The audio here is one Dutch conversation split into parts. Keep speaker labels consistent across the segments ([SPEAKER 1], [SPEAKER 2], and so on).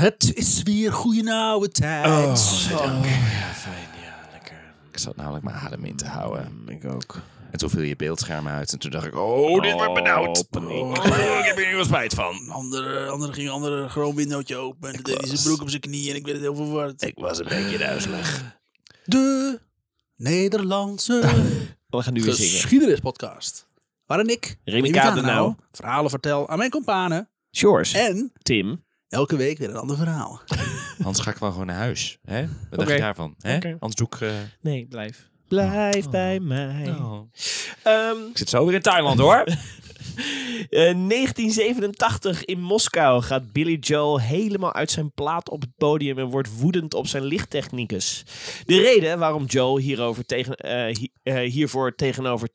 [SPEAKER 1] Het is weer goeie oude
[SPEAKER 2] Oh,
[SPEAKER 1] tijd. Oh,
[SPEAKER 3] Ja, fijn. Ja, lekker.
[SPEAKER 2] Ik zat namelijk mijn adem in te houden.
[SPEAKER 3] Mm, Ik ook.
[SPEAKER 2] En toen viel je beeldscherm uit. En toen dacht ik, oh, dit wordt benauwd.
[SPEAKER 3] paniek.
[SPEAKER 2] Oh, ik heb hier nu wel spijt van.
[SPEAKER 1] Andere, andere ging een andere gewoon windootje open. En toen deed hij zijn broek op zijn knie en ik werd heel verward.
[SPEAKER 2] Ik was een beetje duizelig.
[SPEAKER 1] De Nederlandse
[SPEAKER 3] Oh, We gaan nu weer zingen.
[SPEAKER 1] geschiedenispodcast. Waarin ik,
[SPEAKER 3] Remy
[SPEAKER 1] Remy Kadenau,
[SPEAKER 3] Kadenau,
[SPEAKER 1] verhalen vertel aan mijn kompanen.
[SPEAKER 3] George.
[SPEAKER 1] En
[SPEAKER 3] Eh, Tim.
[SPEAKER 1] elke week weer een ander verhaal.
[SPEAKER 2] Hans ga ik wel gewoon naar huis. Hè? Wat dacht
[SPEAKER 3] Oké.
[SPEAKER 2] je daarvan? Hè?
[SPEAKER 3] Oké.
[SPEAKER 2] Anders doe ik... eh,
[SPEAKER 3] Nee, blijf. Blijf bij mij.
[SPEAKER 2] oh.
[SPEAKER 3] Ehm,
[SPEAKER 2] Ik zit zo weer in Thailand hoor.
[SPEAKER 3] eh, 1987 in Moskou gaat Billy Joel helemaal uit zijn plaat op het podium en wordt woedend op zijn lichttechnicus. De reden waarom Joel hierover tegen, eh, hi- eh, hiervoor tegenover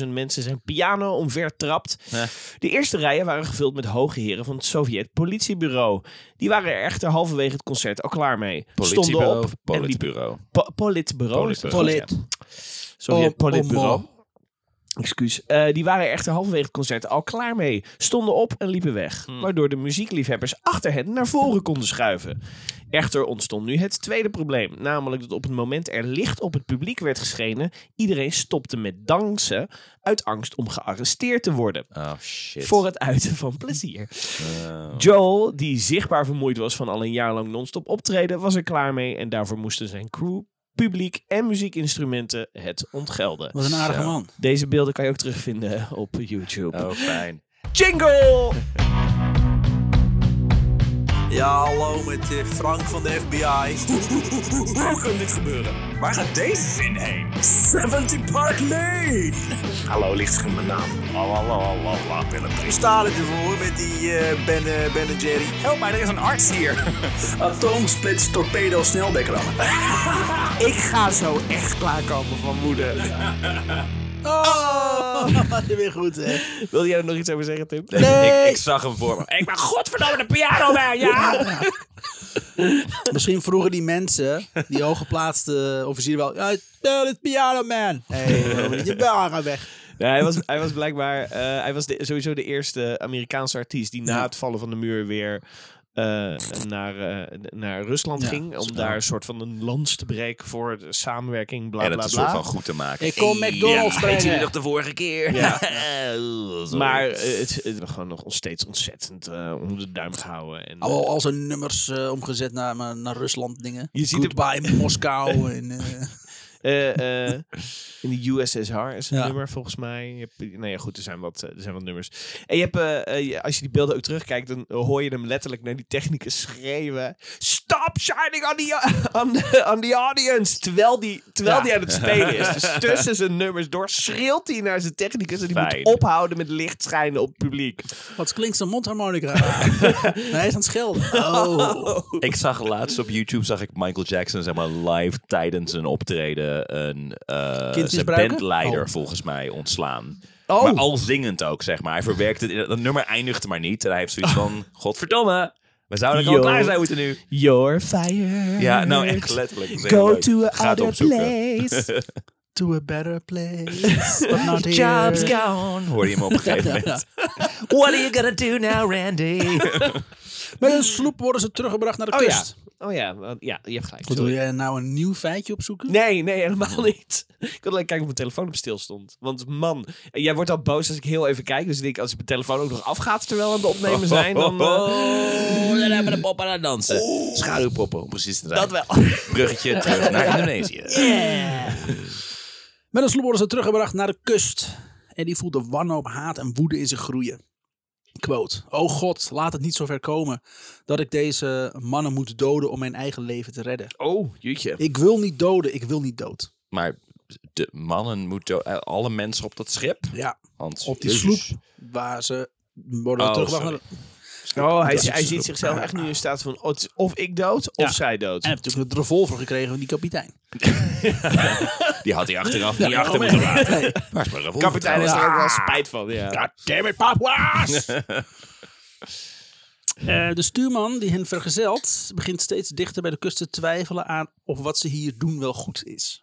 [SPEAKER 3] 20.000 mensen zijn piano omver trapt.
[SPEAKER 2] Ja.
[SPEAKER 3] De eerste rijen waren gevuld met hoge heren van het Sovjet politiebureau. Die waren er echter halverwege het concert al klaar mee. Stonden
[SPEAKER 2] Politiebureau
[SPEAKER 3] op
[SPEAKER 2] of
[SPEAKER 3] en liepen
[SPEAKER 2] politbureau?
[SPEAKER 3] Po- politbureau.
[SPEAKER 2] Politbureau. Oh,
[SPEAKER 3] is dat goed, ja. Sorry,
[SPEAKER 1] Om-
[SPEAKER 3] politbureau.
[SPEAKER 1] om-
[SPEAKER 3] Excuus. Eh, die waren echter halverwege het concert al klaar mee. Stonden op en liepen weg.
[SPEAKER 2] Hmm.
[SPEAKER 3] Waardoor de muziekliefhebbers achter hen naar voren konden schuiven. Echter ontstond nu het tweede probleem. Namelijk dat op het moment er licht op het publiek werd geschenen... iedereen stopte met dansen uit angst om gearresteerd te worden.
[SPEAKER 2] Oh shit.
[SPEAKER 3] Voor het uiten van plezier.
[SPEAKER 2] Oh.
[SPEAKER 3] Joel, die zichtbaar vermoeid was van al een jaar lang non-stop optreden, was er klaar mee en daarvoor moesten zijn crew, publiek en muziekinstrumenten het ontgelden.
[SPEAKER 1] Wat een aardige
[SPEAKER 2] Zo.
[SPEAKER 1] man.
[SPEAKER 3] Deze beelden kan je ook terugvinden op YouTube.
[SPEAKER 2] Oh, fijn.
[SPEAKER 3] Jingle!
[SPEAKER 1] Ja, hallo met eh, Frank van de FBI. Hoe kan dit gebeuren? Waar gaat deze zin heen? 70 Park Lane!
[SPEAKER 4] Hallo, lichtschoen mijn naam. Lalalala, Willem.
[SPEAKER 1] Ik sta ervoor met die eh, ben, ben en Jerry.
[SPEAKER 4] Help mij, er is een arts hier.
[SPEAKER 1] Atomsplits torpedo sneldekker
[SPEAKER 4] Ik ga zo echt klaarkomen van moeder.
[SPEAKER 1] Oh, weer goed hè.
[SPEAKER 3] Wil jij er nog iets over zeggen, Tim?
[SPEAKER 2] Ik, ik zag hem voor me. Ik ben godverdomme de piano bij, ja!
[SPEAKER 1] Misschien vroegen die mensen, die hooggeplaatste officieren wel... Ja, tell it piano man. Hé, hey, eh, je baren weg.
[SPEAKER 3] Nee, hij, was, hij was blijkbaar eh, hij was de- sowieso de eerste Amerikaanse artiest die na
[SPEAKER 1] Ja.
[SPEAKER 3] het vallen van de muur weer eh, naar, eh, naar Rusland
[SPEAKER 1] Ja,
[SPEAKER 3] ging. Om daar een soort van een lans te breken voor de samenwerking, bla
[SPEAKER 2] En
[SPEAKER 3] bla
[SPEAKER 2] het een
[SPEAKER 3] bla.
[SPEAKER 2] soort van goed te maken.
[SPEAKER 1] Ik kom McDonald's
[SPEAKER 2] ja,
[SPEAKER 1] brengen.
[SPEAKER 2] Weet jullie nog de vorige keer? Oh,
[SPEAKER 3] Ja.
[SPEAKER 2] Sorry.
[SPEAKER 3] Maar eh, het, het is gewoon nog steeds ontzettend eh onder de duim gehouden. En, eh,
[SPEAKER 1] Al, al zijn nummers eh, omgezet naar, naar, naar Rusland dingen.
[SPEAKER 3] Je ziet het-
[SPEAKER 1] Goodbye Moskou. En, eh,
[SPEAKER 3] eh, eh, in de USSR is een
[SPEAKER 1] Ja.
[SPEAKER 3] nummer volgens mij. Je hebt, nou ja, goed, er zijn, wat, eh, er zijn wat nummers. En je hebt, eh, eh, je- als je die beelden ook terugkijkt, dan hoor je hem letterlijk naar die technicus schreeuwen. Stop shining on the, on the, on the audience! Terwijl die, terwijl
[SPEAKER 2] Ja.
[SPEAKER 3] die aan het spelen is. Dus tussen zijn nummers door schreeuwt hij naar zijn technicus. En die
[SPEAKER 2] Fijn.
[SPEAKER 3] moet ophouden met licht schijnen op het publiek.
[SPEAKER 1] wat klinkt zijn mondharmonica? nee, hij is aan het schelden. Oh.
[SPEAKER 2] Ik zag laatst op YouTube zag ik Michael Jackson zeg maar, live tijdens een optreden een eh,
[SPEAKER 1] Kind
[SPEAKER 2] zijn
[SPEAKER 1] misbruiken?
[SPEAKER 2] bandleider
[SPEAKER 1] Oh.
[SPEAKER 2] volgens mij ontslaan.
[SPEAKER 3] Oh.
[SPEAKER 2] Maar al zingend ook, zeg maar. Hij verwerkte het. in- Dat nummer eindigde maar niet. En hij heeft zoiets van, godverdomme. We zouden al
[SPEAKER 3] Oh. Yo.
[SPEAKER 2] klaar zijn moeten nu.
[SPEAKER 3] Your fire.
[SPEAKER 2] Ja, nou echt letterlijk. Dat is heel
[SPEAKER 3] Go
[SPEAKER 2] leuk.
[SPEAKER 3] to a
[SPEAKER 2] Ga het
[SPEAKER 3] other
[SPEAKER 2] opzoeken.
[SPEAKER 3] place.
[SPEAKER 1] To a better place. But not here.
[SPEAKER 2] Job's gone. Hoor je hem op een gegeven moment. What are you gonna do now, Randy?
[SPEAKER 1] Met een sloep worden ze teruggebracht naar de
[SPEAKER 3] Oh ja.
[SPEAKER 1] kust.
[SPEAKER 3] Oh ja, want- ja, je hebt gelijk.
[SPEAKER 1] Wat
[SPEAKER 3] sorry.
[SPEAKER 1] wil jij nou een nieuw feitje opzoeken?
[SPEAKER 3] Nee, nee, helemaal niet. Ik wilde alleen kijken of mijn telefoon op stil stond. Want man, jij wordt al boos als ik heel even kijk. Dus ik denk, als mijn telefoon ook nog afgaat terwijl we aan het opnemen zijn, dan... eh,
[SPEAKER 2] Oh, dan hebben we de pop aan het dansen. Eh, Schaduwpoppen, om precies te zijn.
[SPEAKER 3] dat wel.
[SPEAKER 2] Bruggetje terug naar Indonesië.
[SPEAKER 1] Met een sloep worden ze teruggebracht naar de kust. En die voelt de wanhoop, haat en woede in zich groeien. Quote. O God, laat het niet zover komen dat ik deze mannen moet doden om mijn eigen leven te redden.
[SPEAKER 3] Oh, jeetje.
[SPEAKER 1] Ik wil niet doden, ik wil niet dood.
[SPEAKER 2] Maar de mannen moeten, eh, alle mensen op dat schip.
[SPEAKER 1] Ja,
[SPEAKER 2] Want,
[SPEAKER 1] op die
[SPEAKER 2] Jezus.
[SPEAKER 1] sloep waar ze worden
[SPEAKER 2] Oh,
[SPEAKER 1] teruggebracht. naar de-
[SPEAKER 3] Oh, hij,
[SPEAKER 1] Dat is
[SPEAKER 3] hij ziet
[SPEAKER 1] ook-
[SPEAKER 3] zichzelf echt nu in staat van, oh, het is of ik dood, of
[SPEAKER 1] Ja.
[SPEAKER 3] zij dood.
[SPEAKER 1] En heb natuurlijk de revolver gekregen van die kapitein.
[SPEAKER 2] Die had hij achteraf niet
[SPEAKER 1] Ja,
[SPEAKER 2] achter
[SPEAKER 1] maar-
[SPEAKER 2] moeten laten.
[SPEAKER 1] Nee.
[SPEAKER 2] Waar is mijn revolver
[SPEAKER 3] Kapitein is
[SPEAKER 2] trouwens?
[SPEAKER 3] er ook wel spijt van, ja.
[SPEAKER 1] God damn it, papa's! Eh, de stuurman die hen vergezelt, begint steeds dichter bij de kust te twijfelen aan of wat ze hier doen wel goed is.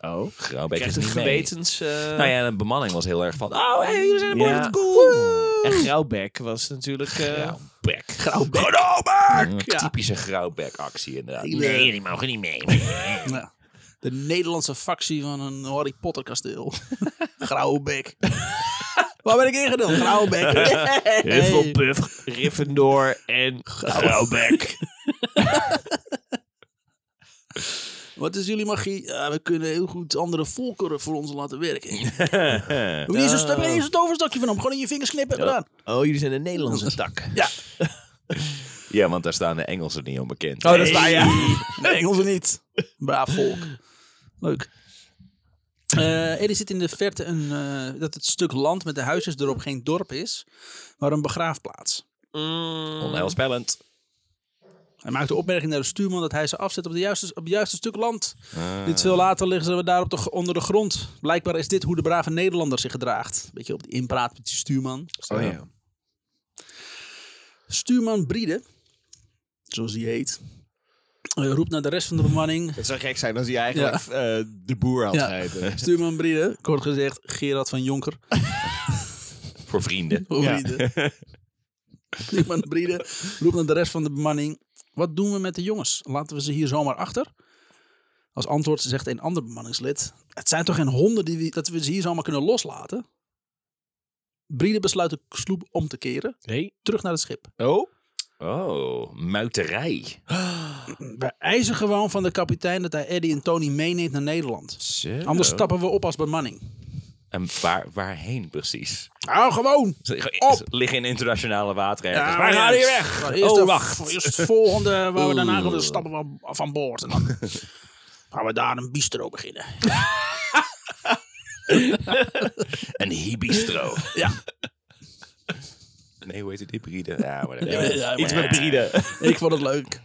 [SPEAKER 3] Oh.
[SPEAKER 2] Grauwbeek is
[SPEAKER 3] Krijgt een
[SPEAKER 2] niet mee.
[SPEAKER 3] gewetens... eh,
[SPEAKER 2] Nou ja, de bemanning was heel erg van... Oh, hey, jullie zijn er
[SPEAKER 3] Ja.
[SPEAKER 2] mooi, cool.
[SPEAKER 3] En Grauwbek was natuurlijk... eh
[SPEAKER 2] Grauwbek.
[SPEAKER 1] Grauwbek.
[SPEAKER 2] Grauwbek!
[SPEAKER 1] Ja.
[SPEAKER 2] Typische grauwbek actie inderdaad.
[SPEAKER 1] Ik ben-
[SPEAKER 2] die mogen niet mee.
[SPEAKER 1] Ja. De Nederlandse factie van een Harry Potter kasteel. Grauwbek. Waar ben ik ingedeeld? Grauwbek.
[SPEAKER 3] Hufflepuff, Gryffindor en Grauwbek.
[SPEAKER 1] Wat is jullie magie? Ja, we kunnen heel goed andere volkeren voor ons laten werken. Doe niet zo'n stap- niet zo'n toverstakje van hem. Gewoon in je vingers knippen. Gedaan.
[SPEAKER 3] Oh, jullie zijn de Nederlandse tak.
[SPEAKER 1] Ja.
[SPEAKER 2] ja, want daar staan de Engelsen niet onbekend.
[SPEAKER 1] Oh, daar sta je. Nee, Engelsen niet. Braaf volk. Leuk. Eh er zit in de verte een, eh, dat het stuk land met de huisjes erop geen dorp is, maar een begraafplaats.
[SPEAKER 3] Mm.
[SPEAKER 2] Onheilspellend.
[SPEAKER 1] Hij maakt de opmerking naar de stuurman dat hij ze afzet op, de juiste, op het juiste stuk land.
[SPEAKER 2] Ah.
[SPEAKER 1] Niet veel later liggen ze daar op de, gr- onder de grond. Blijkbaar is dit hoe de brave Nederlander zich gedraagt. Beetje op die inpraat met die stuurman.
[SPEAKER 2] Oh ja.
[SPEAKER 1] Stuurman Briede, zoals hij heet, eh, roept naar de rest van de bemanning.
[SPEAKER 3] Het zou gek zijn als hij eh,
[SPEAKER 1] eigenlijk,
[SPEAKER 3] de boer had
[SPEAKER 1] Ja.
[SPEAKER 3] geheten.
[SPEAKER 1] Stuurman Briede, kort gezegd Gerard van Jonker.
[SPEAKER 2] Voor vrienden.
[SPEAKER 1] Oh,
[SPEAKER 3] Ja.
[SPEAKER 1] Briede. Stuurman Briede roept naar de rest van de bemanning. Wat doen we met de jongens? Laten we ze hier zomaar achter? Als antwoord zegt een ander bemanningslid. Het zijn toch geen honden die we, dat we ze hier zomaar kunnen loslaten? Briede besluit de sloep om te keren.
[SPEAKER 3] Nee.
[SPEAKER 1] Terug naar het schip.
[SPEAKER 3] Oh?
[SPEAKER 2] Oh, muiterij.
[SPEAKER 1] We eisen gewoon van de kapitein dat hij Eddie en Tony meeneemt naar Nederland. Anders stappen we op als bemanning.
[SPEAKER 2] En waar, waarheen precies?
[SPEAKER 1] Nou, gewoon.
[SPEAKER 2] Ze-
[SPEAKER 1] Op.
[SPEAKER 2] ze Liggen in internationale wateren. ergens.
[SPEAKER 1] Ja,
[SPEAKER 2] Wij gaan hier weg.
[SPEAKER 1] Eerst
[SPEAKER 2] Oh,
[SPEAKER 1] de-
[SPEAKER 2] wacht.
[SPEAKER 1] Eerst het volgende waar we daarna gaan, dan stappen we van boord. En dan gaan we daar een bistro beginnen.
[SPEAKER 2] Een hibistro.
[SPEAKER 1] Ja.
[SPEAKER 2] Nee, hoe heet het? Hybride. Ja, maar
[SPEAKER 1] ja,
[SPEAKER 3] Iets
[SPEAKER 1] maar-
[SPEAKER 3] met Bride.
[SPEAKER 1] Ik vond het leuk.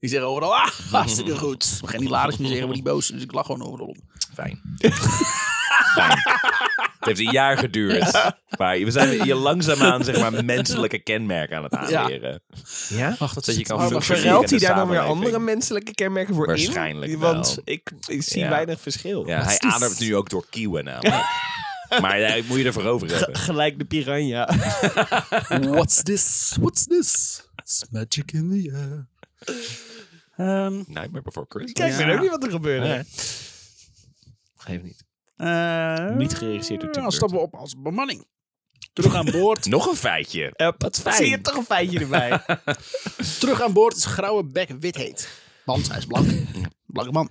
[SPEAKER 1] Die zeggen overal, ah, hartstikke goed. We gaan niet Laris meer zeggen, we niet boos. Dus ik lach gewoon overal om.
[SPEAKER 2] Fijn. Fijn. Het heeft een jaar geduurd. Maar we zijn je langzaamaan zeg maar, menselijke kenmerken aan het aanleren.
[SPEAKER 3] Ja?
[SPEAKER 1] Ach, dat
[SPEAKER 2] Dat je
[SPEAKER 1] zit-
[SPEAKER 2] kan
[SPEAKER 1] oh,
[SPEAKER 3] Maar
[SPEAKER 1] maar-
[SPEAKER 2] functioneren
[SPEAKER 3] verruilt
[SPEAKER 2] in
[SPEAKER 3] hij
[SPEAKER 2] de
[SPEAKER 3] daar dan weer
[SPEAKER 2] samenleving.
[SPEAKER 3] andere menselijke kenmerken voor
[SPEAKER 2] Waarschijnlijk
[SPEAKER 3] in?
[SPEAKER 2] wel.
[SPEAKER 3] Want ik, ik zie
[SPEAKER 2] Ja.
[SPEAKER 3] weinig verschil.
[SPEAKER 2] Ja, hij ademt nu ook door kieuwen namelijk. Maar ja, moet je ervoor over hebben.
[SPEAKER 3] Gelijk de piranha.
[SPEAKER 1] What's this? What's this? It's magic in the air. Ehm,
[SPEAKER 2] Nightmare Before Christmas.
[SPEAKER 3] Kijk, ik weet ook niet wat er gebeurde. Geef niet.
[SPEAKER 1] eh,
[SPEAKER 3] Niet geregisseerd door Tim
[SPEAKER 1] Dan stappen we op als bemanning. Terug aan boord.
[SPEAKER 2] Nog een feitje.
[SPEAKER 3] wat fijn. Zie je toch een feitje erbij?
[SPEAKER 1] Terug aan boord is grauwe bek wit heet. Want hij is blank. Blanke man.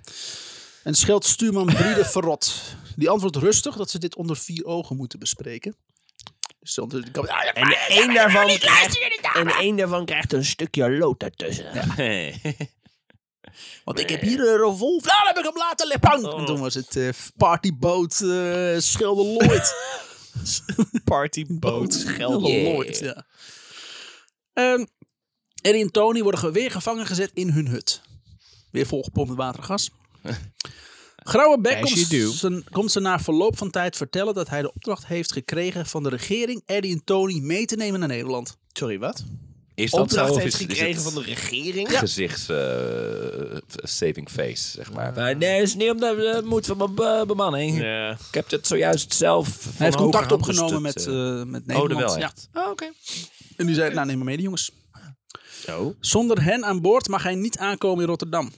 [SPEAKER 1] En scheelt stuurman Briede verrot. Die antwoordt rustig dat ze dit onder vier ogen moeten bespreken. Dus dan de kap- Ah, ja,
[SPEAKER 3] En één daarvan, krijgt, en één daarvan krijgt een stukje lood ertussen.
[SPEAKER 1] Want ik heb hier een revolver. Daar heb ik hem laten lippen. En toen was het eh, partyboot eh Schelde Lloyd.
[SPEAKER 3] Partyboot, scheld.
[SPEAKER 1] Schelde Lloyd, ja. Ehm, Eddie en Tony worden ge- weer gevangen gezet in hun hut. Weer volgepompt met watergas. Grauwe Beck
[SPEAKER 3] As you do.
[SPEAKER 1] komt, zijn- komt ze na verloop van tijd vertellen dat hij de opdracht heeft gekregen van de regering Eddie en Tony mee te nemen naar Nederland.
[SPEAKER 3] Sorry, wat?
[SPEAKER 2] Is dat zo?
[SPEAKER 3] Opdracht
[SPEAKER 2] of
[SPEAKER 3] heeft
[SPEAKER 2] is- is
[SPEAKER 3] gekregen
[SPEAKER 2] het
[SPEAKER 3] van de regering?
[SPEAKER 2] Gezichts eh, saving face, zeg maar.
[SPEAKER 5] Nee, is niet omdat we moeten van mijn bemanning.
[SPEAKER 3] Ja.
[SPEAKER 2] Ik heb het zojuist zelf. van
[SPEAKER 1] Hij heeft contact
[SPEAKER 2] hoger hand
[SPEAKER 1] opgenomen met,
[SPEAKER 2] gestut,
[SPEAKER 1] eh,
[SPEAKER 2] eh.
[SPEAKER 1] met Nederland.
[SPEAKER 2] oh, dat wel
[SPEAKER 1] Ja.
[SPEAKER 2] echt.
[SPEAKER 3] oké.
[SPEAKER 1] En die zei, nou neem maar mee de jongens.
[SPEAKER 2] eh.
[SPEAKER 1] eh,
[SPEAKER 3] Zo.
[SPEAKER 1] Zonder hen aan boord mag hij niet aankomen in Rotterdam.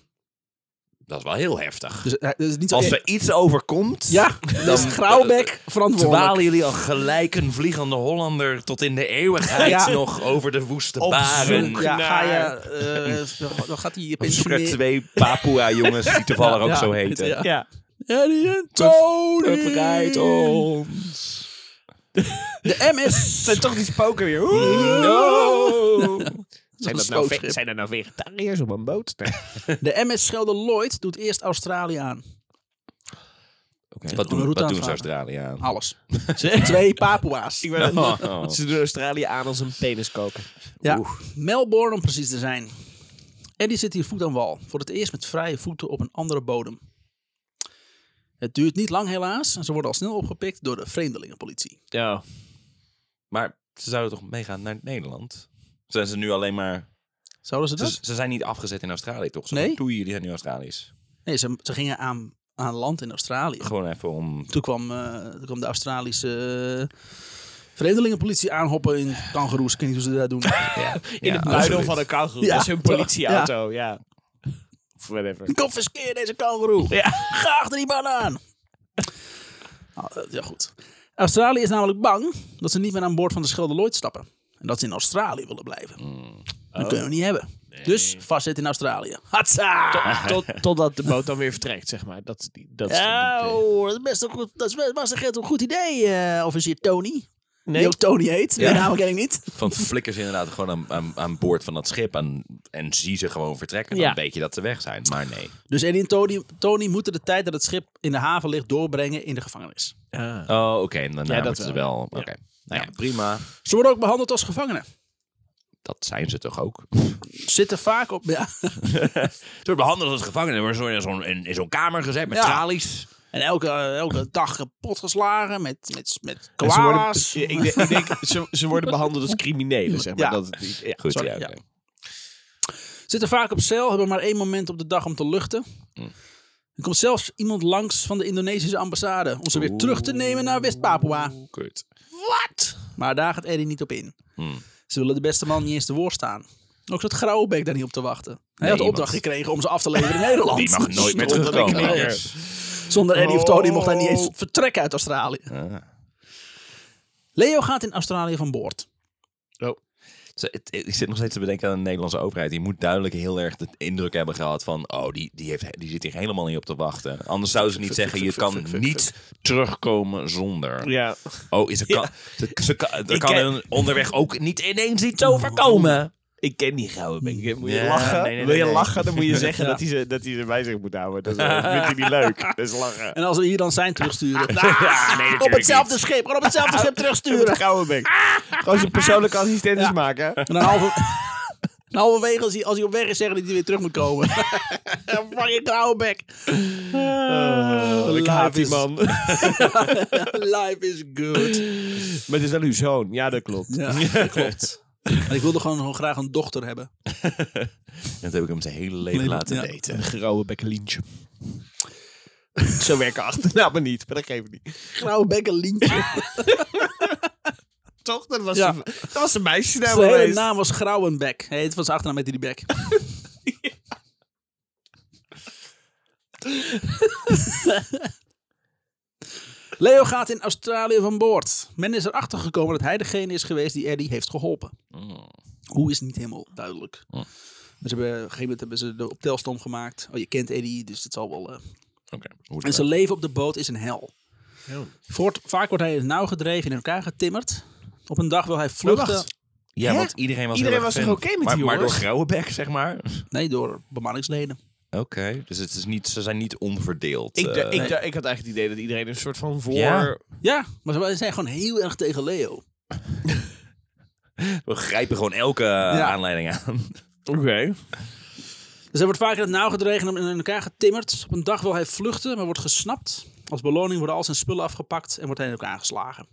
[SPEAKER 2] Dat is wel heel heftig.
[SPEAKER 1] Dus hij- dat is niet zo
[SPEAKER 2] Als er iets overkomt,
[SPEAKER 1] Ja, dan is Grauwbek verantwoordelijk.
[SPEAKER 2] dwalen jullie al gelijk een vliegende Hollander tot in de eeuwigheid
[SPEAKER 1] Ja.
[SPEAKER 2] nog over de woeste
[SPEAKER 3] Op
[SPEAKER 2] baren.
[SPEAKER 3] zoek.
[SPEAKER 1] Ja,
[SPEAKER 3] naar-
[SPEAKER 1] ga je, eh, dan gaat hij
[SPEAKER 2] Op zoek naar
[SPEAKER 1] pensioneren.
[SPEAKER 2] twee Papua-jongens die toevallig ook zo heten.
[SPEAKER 1] Ja.
[SPEAKER 3] Ja.
[SPEAKER 1] Eddie en Tony.
[SPEAKER 2] Bevrijd
[SPEAKER 3] oh.
[SPEAKER 2] ons.
[SPEAKER 1] De MS.
[SPEAKER 3] En toch die spoken weer. Zijn, dat nou
[SPEAKER 1] Spookschip.
[SPEAKER 3] ve- zijn er nou vegetariërs op een boot? Nee.
[SPEAKER 1] De MS Schelde Lloyd doet eerst Australië aan.
[SPEAKER 2] Wat
[SPEAKER 1] Om een
[SPEAKER 2] doen,
[SPEAKER 1] route
[SPEAKER 2] wat doen ze
[SPEAKER 1] aanvragen. Ah.
[SPEAKER 2] Australië aan?
[SPEAKER 1] Alles.
[SPEAKER 3] Ze-
[SPEAKER 1] Twee Papua's.
[SPEAKER 3] Ik ben
[SPEAKER 2] Oh, oh.
[SPEAKER 3] Ze doen Australië aan als een peniskoker.
[SPEAKER 1] Ja. Melbourne om precies te zijn. Eddie zit hier voet aan wal. Voor het eerst met vrije voeten op een andere bodem. Het duurt niet lang helaas. En ze worden al snel opgepikt door de vreemdelingenpolitie.
[SPEAKER 3] Ja.
[SPEAKER 2] Maar ze zouden toch meegaan naar Nederland? Zijn ze nu alleen maar...
[SPEAKER 1] Zouden ze dat?
[SPEAKER 2] Ze, ze zijn niet afgezet in Australië, toch? Zo,
[SPEAKER 1] Nee.
[SPEAKER 2] Doe jullie zijn nu Australiërs.
[SPEAKER 1] Nee, ze, ze gingen aan, aan land in Australië.
[SPEAKER 2] Gewoon even om...
[SPEAKER 1] Toen kwam, eh, toen kwam de Australische eh, vreemdelingenpolitie aanhoppen in kangeroes. Ik weet niet hoe ze dat doen.
[SPEAKER 3] In het buidel
[SPEAKER 2] absoluut.
[SPEAKER 3] van een kangoeroe.
[SPEAKER 1] Ja,
[SPEAKER 3] Dat is hun
[SPEAKER 1] toch?
[SPEAKER 3] politieauto, ja. Of whatever.
[SPEAKER 1] Confiskeer deze kangeroe.
[SPEAKER 3] Ja.
[SPEAKER 1] Ga achter die man aan. Nou, eh, ja, goed. Australië is namelijk bang dat ze niet meer aan boord van de Scheldeloid stappen. En dat ze in Australië willen blijven.
[SPEAKER 3] Hmm. Oh.
[SPEAKER 1] Dat kunnen we niet hebben. Dus vastzitten in Australië. Hatsa!
[SPEAKER 3] Tot, totdat de boot dan weer vertrekt, zeg maar. Dat, is die- dat is
[SPEAKER 1] Ja, hoor, Oh, dat is best een goed, dat is best, best een goed idee, eh, officier Tony.
[SPEAKER 3] Nee.
[SPEAKER 1] Die ook Tony heet. Die
[SPEAKER 2] Ja.
[SPEAKER 1] naam ken ik niet.
[SPEAKER 2] Van flikkers inderdaad gewoon aan, aan, aan boord van dat schip. En, en zie ze gewoon vertrekken.
[SPEAKER 3] Ja.
[SPEAKER 2] Dan weet je dat ze weg zijn. Maar nee.
[SPEAKER 1] Dus Eddie en Tony, Tony moeten de tijd dat het schip in de haven ligt doorbrengen in de gevangenis.
[SPEAKER 2] Oh, oké. en Daarna
[SPEAKER 3] Ja, dat
[SPEAKER 2] moeten ze
[SPEAKER 3] wel,
[SPEAKER 2] wel. Oké. Nou ja, prima.
[SPEAKER 1] Ze worden ook behandeld als gevangenen.
[SPEAKER 2] Dat zijn ze toch ook?
[SPEAKER 1] Zitten vaak op... Ja.
[SPEAKER 2] Ze worden behandeld als gevangenen. Ze worden in zo'n, in, in zo'n kamer gezet met
[SPEAKER 1] Ja.
[SPEAKER 2] tralies.
[SPEAKER 1] En elke, elke dag kapot geslagen met, met, met
[SPEAKER 3] En ze worden-
[SPEAKER 1] koala's.
[SPEAKER 3] ik, denk- ik denk, ze, ze worden behandeld als criminelen, Dus zeg maar.
[SPEAKER 1] Ja.
[SPEAKER 3] Dat, ja,
[SPEAKER 2] Goed,
[SPEAKER 3] sorry.
[SPEAKER 2] ja,
[SPEAKER 1] ja.
[SPEAKER 2] oké.
[SPEAKER 1] Zitten vaak op cel, hebben maar één moment op de dag om te luchten.
[SPEAKER 3] Hm.
[SPEAKER 1] Er komt zelfs iemand langs van de Indonesische ambassade om ze weer terug te nemen naar
[SPEAKER 2] Ah.
[SPEAKER 1] West-Papua.
[SPEAKER 2] Kut.
[SPEAKER 1] Maar daar gaat Eddie niet op in.
[SPEAKER 2] Hmm.
[SPEAKER 1] Ze willen de beste man niet eens te woord staan. Ook zat Grauwbeek daar niet op te wachten. Hij had de
[SPEAKER 2] iemand-
[SPEAKER 1] opdracht gekregen om ze af te leveren in Nederland.
[SPEAKER 2] Die mag nooit meer
[SPEAKER 3] Zonder
[SPEAKER 2] terugkomen.
[SPEAKER 3] knikker.
[SPEAKER 2] anders.
[SPEAKER 1] Zonder Eddie of Tony mocht hij niet eens
[SPEAKER 3] Oh.
[SPEAKER 1] vertrekken uit Australië.
[SPEAKER 2] Ah.
[SPEAKER 1] Leo gaat in Australië van boord.
[SPEAKER 2] Ze- het- het- Ik zit nog steeds te bedenken aan de Nederlandse overheid. Die moet duidelijk heel erg de indruk hebben gehad van... oh, die, die, heeft, die zit hier helemaal niet op te wachten. Anders zouden ze niet zeggen... je kan niet terugkomen zonder.
[SPEAKER 3] Ja.
[SPEAKER 2] Oh, is er kan, ze, ze kan, er
[SPEAKER 3] Ik
[SPEAKER 2] kan
[SPEAKER 3] ken-
[SPEAKER 2] hun onderweg ook niet ineens iets overkomen.
[SPEAKER 3] Ik ken die
[SPEAKER 1] Hmm.
[SPEAKER 3] gouden bek. Moet je
[SPEAKER 2] Ja,
[SPEAKER 3] lachen?
[SPEAKER 2] nee, nee,
[SPEAKER 3] Wil je
[SPEAKER 2] nee, nee.
[SPEAKER 3] lachen, dan moet je zeggen dat, hij ze, dat hij ze bij zich moet houden. Dat, is- dat vindt hij niet leuk. Dat is lachen.
[SPEAKER 1] En als we hier dan zijn terugsturen.
[SPEAKER 2] Ja, nee,
[SPEAKER 1] op
[SPEAKER 2] natuurlijk
[SPEAKER 1] hetzelfde schip, gewoon op hetzelfde schip
[SPEAKER 3] De
[SPEAKER 1] terugsturen.
[SPEAKER 3] gouden bek. Gewoon zijn persoonlijke assistent eens
[SPEAKER 1] Ah! Ja. Oh.
[SPEAKER 3] maken.
[SPEAKER 1] En dan halver- en halverwege, als hij, als hij op weg is, zeggen dat hij weer terug moet komen. Fucking Grauwbeek.
[SPEAKER 3] ik haat die
[SPEAKER 1] is-
[SPEAKER 3] man.
[SPEAKER 1] Life is good.
[SPEAKER 3] Maar het is wel uw zoon. Ja, dat klopt.
[SPEAKER 1] Ja, dat klopt. Maar ik wilde gewoon, gewoon graag een dochter hebben.
[SPEAKER 2] niet. Dat heb ik hem zijn hele leven
[SPEAKER 1] Nee,
[SPEAKER 2] laten
[SPEAKER 1] ja.
[SPEAKER 2] weten.
[SPEAKER 3] Een grauwe bekkelientje. Zo werken achternamen niet, maar dat geeft niet.
[SPEAKER 1] Grauwbeek een lintje.
[SPEAKER 3] Toch? Dat was,
[SPEAKER 1] Ja.
[SPEAKER 3] een, dat was een meisje nou
[SPEAKER 1] Zijn hele
[SPEAKER 3] geweest.
[SPEAKER 1] naam was Grauwenbek. Hij heet van zijn achternaam met die bek. Leo gaat in Australië van boord. Men is erachter gekomen dat hij degene is geweest die Eddie heeft geholpen. Mm. Hoe is niet helemaal duidelijk.
[SPEAKER 2] Hm.
[SPEAKER 1] Maar ze hebben, op een gegeven moment hebben ze de optelstom gemaakt. Oh, je kent Eddie, dus dat zal wel... eh,
[SPEAKER 2] Oké. hoe dan
[SPEAKER 1] en zijn leven op de boot is een hel.
[SPEAKER 3] Ja.
[SPEAKER 1] Voort, vaak wordt hij in het nauw gedreven, in elkaar getimmerd. Op een dag wil hij vluchten.
[SPEAKER 3] wacht.
[SPEAKER 2] Ja,
[SPEAKER 3] Hè?
[SPEAKER 2] want iedereen was
[SPEAKER 3] Iedereen
[SPEAKER 2] heel erg
[SPEAKER 3] was toch
[SPEAKER 2] fan.
[SPEAKER 3] oké met die
[SPEAKER 2] maar, Maar door
[SPEAKER 3] jongens?
[SPEAKER 2] Grauwebek, zeg maar. Oké,
[SPEAKER 1] Nee, door bemanningsleden.
[SPEAKER 2] dus het is niet, ze zijn niet onverdeeld.
[SPEAKER 3] Ik,
[SPEAKER 2] eh.
[SPEAKER 3] d- ik, d- ik had eigenlijk het idee dat iedereen een soort van voor...
[SPEAKER 2] Ja.
[SPEAKER 1] Ja, maar ze zijn gewoon heel erg tegen Leo.
[SPEAKER 2] We grijpen gewoon elke eh, aanleiding aan.
[SPEAKER 3] Oké.
[SPEAKER 1] Dus hij wordt vaak in het nauw gedreven en in elkaar getimmerd. Op een dag wil hij vluchten, maar wordt gesnapt. Als beloning worden al zijn spullen afgepakt en wordt hij in elkaar geslagen.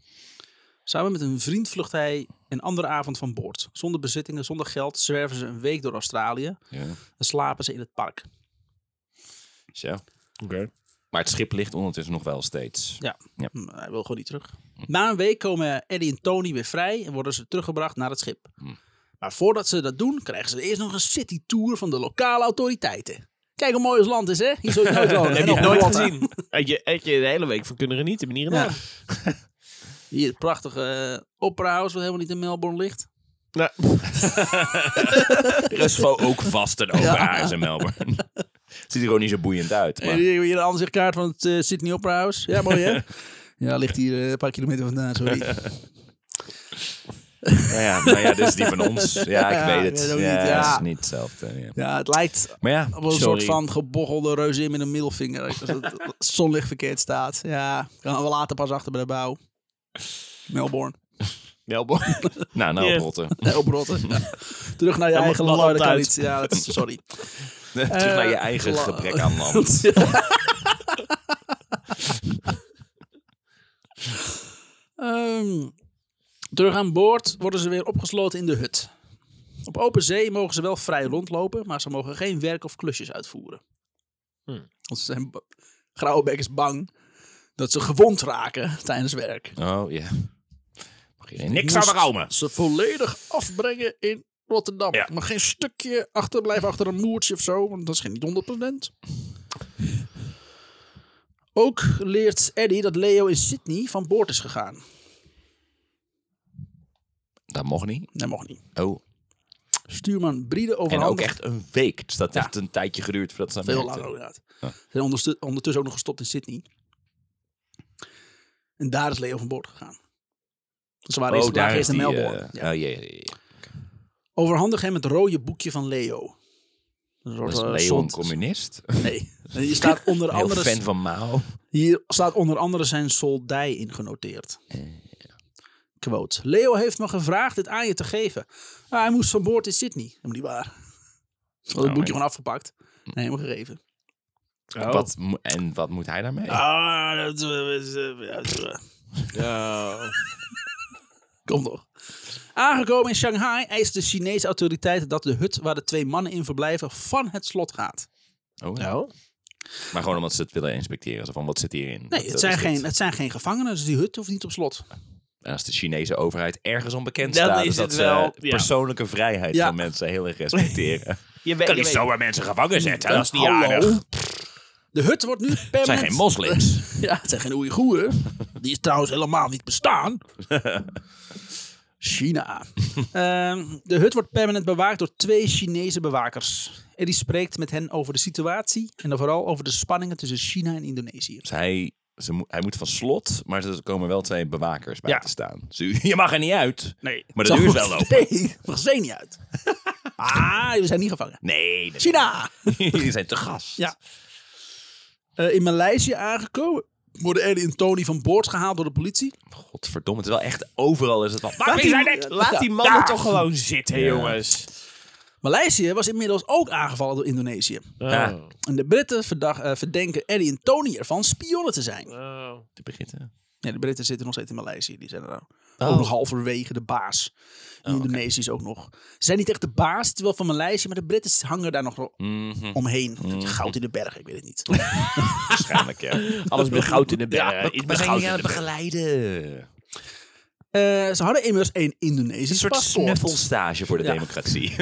[SPEAKER 1] Samen met een vriend vlucht hij een andere avond van boord. Zonder bezittingen, zonder geld zwerven ze een week door Australië
[SPEAKER 2] Ja.
[SPEAKER 1] en slapen ze in het park.
[SPEAKER 2] Zo. Maar het schip ligt ondertussen nog wel steeds.
[SPEAKER 1] Ja,
[SPEAKER 2] Ja.
[SPEAKER 1] Hm, hij wil gewoon niet terug.
[SPEAKER 3] Hmm.
[SPEAKER 1] Na een week komen Eddie en Tony weer vrij en worden ze teruggebracht naar het schip.
[SPEAKER 3] Hmm.
[SPEAKER 1] Maar voordat ze dat doen, krijgen ze eerst nog een citytour van de lokale autoriteiten. Kijk hoe mooi ons land is, hè? Hier zou je nooit wonen. En
[SPEAKER 3] Heb je het
[SPEAKER 1] op
[SPEAKER 3] nooit
[SPEAKER 1] Malta.
[SPEAKER 3] gezien? Had je, had je de hele week van kunnen genieten, maar niet
[SPEAKER 1] Ja.
[SPEAKER 3] gedaan.
[SPEAKER 1] Hier het prachtige eh, Opera House, wat helemaal niet in Melbourne ligt.
[SPEAKER 3] Nou,
[SPEAKER 2] Er is wel ook vast een opera huis in Melbourne. Ziet er gewoon niet zo boeiend uit.
[SPEAKER 1] En
[SPEAKER 2] Maar
[SPEAKER 1] hier, hier een aanzichtkaart van het eh, Sydney Opera House. Ja, mooi hè? ja, ligt hier eh, een paar kilometer vandaan, sorry.
[SPEAKER 2] nou ja, nou ja, dit is die van ons. Ja, ik
[SPEAKER 1] Ja,
[SPEAKER 2] weet
[SPEAKER 1] weet
[SPEAKER 2] het.
[SPEAKER 1] ook
[SPEAKER 2] ja,
[SPEAKER 1] niet, ja.
[SPEAKER 2] Het is niet hetzelfde. ja.
[SPEAKER 1] Ja, het lijkt
[SPEAKER 2] Maar ja,
[SPEAKER 1] op een
[SPEAKER 2] sorry.
[SPEAKER 1] soort van gebochelde reuzin met een middelvinger. Als het zonlicht verkeerd staat. Ja, gaan we later pas achter bij de bouw. Melbourne.
[SPEAKER 3] Melbourne.
[SPEAKER 2] Nou, nou,
[SPEAKER 3] Ja.
[SPEAKER 2] rotten.
[SPEAKER 1] Nee, oprotten. Ja. Terug naar je
[SPEAKER 3] Dan
[SPEAKER 1] eigen
[SPEAKER 3] mag
[SPEAKER 1] land. dat
[SPEAKER 3] het land
[SPEAKER 1] kan
[SPEAKER 3] uit.
[SPEAKER 1] niet. Ja, dat is- sorry.
[SPEAKER 2] Terug naar je eigen
[SPEAKER 1] gla-
[SPEAKER 2] gebrek aan land.
[SPEAKER 1] Ehm, terug aan boord worden ze weer opgesloten in de hut. Op open zee mogen ze wel vrij rondlopen, maar ze mogen geen werk of klusjes uitvoeren. Want ze zijn ba- Grauwbeck is bang dat ze gewond raken tijdens werk.
[SPEAKER 2] Oh, ja. Mag beginnen. Niks aan de rouwen.
[SPEAKER 1] Ze volledig afbrengen in Rotterdam.
[SPEAKER 2] Ja.
[SPEAKER 1] Maar geen stukje achterblijven achter een moertje of zo, want dat is geen 100%. Ook leert Eddie dat Leo in Sydney van boord is gegaan.
[SPEAKER 2] Dat mocht niet.
[SPEAKER 1] Dat mocht niet.
[SPEAKER 2] Oh.
[SPEAKER 1] Stuurman Briede
[SPEAKER 2] En ook
[SPEAKER 1] overhandigt...
[SPEAKER 2] echt eh, een week. Dus dat heeft een tijdje geduurd voordat ze aan Oh,
[SPEAKER 1] Veel
[SPEAKER 2] werkten.
[SPEAKER 1] langer inderdaad. Ze zijn onderstu- ondertussen ook nog gestopt in Sydney. En daar is Leo van boord gegaan. Ze waren eerst,
[SPEAKER 2] Oh, daar
[SPEAKER 1] lagen
[SPEAKER 2] is
[SPEAKER 1] eerst in
[SPEAKER 2] die...
[SPEAKER 1] Melbourne.
[SPEAKER 2] eh,
[SPEAKER 1] Ja.
[SPEAKER 2] oh, ja, ja, ja.
[SPEAKER 1] Overhandig hem het rode boekje van Leo. Een soort,
[SPEAKER 2] Was
[SPEAKER 1] eh,
[SPEAKER 2] Leo een
[SPEAKER 1] zond-
[SPEAKER 2] communist?
[SPEAKER 1] Nee. En hier staat, onder
[SPEAKER 2] Heel
[SPEAKER 1] andere,
[SPEAKER 2] fan van Mao.
[SPEAKER 1] hier staat onder andere zijn soldij in genoteerd.
[SPEAKER 2] Eh,
[SPEAKER 1] Quote. Leo heeft me gevraagd dit aan je te geven. Maar hij moest van boord in Sydney. Helemaal niet waar. Ze hadden het boekje
[SPEAKER 2] nee.
[SPEAKER 1] gewoon afgepakt. En hem gegeven.
[SPEAKER 2] Wat, mo- en wat moet hij daarmee?
[SPEAKER 1] Ah, dat is... eh, ja, dat is, eh. Kom nog. Aangekomen in Shanghai eist de Chinese autoriteiten dat de hut waar de twee mannen in verblijven van het slot gaat.
[SPEAKER 2] Oh, ja. Maar gewoon omdat ze het willen inspecteren. Zo van, wat zit hierin? Wat,
[SPEAKER 1] Nee,
[SPEAKER 2] eh,
[SPEAKER 1] het zijn,
[SPEAKER 2] is dit?
[SPEAKER 1] geen, het zijn geen gevangenen, dus die hut hoeft niet op slot.
[SPEAKER 2] En als de Chinese overheid ergens onbekend
[SPEAKER 3] Dan
[SPEAKER 2] staat,
[SPEAKER 3] is
[SPEAKER 2] is dat
[SPEAKER 3] het
[SPEAKER 2] ze
[SPEAKER 3] wel, ja.
[SPEAKER 2] persoonlijke vrijheid
[SPEAKER 1] Ja.
[SPEAKER 2] van mensen heel erg respecteren.
[SPEAKER 3] Je weet,
[SPEAKER 2] kan
[SPEAKER 3] je
[SPEAKER 2] niet
[SPEAKER 3] weet-
[SPEAKER 2] zomaar mensen gevangen zetten.
[SPEAKER 1] Dat
[SPEAKER 2] Dat
[SPEAKER 1] is
[SPEAKER 2] is
[SPEAKER 1] niet
[SPEAKER 2] niet
[SPEAKER 1] Eh, Hallo. aardig.
[SPEAKER 2] aardig.
[SPEAKER 1] De hut wordt nu permanent...
[SPEAKER 2] zijn geen moslims.
[SPEAKER 1] Ja, het zijn geen Oeigoeren. Die is trouwens helemaal niet bestaan. China. Ehm, de hut wordt permanent bewaakt door twee Chinese bewakers. En die spreekt met hen over de situatie en dan vooral over de spanningen tussen China en Indonesië.
[SPEAKER 2] Dus hij, ze mo- hij moet van slot, maar er komen wel twee bewakers bij
[SPEAKER 1] Ja.
[SPEAKER 2] te staan. Dus u- je mag er niet uit,
[SPEAKER 1] Nee.
[SPEAKER 2] maar de deur is wel
[SPEAKER 1] lopen.
[SPEAKER 2] open.
[SPEAKER 1] Nee, mag ze niet uit. Ah, jullie zijn niet gevangen.
[SPEAKER 2] Nee, dat-
[SPEAKER 1] China!
[SPEAKER 2] jullie zijn te gast.
[SPEAKER 1] Ja. Eh, in Maleisië aangekomen worden Eddie en Tony van boord gehaald door de politie.
[SPEAKER 2] Godverdomme, het is wel echt overal is het van... Waar
[SPEAKER 3] Laat
[SPEAKER 2] is hij
[SPEAKER 3] die,
[SPEAKER 2] net?
[SPEAKER 3] laat die mannen toch gewoon zitten,
[SPEAKER 2] Ja.
[SPEAKER 3] jongens.
[SPEAKER 1] Maleisië was inmiddels ook aangevallen door Indonesië.
[SPEAKER 2] Ja.
[SPEAKER 1] En de Britten verdag- eh, verdenken Eddie en Tony ervan spionnen te zijn.
[SPEAKER 3] Oh.
[SPEAKER 2] Te beginnen.
[SPEAKER 1] Ja, de Britten zitten nog steeds in Maleisië. Die zijn er nou
[SPEAKER 2] Oh.
[SPEAKER 1] ook nog halverwege de baas. De Indonesiërs ook nog. Ze zijn niet echt de baas, het is wel van Maleisië, maar de Britten hangen daar nog wel
[SPEAKER 2] Mhm,
[SPEAKER 1] omheen. Goud in de berg, ik weet het niet.
[SPEAKER 2] waarschijnlijk, ja.
[SPEAKER 3] Alles met goud in de bergen. Iets
[SPEAKER 2] We
[SPEAKER 3] met
[SPEAKER 2] zijn
[SPEAKER 3] goud
[SPEAKER 2] jullie
[SPEAKER 3] in
[SPEAKER 2] aan
[SPEAKER 3] de
[SPEAKER 2] het begeleiden.
[SPEAKER 3] bergen.
[SPEAKER 1] Eh, ze hadden immers een Indonesisch
[SPEAKER 2] Een soort
[SPEAKER 1] paspoort.
[SPEAKER 2] snuffelstage voor de
[SPEAKER 1] Ja.
[SPEAKER 2] democratie.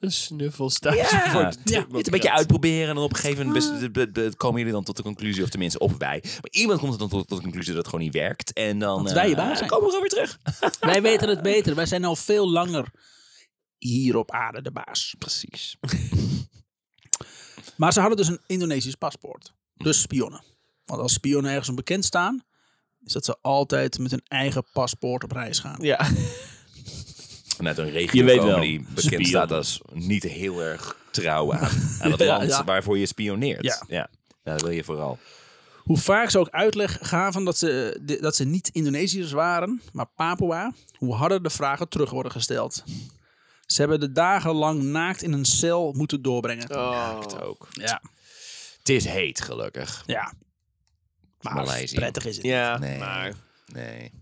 [SPEAKER 3] Een snuffelstage
[SPEAKER 2] Ja.
[SPEAKER 3] voor
[SPEAKER 2] Ja,
[SPEAKER 3] de
[SPEAKER 1] ja,
[SPEAKER 2] Het
[SPEAKER 3] democratie.
[SPEAKER 2] een beetje uitproberen en op een gegeven moment bes- be- be- komen jullie dan tot de conclusie, of tenminste, of wij. Maar iemand komt dan tot, tot de conclusie dat het gewoon niet werkt. En dan.
[SPEAKER 1] Dat
[SPEAKER 2] eh,
[SPEAKER 1] wij je baas zijn.
[SPEAKER 2] komen we gewoon weer terug.
[SPEAKER 1] Wij weten het beter. Wij zijn al veel langer hier op aarde de baas.
[SPEAKER 2] Precies.
[SPEAKER 1] Maar ze hadden dus een Indonesisch paspoort.
[SPEAKER 3] Mhm.
[SPEAKER 1] Dus spionnen. Want als spionnen ergens bekend staan, is dat ze altijd met hun eigen paspoort op reis gaan.
[SPEAKER 3] Ja.
[SPEAKER 2] Vanuit een regio
[SPEAKER 3] Je weet
[SPEAKER 2] komen
[SPEAKER 3] wel.
[SPEAKER 2] die bekend
[SPEAKER 3] Spion.
[SPEAKER 2] staat als niet heel erg trouw aan, aan het land
[SPEAKER 1] ja.
[SPEAKER 2] waarvoor je spioneert.
[SPEAKER 1] Ja.
[SPEAKER 2] Dat wil je vooral.
[SPEAKER 1] Hoe vaak ze ook uitleg gaven dat ze, eh, di- dat ze niet Indonesiërs waren, maar Papua, hoe harder de vragen terug worden gesteld. Ze hebben de dagen lang naakt in een cel moeten doorbrengen.
[SPEAKER 3] Oh.
[SPEAKER 2] Het
[SPEAKER 1] Oh.
[SPEAKER 2] ook.
[SPEAKER 1] Ja.
[SPEAKER 2] Het is heet, gelukkig.
[SPEAKER 1] Ja. Maar
[SPEAKER 2] Maleisië.
[SPEAKER 1] prettig is het.
[SPEAKER 3] Ja,
[SPEAKER 2] Nee.
[SPEAKER 3] maar
[SPEAKER 2] Nee.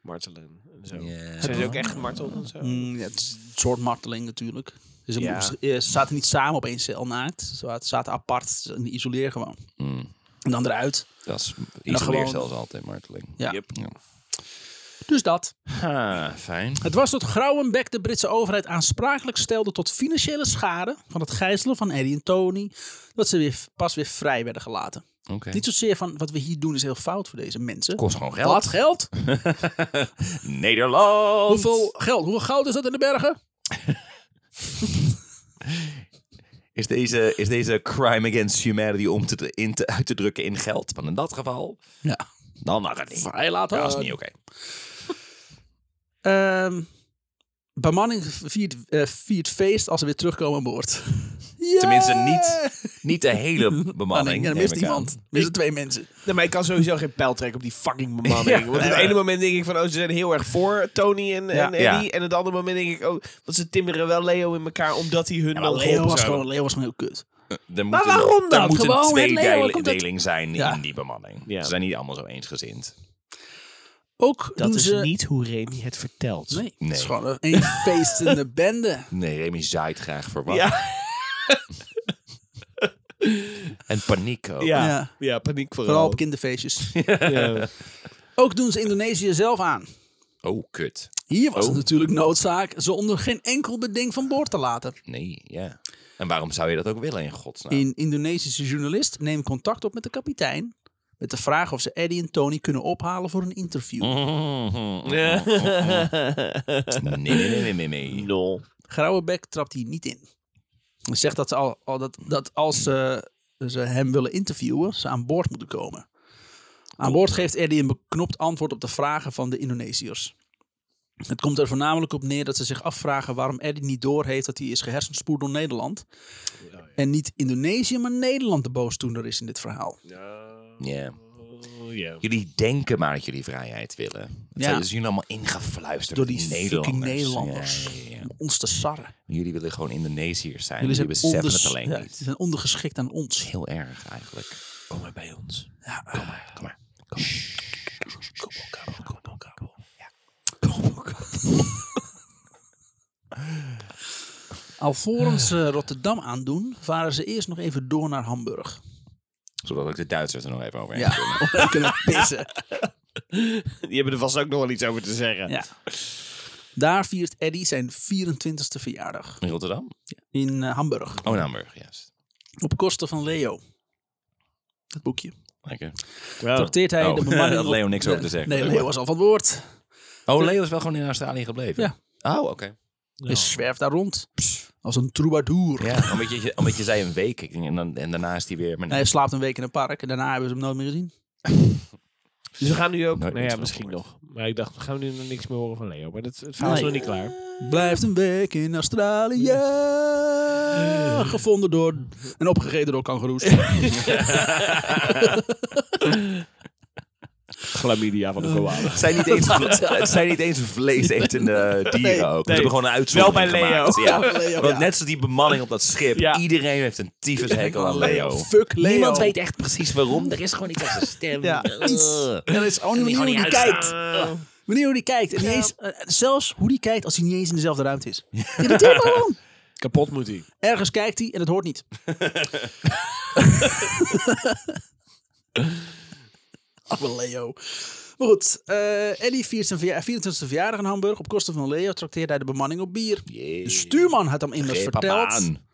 [SPEAKER 3] martelen en zo.
[SPEAKER 2] Ja.
[SPEAKER 3] Zijn ze ook echt gemarteld en zo?
[SPEAKER 1] Mm, ja, het is een soort marteling natuurlijk. Dus ze
[SPEAKER 3] Ja.
[SPEAKER 1] moesten- eh, ze zaten niet samen op één cel naakt. Ze wa- zaten apart, in de isoleer gewoon.
[SPEAKER 2] Mm.
[SPEAKER 1] En dan eruit.
[SPEAKER 2] Dat is
[SPEAKER 1] dan
[SPEAKER 2] isoleer
[SPEAKER 1] gewoon-
[SPEAKER 2] zelfs altijd, marteling.
[SPEAKER 1] Ja.
[SPEAKER 3] Yep.
[SPEAKER 1] Dus dat.
[SPEAKER 2] Ha, fijn.
[SPEAKER 1] Het was tot Grauwenbeck de Britse overheid aansprakelijk stelde tot financiële schade van het gijzelen van Eddie en Tony. Dat ze weer, pas weer vrij werden gelaten.
[SPEAKER 2] Oké.
[SPEAKER 1] Niet zozeer van wat we hier doen is heel fout voor deze mensen.
[SPEAKER 2] kost gewoon geld.
[SPEAKER 1] Wat geld?
[SPEAKER 2] Nederland.
[SPEAKER 1] Hoeveel geld? Hoeveel goud is dat in de bergen?
[SPEAKER 2] Is deze, is deze crime against humanity om te, in te, uit te drukken in geld? Want in dat geval,
[SPEAKER 1] Ja.
[SPEAKER 2] dan mag het niet.
[SPEAKER 1] Vrij laten.
[SPEAKER 2] Dat is niet oké.
[SPEAKER 1] Ehm, bemanning viert, eh, viert feest als ze weer terugkomen aan boord.
[SPEAKER 2] Tenminste,
[SPEAKER 1] Yeah!
[SPEAKER 2] niet, niet de hele
[SPEAKER 1] Ah, nee,
[SPEAKER 2] bemanning.
[SPEAKER 1] ja, dan
[SPEAKER 2] neem
[SPEAKER 1] mist
[SPEAKER 2] ik
[SPEAKER 1] iemand.
[SPEAKER 2] aan.
[SPEAKER 1] Missen twee mensen.
[SPEAKER 3] Nee, maar ik kan sowieso geen pijl trekken op die fucking bemanning. Want op het ene moment denk ik van, oh, ze zijn heel erg voor Tony en, en Eddie.
[SPEAKER 2] Ja.
[SPEAKER 3] En het andere moment denk ik, oh, want ze timmeren wel Leo in elkaar omdat hij hun
[SPEAKER 2] maar
[SPEAKER 3] wil
[SPEAKER 1] Leo
[SPEAKER 3] helpen.
[SPEAKER 1] was, gewoon, Leo was gewoon heel kut.
[SPEAKER 2] Er moet
[SPEAKER 3] Maar
[SPEAKER 2] een-
[SPEAKER 3] waarom dan?
[SPEAKER 2] Er moet
[SPEAKER 1] Gewoon het
[SPEAKER 2] een
[SPEAKER 1] leeuwen,
[SPEAKER 2] tweedeling
[SPEAKER 1] komt het-
[SPEAKER 2] deling zijn
[SPEAKER 1] Ja.
[SPEAKER 2] in die bemanning.
[SPEAKER 3] Ja.
[SPEAKER 2] Ze zijn niet allemaal zo eensgezind.
[SPEAKER 1] Ook
[SPEAKER 3] Dat
[SPEAKER 1] doen
[SPEAKER 3] is
[SPEAKER 1] ze...
[SPEAKER 3] niet hoe Remy het vertelt.
[SPEAKER 1] Nee,
[SPEAKER 2] Nee.
[SPEAKER 1] het is gewoon een feestende bende.
[SPEAKER 2] Nee, Remy zaait graag verwacht.
[SPEAKER 3] Ja,
[SPEAKER 2] En paniek ook.
[SPEAKER 3] ja.
[SPEAKER 1] Ja.
[SPEAKER 3] ja. paniek vooral.
[SPEAKER 1] Vooral op kinderfeestjes.
[SPEAKER 3] Ja.
[SPEAKER 1] Ook Ook doen ze Indonesië zelf aan.
[SPEAKER 2] Oh, kut.
[SPEAKER 1] Hier was
[SPEAKER 2] Oh.
[SPEAKER 1] het natuurlijk noodzaak ze onder geen enkel beding van boord te laten.
[SPEAKER 2] Nee, ja. En waarom zou je dat ook willen in godsnaam?
[SPEAKER 1] Een Indonesische journalist neemt contact op met de kapitein. Met de vraag of ze Eddie en Tony kunnen ophalen voor een interview.
[SPEAKER 2] Nee, nee, nee, nee, nee, nee.
[SPEAKER 3] Nul.
[SPEAKER 1] Grauwebek trapt hier niet in. Hij zegt dat, ze al, al dat, dat als ze, ze hem willen interviewen, ze aan boord moeten komen. Aan boord geeft Eddie een beknopt antwoord op de vragen van de Indonesiërs. Het komt er voornamelijk op neer dat ze zich afvragen waarom Eddie niet doorheeft dat hij is gehersenspoeld door Nederland. En niet Indonesië, maar Nederland de boosdoener is in dit verhaal.
[SPEAKER 2] Ja.
[SPEAKER 3] ja.
[SPEAKER 2] Jullie denken maar dat jullie vrijheid willen. Dat
[SPEAKER 1] Ja.
[SPEAKER 2] zijn- dat is jullie allemaal ingefluisterd
[SPEAKER 1] Door die fucking
[SPEAKER 2] Nederlanders.
[SPEAKER 1] Nederlanders.
[SPEAKER 2] Ja, ja, ja.
[SPEAKER 1] Om ons te sarren.
[SPEAKER 2] Jullie willen gewoon Indonesiërs zijn.
[SPEAKER 1] Jullie
[SPEAKER 2] Jullie,
[SPEAKER 1] zijn,
[SPEAKER 2] beseffen
[SPEAKER 1] onders-
[SPEAKER 2] het alleen
[SPEAKER 1] ja,
[SPEAKER 2] niet.
[SPEAKER 1] ze zijn ondergeschikt aan ons.
[SPEAKER 2] Heel erg eigenlijk.
[SPEAKER 5] Kom maar bij ons.
[SPEAKER 1] Ja,
[SPEAKER 2] Kom maar.
[SPEAKER 1] Alvorens ze Rotterdam aandoen, varen ze eerst nog even door naar Hamburg.
[SPEAKER 2] Zodat ook de Duitsers er nog even over
[SPEAKER 1] Ja, om te kunnen pissen.
[SPEAKER 3] Die hebben er vast ook nog wel iets over te zeggen.
[SPEAKER 1] Ja. Daar viert Eddy zijn 24e verjaardag.
[SPEAKER 2] In Rotterdam?
[SPEAKER 1] In eh, Hamburg.
[SPEAKER 2] Oh, in Hamburg, juist.
[SPEAKER 1] Op kosten van Leo. Het boekje.
[SPEAKER 2] Lekker.
[SPEAKER 3] Wow.
[SPEAKER 1] Trakteert hij
[SPEAKER 2] Oh,
[SPEAKER 1] de bemanning
[SPEAKER 2] had
[SPEAKER 1] op-
[SPEAKER 2] Leo niks over te zeggen.
[SPEAKER 1] Nee, Leo was al van het woord.
[SPEAKER 2] Oh, Leo is wel gewoon in Australië gebleven? Ja. Oh, oké.
[SPEAKER 1] Hij zwerft daar rond. Als een troubadour.
[SPEAKER 2] Ja, omdat je, omdat je zei een week. Ik denk, En, dan, en daarna is hij weer... Maar nee,
[SPEAKER 1] Hij slaapt een week in een park en daarna hebben ze hem nooit meer gezien.
[SPEAKER 3] Dus we gaan nu ook...
[SPEAKER 2] Nooit
[SPEAKER 3] nou
[SPEAKER 2] iets
[SPEAKER 3] ja,
[SPEAKER 2] van
[SPEAKER 3] misschien
[SPEAKER 2] gehoord.
[SPEAKER 3] nog. Maar ik dacht, we gaan nu nog niks meer horen van Leo. Maar dat, het verhaal is
[SPEAKER 1] Nee.
[SPEAKER 3] nog niet klaar.
[SPEAKER 1] Blijft een week in Australië. Gevonden door en opgegeten door kangoeroes.
[SPEAKER 3] Glamidia van de koala.
[SPEAKER 2] het, zijn niet eens, het zijn niet eens vleesetende dieren ook. Ze
[SPEAKER 3] nee.
[SPEAKER 2] hebben gewoon een uitzondering
[SPEAKER 3] Wel bij Leo.
[SPEAKER 2] gemaakt, Ja.
[SPEAKER 1] Leo,
[SPEAKER 2] Want
[SPEAKER 1] ja.
[SPEAKER 2] net zoals die bemanning op dat schip.
[SPEAKER 3] Ja.
[SPEAKER 2] Iedereen heeft een tyfushekel aan Leo.
[SPEAKER 1] Fuck Leo.
[SPEAKER 2] Niemand weet echt precies waarom. Er is gewoon iets aan zijn stem.
[SPEAKER 1] Ja,
[SPEAKER 2] Eh,
[SPEAKER 1] iets. Er is ook niet manier hoe
[SPEAKER 2] gewoon
[SPEAKER 1] die
[SPEAKER 2] niet
[SPEAKER 1] kijkt. Manier hoe die kijkt. En niet eens, eh, zelfs hoe die kijkt als hij niet eens in dezelfde ruimte is. Irriteert me gewoon.
[SPEAKER 3] Kapot moet hij.
[SPEAKER 1] Ergens kijkt hij en het hoort niet. Ach, Leo. Maar goed, eh, Eddie viert zijn verja- 24e verjaardag in Hamburg. Op kosten van Leo trakteert hij de bemanning op bier.
[SPEAKER 2] Jee.
[SPEAKER 1] De stuurman had hem immers verteld.
[SPEAKER 2] Reeperbaan.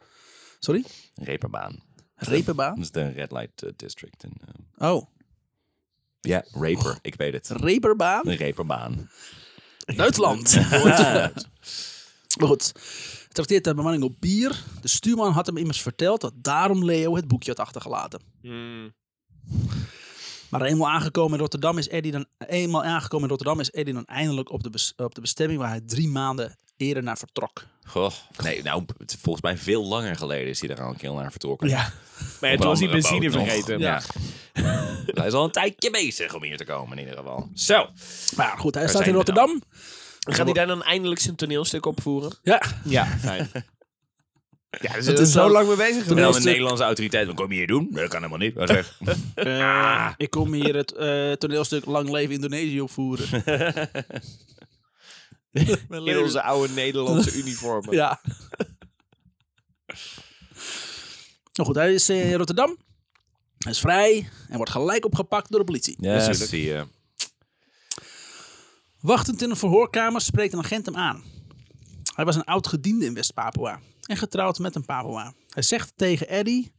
[SPEAKER 1] Sorry?
[SPEAKER 2] Reeperbaan.
[SPEAKER 1] Reperbaan?
[SPEAKER 2] Dat is de Red Light eh, District. in, eh,
[SPEAKER 1] Oh,
[SPEAKER 2] Ja, Raper. Ik weet het.
[SPEAKER 1] Reperbaan?
[SPEAKER 2] Een Reeperbaan.
[SPEAKER 1] Duitsland. maar goed, trakteert de bemanning op bier. De stuurman had hem immers verteld dat daarom Leo het boekje had achtergelaten.
[SPEAKER 2] Hmm.
[SPEAKER 1] Maar eenmaal aangekomen in Rotterdam is Eddie dan, eenmaal aangekomen in Rotterdam is Eddie dan eindelijk op de, bes- op de bestemming waar hij drie maanden eerder naar vertrok.
[SPEAKER 2] Goh. Nee, nou, het is volgens mij veel langer geleden is hij er al een keer naar vertrokken.
[SPEAKER 1] Ja.
[SPEAKER 3] Maar
[SPEAKER 2] Op
[SPEAKER 3] het
[SPEAKER 2] een
[SPEAKER 3] was die
[SPEAKER 2] andere
[SPEAKER 3] benzine
[SPEAKER 2] boot nog.
[SPEAKER 3] vergeten.
[SPEAKER 2] Ja. hij is al een tijdje bezig om hier te komen in ieder geval. Zo.
[SPEAKER 1] Maar goed, hij
[SPEAKER 2] Waar
[SPEAKER 1] staat in
[SPEAKER 2] zijn we dan?
[SPEAKER 1] Rotterdam.
[SPEAKER 3] Gaat hij daar dan eindelijk zijn toneelstuk opvoeren?
[SPEAKER 1] Ja,
[SPEAKER 3] Ja, fijn. ja, ze
[SPEAKER 1] is wel-
[SPEAKER 3] mee bezig
[SPEAKER 2] En dan de
[SPEAKER 1] Toneelstuk.
[SPEAKER 2] Nederlandse autoriteit, wat kom je hier doen? Dat kan helemaal niet. Hij zegt, Ah.
[SPEAKER 1] eh, ik kom hier het eh, toneelstuk Lang Leven Indonesië opvoeren. Mijn
[SPEAKER 3] In
[SPEAKER 1] leven.
[SPEAKER 3] onze oude Nederlandse uniformen.
[SPEAKER 1] Ja. Nou goed, hij is eh, in Rotterdam. Hij is vrij en wordt gelijk opgepakt door de politie.
[SPEAKER 2] ja, dat zie je.
[SPEAKER 1] Wachtend in een verhoorkamer spreekt een agent hem aan. Hij was een oud gediende in West-Papua en getrouwd met een Papua. Hij zegt tegen Eddie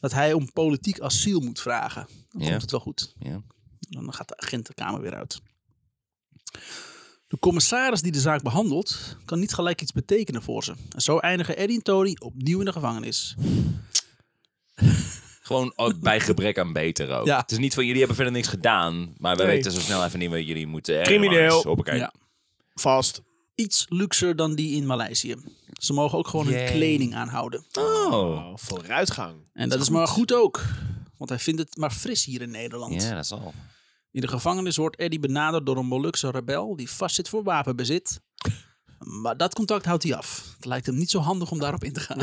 [SPEAKER 1] dat hij om politiek asiel moet vragen. Dan
[SPEAKER 2] Ja.
[SPEAKER 1] komt het wel goed.
[SPEAKER 2] Ja.
[SPEAKER 1] Dan gaat de agent de kamer weer uit. De commissaris die de zaak behandelt, kan niet gelijk iets betekenen voor ze. En zo eindigen Eddie en Tony opnieuw in de gevangenis.
[SPEAKER 2] Gewoon ook bij gebrek aan beter ook.
[SPEAKER 1] Ja.
[SPEAKER 2] Het is niet van, jullie hebben verder niks gedaan, maar we
[SPEAKER 3] Nee.
[SPEAKER 2] weten zo snel even niet wat jullie moeten. Eh,
[SPEAKER 3] Crimineel.
[SPEAKER 2] jongens, Hoppakee.
[SPEAKER 1] Ja.
[SPEAKER 3] Vast.
[SPEAKER 1] Iets luxer dan die in Maleisië. Ze mogen ook gewoon hun
[SPEAKER 2] Yay.
[SPEAKER 1] kleding aanhouden.
[SPEAKER 2] Oh.
[SPEAKER 3] Oh, vooruitgang.
[SPEAKER 1] En dat is maar goed ook, want hij vindt het maar fris hier in Nederland.
[SPEAKER 2] Ja, dat is al.
[SPEAKER 1] In de gevangenis wordt Eddie benaderd door een Molukse rebel die vastzit voor wapenbezit. Maar dat contact houdt hij af. Het lijkt hem niet zo handig om daarop in te gaan.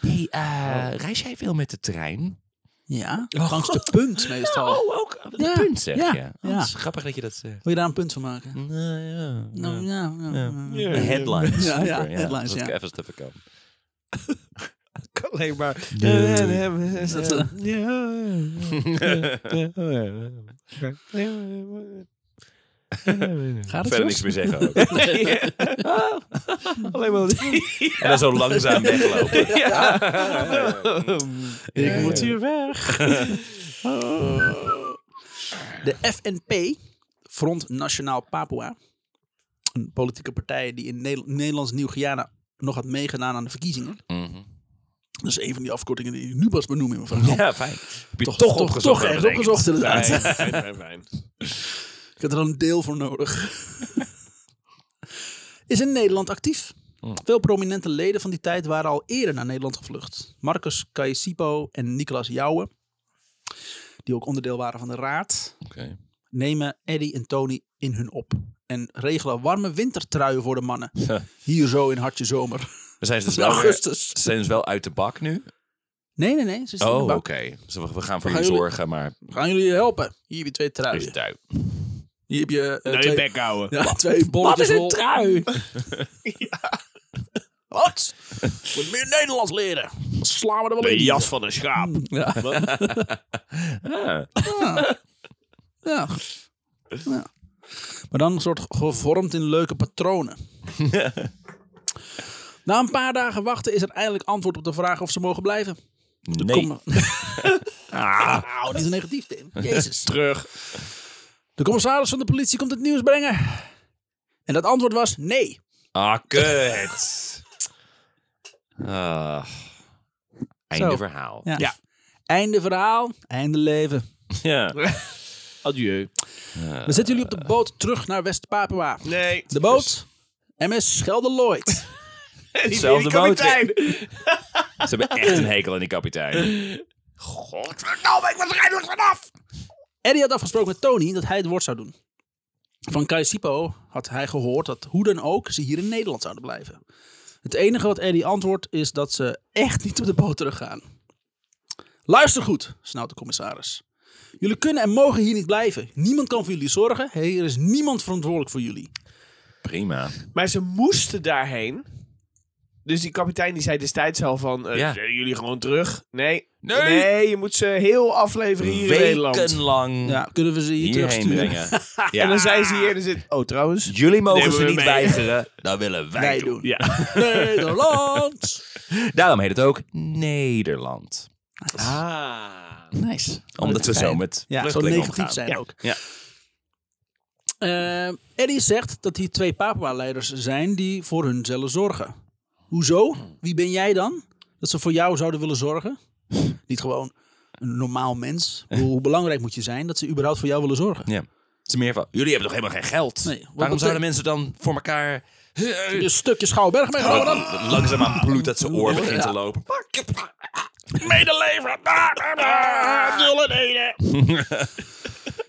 [SPEAKER 2] Hey, eh, reis jij veel met de trein?
[SPEAKER 1] Ja, langs de punt meestal.
[SPEAKER 2] Oh, ook. op De
[SPEAKER 1] Ja.
[SPEAKER 2] punt zeg
[SPEAKER 1] Ja.
[SPEAKER 2] je. Oh,
[SPEAKER 1] Ja.
[SPEAKER 2] dat is grappig dat je dat zegt.
[SPEAKER 1] Wil je daar een punt van maken?
[SPEAKER 2] Nou, ja.
[SPEAKER 1] Nou, ja, ja, ja.
[SPEAKER 2] De headlines.
[SPEAKER 1] Ja, ja,
[SPEAKER 2] Super,
[SPEAKER 1] headlines,
[SPEAKER 2] dat
[SPEAKER 1] ja.
[SPEAKER 2] ik even te verkopen.
[SPEAKER 3] alleen maar... Is dat zo?
[SPEAKER 1] Gaat het
[SPEAKER 2] Verder niks
[SPEAKER 1] zo?
[SPEAKER 2] meer zeggen. ook.
[SPEAKER 3] Alleen maar...
[SPEAKER 2] En dan zo langzaam weglopen.
[SPEAKER 3] Ik moet hier weg.
[SPEAKER 1] De FNP, Front Nationaal Papua, een politieke partij die in Nederland, Nederlands Nieuw-Guyana nog had meegedaan aan de verkiezingen.
[SPEAKER 2] Mhm.
[SPEAKER 1] Dat is een van die afkortingen die ik nu pas benoem in mijn verhaal.
[SPEAKER 2] Ja, fijn. Heb je
[SPEAKER 1] Toch-
[SPEAKER 2] toch,
[SPEAKER 1] toch-
[SPEAKER 2] opgezocht.
[SPEAKER 1] toch echt
[SPEAKER 2] bedenk ik.
[SPEAKER 1] opgezocht, inderdaad.
[SPEAKER 2] Fijn, fijn, fijn, fijn.
[SPEAKER 1] Ik heb er al een deel voor nodig. is in Nederland actief. Veel prominente leden van die tijd waren al eerder naar Nederland gevlucht. Marcus Caesipo en Nicolas Jouwe, die ook onderdeel waren van de raad,
[SPEAKER 2] Oké.
[SPEAKER 1] nemen Eddie en Tony in hun op. En regelen warme wintertruien voor de mannen. Hier zo in hartje zomer.
[SPEAKER 2] Dan Zijn ze dus
[SPEAKER 1] In
[SPEAKER 2] wel, weer-
[SPEAKER 1] augustus.
[SPEAKER 2] zijn ze wel uit de bak nu?
[SPEAKER 1] Nee, nee, nee. Ze zitten in
[SPEAKER 2] Oh,
[SPEAKER 1] de
[SPEAKER 2] oké.
[SPEAKER 1] bak. Oh,
[SPEAKER 2] Dus we we gaan voor
[SPEAKER 1] Gaan
[SPEAKER 2] je
[SPEAKER 1] jullie-
[SPEAKER 2] zorgen, maar
[SPEAKER 1] Gaan jullie je helpen? Hier heb je twee
[SPEAKER 2] is
[SPEAKER 1] truien.
[SPEAKER 2] het uit.
[SPEAKER 1] Hier heb je eh,
[SPEAKER 3] Nee,
[SPEAKER 1] twee,
[SPEAKER 3] bek houden.
[SPEAKER 1] ja, twee bolletjes
[SPEAKER 4] is een
[SPEAKER 1] wol.
[SPEAKER 4] trui?
[SPEAKER 1] Wat? Moet meer Nederlands leren. Dan Slaan we er wel in.
[SPEAKER 3] De jas van een schaap.
[SPEAKER 1] Ja.
[SPEAKER 2] Ah,
[SPEAKER 1] Ja. Ja. Maar dan een soort gevormd in leuke patronen. Na een paar dagen wachten is er eindelijk antwoord op de vraag of ze mogen blijven.
[SPEAKER 2] nee.
[SPEAKER 1] Kom- ah, dit is een negatief, Tim. Jezus.
[SPEAKER 3] Terug.
[SPEAKER 1] De commissaris van de politie komt het nieuws brengen. En dat antwoord was nee.
[SPEAKER 2] Ah, kut. Ah. Einde
[SPEAKER 1] Zo.
[SPEAKER 2] verhaal.
[SPEAKER 1] Ja. Einde verhaal, einde leven.
[SPEAKER 2] Ja.
[SPEAKER 3] Adieu.
[SPEAKER 1] We zetten jullie op de boot terug naar West-Papua.
[SPEAKER 3] Nee.
[SPEAKER 2] Dus-
[SPEAKER 1] De boot, MS Gelderlooid.
[SPEAKER 2] Hetzelfde
[SPEAKER 3] Die kapitein.
[SPEAKER 2] Ze hebben echt een hekel aan die kapitein.
[SPEAKER 5] Godverdomme, ik was er eindelijk vanaf!
[SPEAKER 1] Eddie had afgesproken met Tony dat hij het woord zou doen. Van Caesipo had hij gehoord dat hoe dan ook ze hier in Nederland zouden blijven. Het enige wat Eddie antwoordt is dat ze echt niet op de boot teruggaan. Luister goed, snauwt de commissaris. Jullie kunnen en mogen hier niet blijven. Niemand kan voor jullie zorgen. Er is niemand verantwoordelijk voor jullie.
[SPEAKER 2] Prima.
[SPEAKER 3] Maar ze moesten daarheen. Dus die kapitein die zei destijds al van... eh,
[SPEAKER 2] Ja.
[SPEAKER 3] zetten jullie gewoon terug? Nee.
[SPEAKER 2] Nee.
[SPEAKER 3] je moet ze heel afleveren hier in Nederland.
[SPEAKER 2] Wekenlang
[SPEAKER 1] Ja, kunnen we ze hier
[SPEAKER 2] hierheen
[SPEAKER 1] terugsturen?
[SPEAKER 2] brengen. Ja.
[SPEAKER 3] En dan zijn ze hier en dan zit... Oh, trouwens.
[SPEAKER 2] Jullie mogen
[SPEAKER 3] Nemen
[SPEAKER 2] ze
[SPEAKER 3] we
[SPEAKER 2] niet
[SPEAKER 3] mee.
[SPEAKER 2] weigeren. Dat willen wij,
[SPEAKER 1] Wij
[SPEAKER 2] doen.
[SPEAKER 1] doen.
[SPEAKER 3] Ja.
[SPEAKER 1] Nederland!
[SPEAKER 2] Daarom heet het ook Nederland.
[SPEAKER 3] Ah.
[SPEAKER 1] Nice.
[SPEAKER 2] Omdat we zo met
[SPEAKER 1] Ja, zo
[SPEAKER 2] vluchtelingen
[SPEAKER 1] negatief
[SPEAKER 2] omgaan.
[SPEAKER 1] zijn ook.
[SPEAKER 2] Ja.
[SPEAKER 1] Eh, Eddie zegt dat die twee Papua-leiders zijn die voor hun zullen zorgen. Hoezo? Wie ben jij dan? Dat ze voor jou zouden willen zorgen? Niet gewoon een normaal mens. Hoe, hoe belangrijk moet je zijn dat ze überhaupt voor jou willen zorgen?
[SPEAKER 2] Ja. Het is meer van, jullie hebben toch helemaal geen geld?
[SPEAKER 1] Nee, wat
[SPEAKER 2] Waarom
[SPEAKER 1] betek-
[SPEAKER 2] zouden mensen dan voor elkaar... eh,
[SPEAKER 1] Je stukje Schouwberg meegenomen dan? Ah.
[SPEAKER 2] Langzaamaan bloed uit zijn oor begint te lopen.
[SPEAKER 5] Medeleven! Ah, ah, ah, Nul en ene!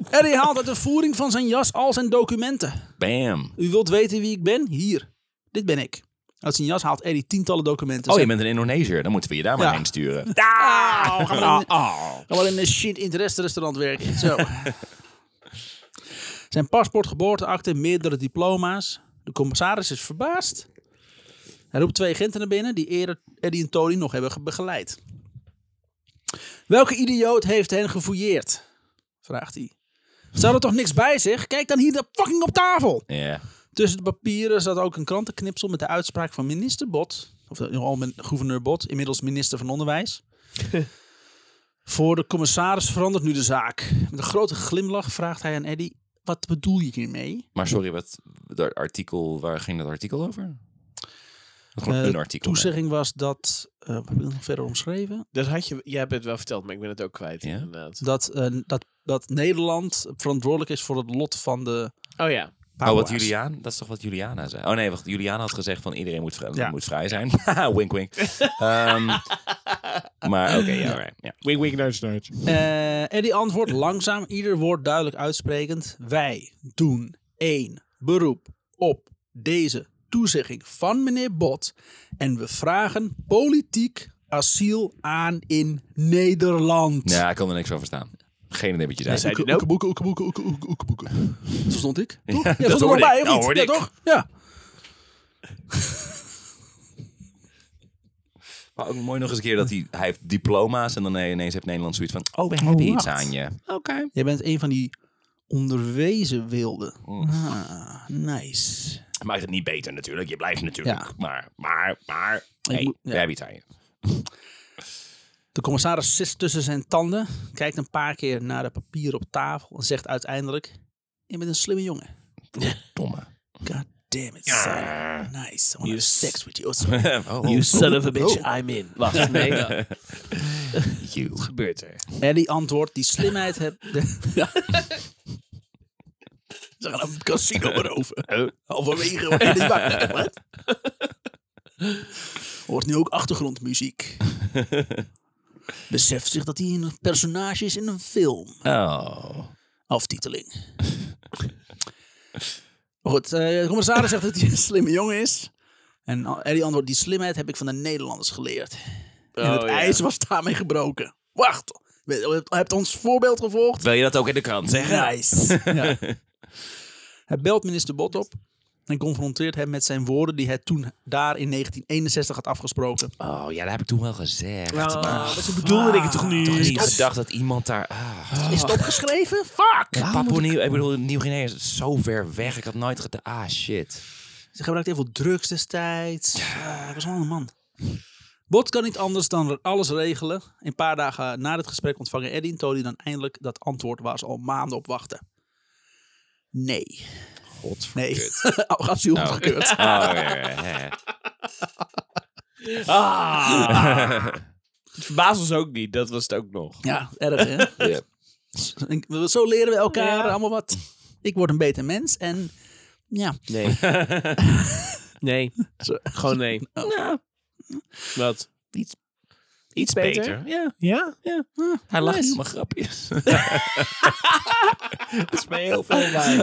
[SPEAKER 1] Eddie haalt uit de voering van zijn jas al zijn documenten.
[SPEAKER 2] Bam.
[SPEAKER 1] U wilt weten wie ik ben? Hier. Dit ben ik. Uit zijn jas haalt Eddie tientallen documenten.
[SPEAKER 2] Oh, je bent een Indonesiër. Dan moeten we je daar maar
[SPEAKER 1] Ja.
[SPEAKER 2] heen sturen.
[SPEAKER 1] Ah, ga maar in, ga maar in een shit in het restaurant werken. Zo. Zijn paspoort, geboorteakte, meerdere diploma's. De commissaris is verbaasd. Hij roept twee agenten naar binnen die eerder Eddie en Tony nog hebben ge- begeleid. Welke idioot heeft hen gefouilleerd? Vraagt hij. Zou er toch niks bij zich? Kijk dan hier de fucking op tafel!
[SPEAKER 2] Ja.
[SPEAKER 1] Tussen de papieren zat ook een krantenknipsel met de uitspraak van minister Bot. Of eh, al men- gouverneur Bot, inmiddels minister van Onderwijs. Voor de commissaris verandert nu de zaak. Met een grote glimlach vraagt hij aan Eddy: Wat bedoel je hiermee?
[SPEAKER 2] Maar sorry, wat, dat artikel, waar ging dat artikel over? Gewoon
[SPEAKER 1] Eh,
[SPEAKER 2] een artikel. nee.
[SPEAKER 1] Toezegging was dat. eh wat heb ik nog verder omschreven?
[SPEAKER 3] Dat had je... Jij hebt het wel verteld, maar ik ben het ook kwijt.
[SPEAKER 2] Ja?
[SPEAKER 3] Inderdaad.
[SPEAKER 1] Dat, eh, dat, dat Nederland verantwoordelijk is voor het lot van de.
[SPEAKER 3] Oh ja.
[SPEAKER 2] Oh,
[SPEAKER 1] Papua's.
[SPEAKER 2] wat Juliana, dat is toch wat Juliana zei? Oh nee, wacht, Juliana had gezegd van iedereen moet, vrij,
[SPEAKER 1] Ja.
[SPEAKER 2] moet vrij zijn. Haha, wink wink. Ehm, maar oké, ja, alright, ja.
[SPEAKER 3] Wing wing nudge nudge.
[SPEAKER 1] Eh Eddie antwoordt langzaam, ieder woord duidelijk uitsprekend. Wij doen één beroep op deze toezegging van meneer Bot. En we vragen politiek asiel aan in Nederland.
[SPEAKER 2] Ja, ik kan er niks van verstaan. Geen idee wat je zei.
[SPEAKER 3] zei
[SPEAKER 1] Oeke-
[SPEAKER 3] hij nou?
[SPEAKER 1] oekeboeken, oekeboeken, oeke- oeke- oekeboeken. Zo stond ik, toch? Ja,
[SPEAKER 2] dat
[SPEAKER 1] stond er nog
[SPEAKER 2] hoorde
[SPEAKER 1] bij,
[SPEAKER 2] ik.
[SPEAKER 1] of
[SPEAKER 2] Nou,
[SPEAKER 1] niet?
[SPEAKER 2] hoorde
[SPEAKER 1] ja,
[SPEAKER 2] ik.
[SPEAKER 1] toch? Ja.
[SPEAKER 2] Maar ook mooi nog eens een keer dat hij, hij heeft diploma's en dan ineens heeft Nederland zoiets van, oh, we hebben iets
[SPEAKER 1] wat?
[SPEAKER 2] aan je. Oké.
[SPEAKER 1] Jij bent een van die onderwezen wilden. Ah, nice.
[SPEAKER 2] Maakt het niet beter natuurlijk, je blijft natuurlijk.
[SPEAKER 1] Ja.
[SPEAKER 2] Maar, maar, maar, hey,
[SPEAKER 1] moet-
[SPEAKER 2] we
[SPEAKER 1] ja.
[SPEAKER 2] hebben iets aan je.
[SPEAKER 1] De commissaris sist tussen zijn tanden, kijkt een paar keer naar de papieren op tafel en zegt uiteindelijk: Je bent een slimme jongen.
[SPEAKER 2] Domme.
[SPEAKER 1] God damn it, son. Nice. I wanna have sex with you. son.
[SPEAKER 2] oh,
[SPEAKER 3] You son of a bitch, I'm in. Wacht, nee. Wat
[SPEAKER 2] you.
[SPEAKER 3] gebeurt er?
[SPEAKER 1] Ah, Ellie antwoordt: Die slimheid heb. Ja. Ze gaan een casino
[SPEAKER 2] Oh.
[SPEAKER 1] beroven. Halverwege wordt hij wakker. Wat? Hoort nu ook achtergrondmuziek. Beseft zich dat hij een personage is in een film.
[SPEAKER 2] Oh.
[SPEAKER 1] Aftiteling. Maar goed, eh, de commissaris zegt dat hij een slimme jongen is. En Al- Ellie antwoordt, die slimheid heb ik van de Nederlanders geleerd. en het
[SPEAKER 3] Oh, ja.
[SPEAKER 1] ijs was daarmee gebroken. Wacht, we- je hebt ons voorbeeld gevolgd.
[SPEAKER 2] Wil je dat ook in de krant zeggen?
[SPEAKER 1] Nice. Ja. Hij belt minister Bot op en confronteert hem met zijn woorden die hij toen daar in 1961 had afgesproken.
[SPEAKER 2] Oh, ja, dat heb ik toen wel gezegd.
[SPEAKER 3] Ah, wat bedoelde ik het toch nu?
[SPEAKER 2] Toch niet gedacht dat iemand daar... Ah.
[SPEAKER 1] Is het opgeschreven? Fuck!
[SPEAKER 2] Ja, Papua Nieuw, ik bedoel, Nieuw-Guinea is zo ver weg. Ik had nooit gedacht, ah shit.
[SPEAKER 1] Ze gebruikte heel veel drugs destijds. Eh, ik was wel een man. Bot kan niet anders dan alles regelen. Een paar dagen na het gesprek ontvangen Eddie en Tony dan eindelijk dat antwoord waar ze al maanden op wachten. Nee. Nee.
[SPEAKER 2] Godverdomme.
[SPEAKER 1] Oh, Asiel
[SPEAKER 2] Oh.
[SPEAKER 1] opgekeurd.
[SPEAKER 2] Oh, ja, ja, ja.
[SPEAKER 3] Ah. Het verbaast ons ook niet, dat was het ook nog.
[SPEAKER 1] Ja, erg hè? Dus,
[SPEAKER 2] Ja.
[SPEAKER 1] Ik wil- Zo leren we elkaar allemaal wat. Ik word een beter mens en ja.
[SPEAKER 3] Nee. nee.
[SPEAKER 1] Zo-
[SPEAKER 3] Gewoon nee.
[SPEAKER 2] Nou.
[SPEAKER 3] Wat?
[SPEAKER 2] Iets, iets beter. Ja.
[SPEAKER 3] Ja? Ja.
[SPEAKER 2] Hij lacht niet om mijn grapjes. dat is mij heel veel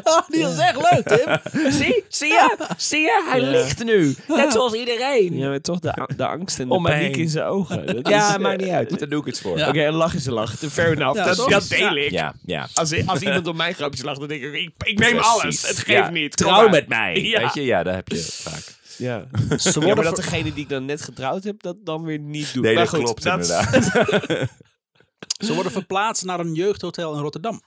[SPEAKER 1] Oh, die is echt leuk Tim.
[SPEAKER 2] Zie, zie je? Zie je? Hij
[SPEAKER 3] Ja.
[SPEAKER 2] ligt nu. Net zoals iedereen.
[SPEAKER 3] Ja, maar toch de, de angst en de
[SPEAKER 2] Om me
[SPEAKER 3] paniek
[SPEAKER 2] heen.
[SPEAKER 3] in zijn ogen. Dat is-
[SPEAKER 2] Daar doe ik het voor.
[SPEAKER 1] Ja.
[SPEAKER 3] Oké, een lach is een lach. Fair enough.
[SPEAKER 1] Ja,
[SPEAKER 3] dat,
[SPEAKER 1] soms.
[SPEAKER 3] dat deel ik.
[SPEAKER 2] Ja, ja.
[SPEAKER 3] Als, als iemand om mijn grapjes lacht, dan denk ik, ik, ik neem alles. Het geeft
[SPEAKER 2] Ja,
[SPEAKER 3] niet. Kom
[SPEAKER 2] Trouw
[SPEAKER 3] maar.
[SPEAKER 2] met mij.
[SPEAKER 3] Ja.
[SPEAKER 2] Weet je? Ja, dat heb je vaak.
[SPEAKER 3] Ja.
[SPEAKER 1] Ze
[SPEAKER 3] ja,
[SPEAKER 1] worden
[SPEAKER 3] maar dat
[SPEAKER 1] ver-
[SPEAKER 3] degene die ik dan net getrouwd heb, dat dan weer niet doet.
[SPEAKER 2] Nee,
[SPEAKER 3] maar
[SPEAKER 2] dat
[SPEAKER 3] goed,
[SPEAKER 2] klopt
[SPEAKER 3] dat-
[SPEAKER 2] inderdaad.
[SPEAKER 1] Ze worden verplaatst naar een jeugdhotel in Rotterdam.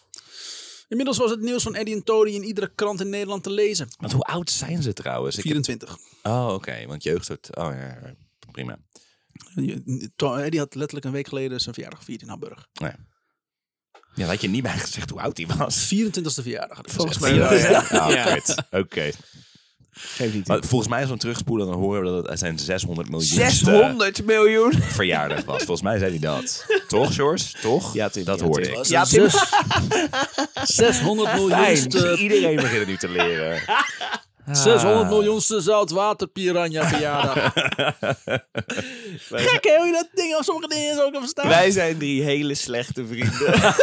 [SPEAKER 1] Inmiddels was het nieuws van Eddie en Tony in iedere krant in Nederland te lezen.
[SPEAKER 2] Want hoe oud zijn ze trouwens? Ik heb-
[SPEAKER 1] 24.
[SPEAKER 2] Oh, oké. Want jeugd... wordt- Oh, ja, ja. Prima.
[SPEAKER 1] Je- To- Eddie had letterlijk een week geleden zijn verjaardag gevierd in Hamburg.
[SPEAKER 2] Nee. Ja, dat had je niet bij gezegd hoe oud hij was.
[SPEAKER 1] 24e verjaardag. had ik
[SPEAKER 3] Volgens
[SPEAKER 1] gezegd.
[SPEAKER 3] mij wel,
[SPEAKER 1] Ja, ja.
[SPEAKER 2] Ah,
[SPEAKER 3] Ja.
[SPEAKER 2] kut. Oké.
[SPEAKER 3] Geef niet.
[SPEAKER 2] Maar volgens mij, als we hem terugspoelen, dan horen we dat het zijn 600 miljoen
[SPEAKER 3] 600 miljoen.
[SPEAKER 2] verjaardag was. Volgens mij zei hij dat. Toch, George? Toch?
[SPEAKER 3] Ja, Tim,
[SPEAKER 2] Dat
[SPEAKER 3] ja,
[SPEAKER 2] hoorde
[SPEAKER 3] Tim.
[SPEAKER 2] ik.
[SPEAKER 3] Ja, Tim.
[SPEAKER 1] Zes- 600
[SPEAKER 3] eh,
[SPEAKER 1] miljoenste,
[SPEAKER 2] Iedereen begint het nu te leren.
[SPEAKER 3] Ah.
[SPEAKER 1] 600 miljoenste zoutwaterpiranha verjaardag. Gek hè, hoe je dat ding of sommige dingen zo kan verstaan.
[SPEAKER 3] Wij zijn drie hele slechte vrienden.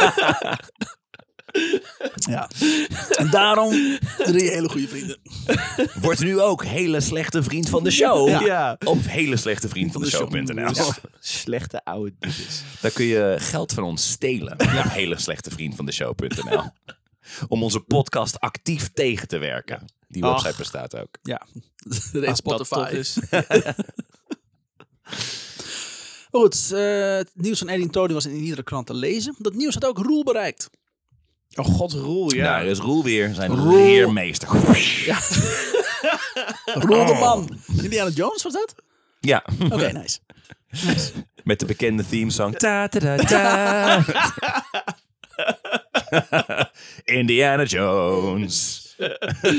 [SPEAKER 1] Ja. En daarom drie hele goede vrienden.
[SPEAKER 2] Wordt nu ook hele slechte vriend van de show.
[SPEAKER 1] Ja.
[SPEAKER 2] Of hele slechte vriend van de show.nl.
[SPEAKER 1] show.
[SPEAKER 3] Slechte oude dudes.
[SPEAKER 2] Daar kun je geld van ons stelen. Op hele slechte vriend van de show.nl. Om onze podcast actief tegen te werken. Die
[SPEAKER 3] Ach.
[SPEAKER 2] website bestaat ook.
[SPEAKER 1] Ja, dat heet
[SPEAKER 3] Dat
[SPEAKER 1] Spotify.
[SPEAKER 3] tof is.
[SPEAKER 1] Goed, eh, het nieuws van Eddie en Tony was in iedere krant te lezen. Dat nieuws had ook Roel bereikt.
[SPEAKER 3] Oh god, Roel, ja.
[SPEAKER 2] Nou, dat is Roel weer. Zijn
[SPEAKER 1] Roel.
[SPEAKER 2] leermeester. Ja.
[SPEAKER 1] Roel
[SPEAKER 3] Oh.
[SPEAKER 1] de man. Indiana Jones was dat? Oké, nou. nice.
[SPEAKER 2] Met de bekende themesong. Ta, ta, ta, ta. Indiana Jones.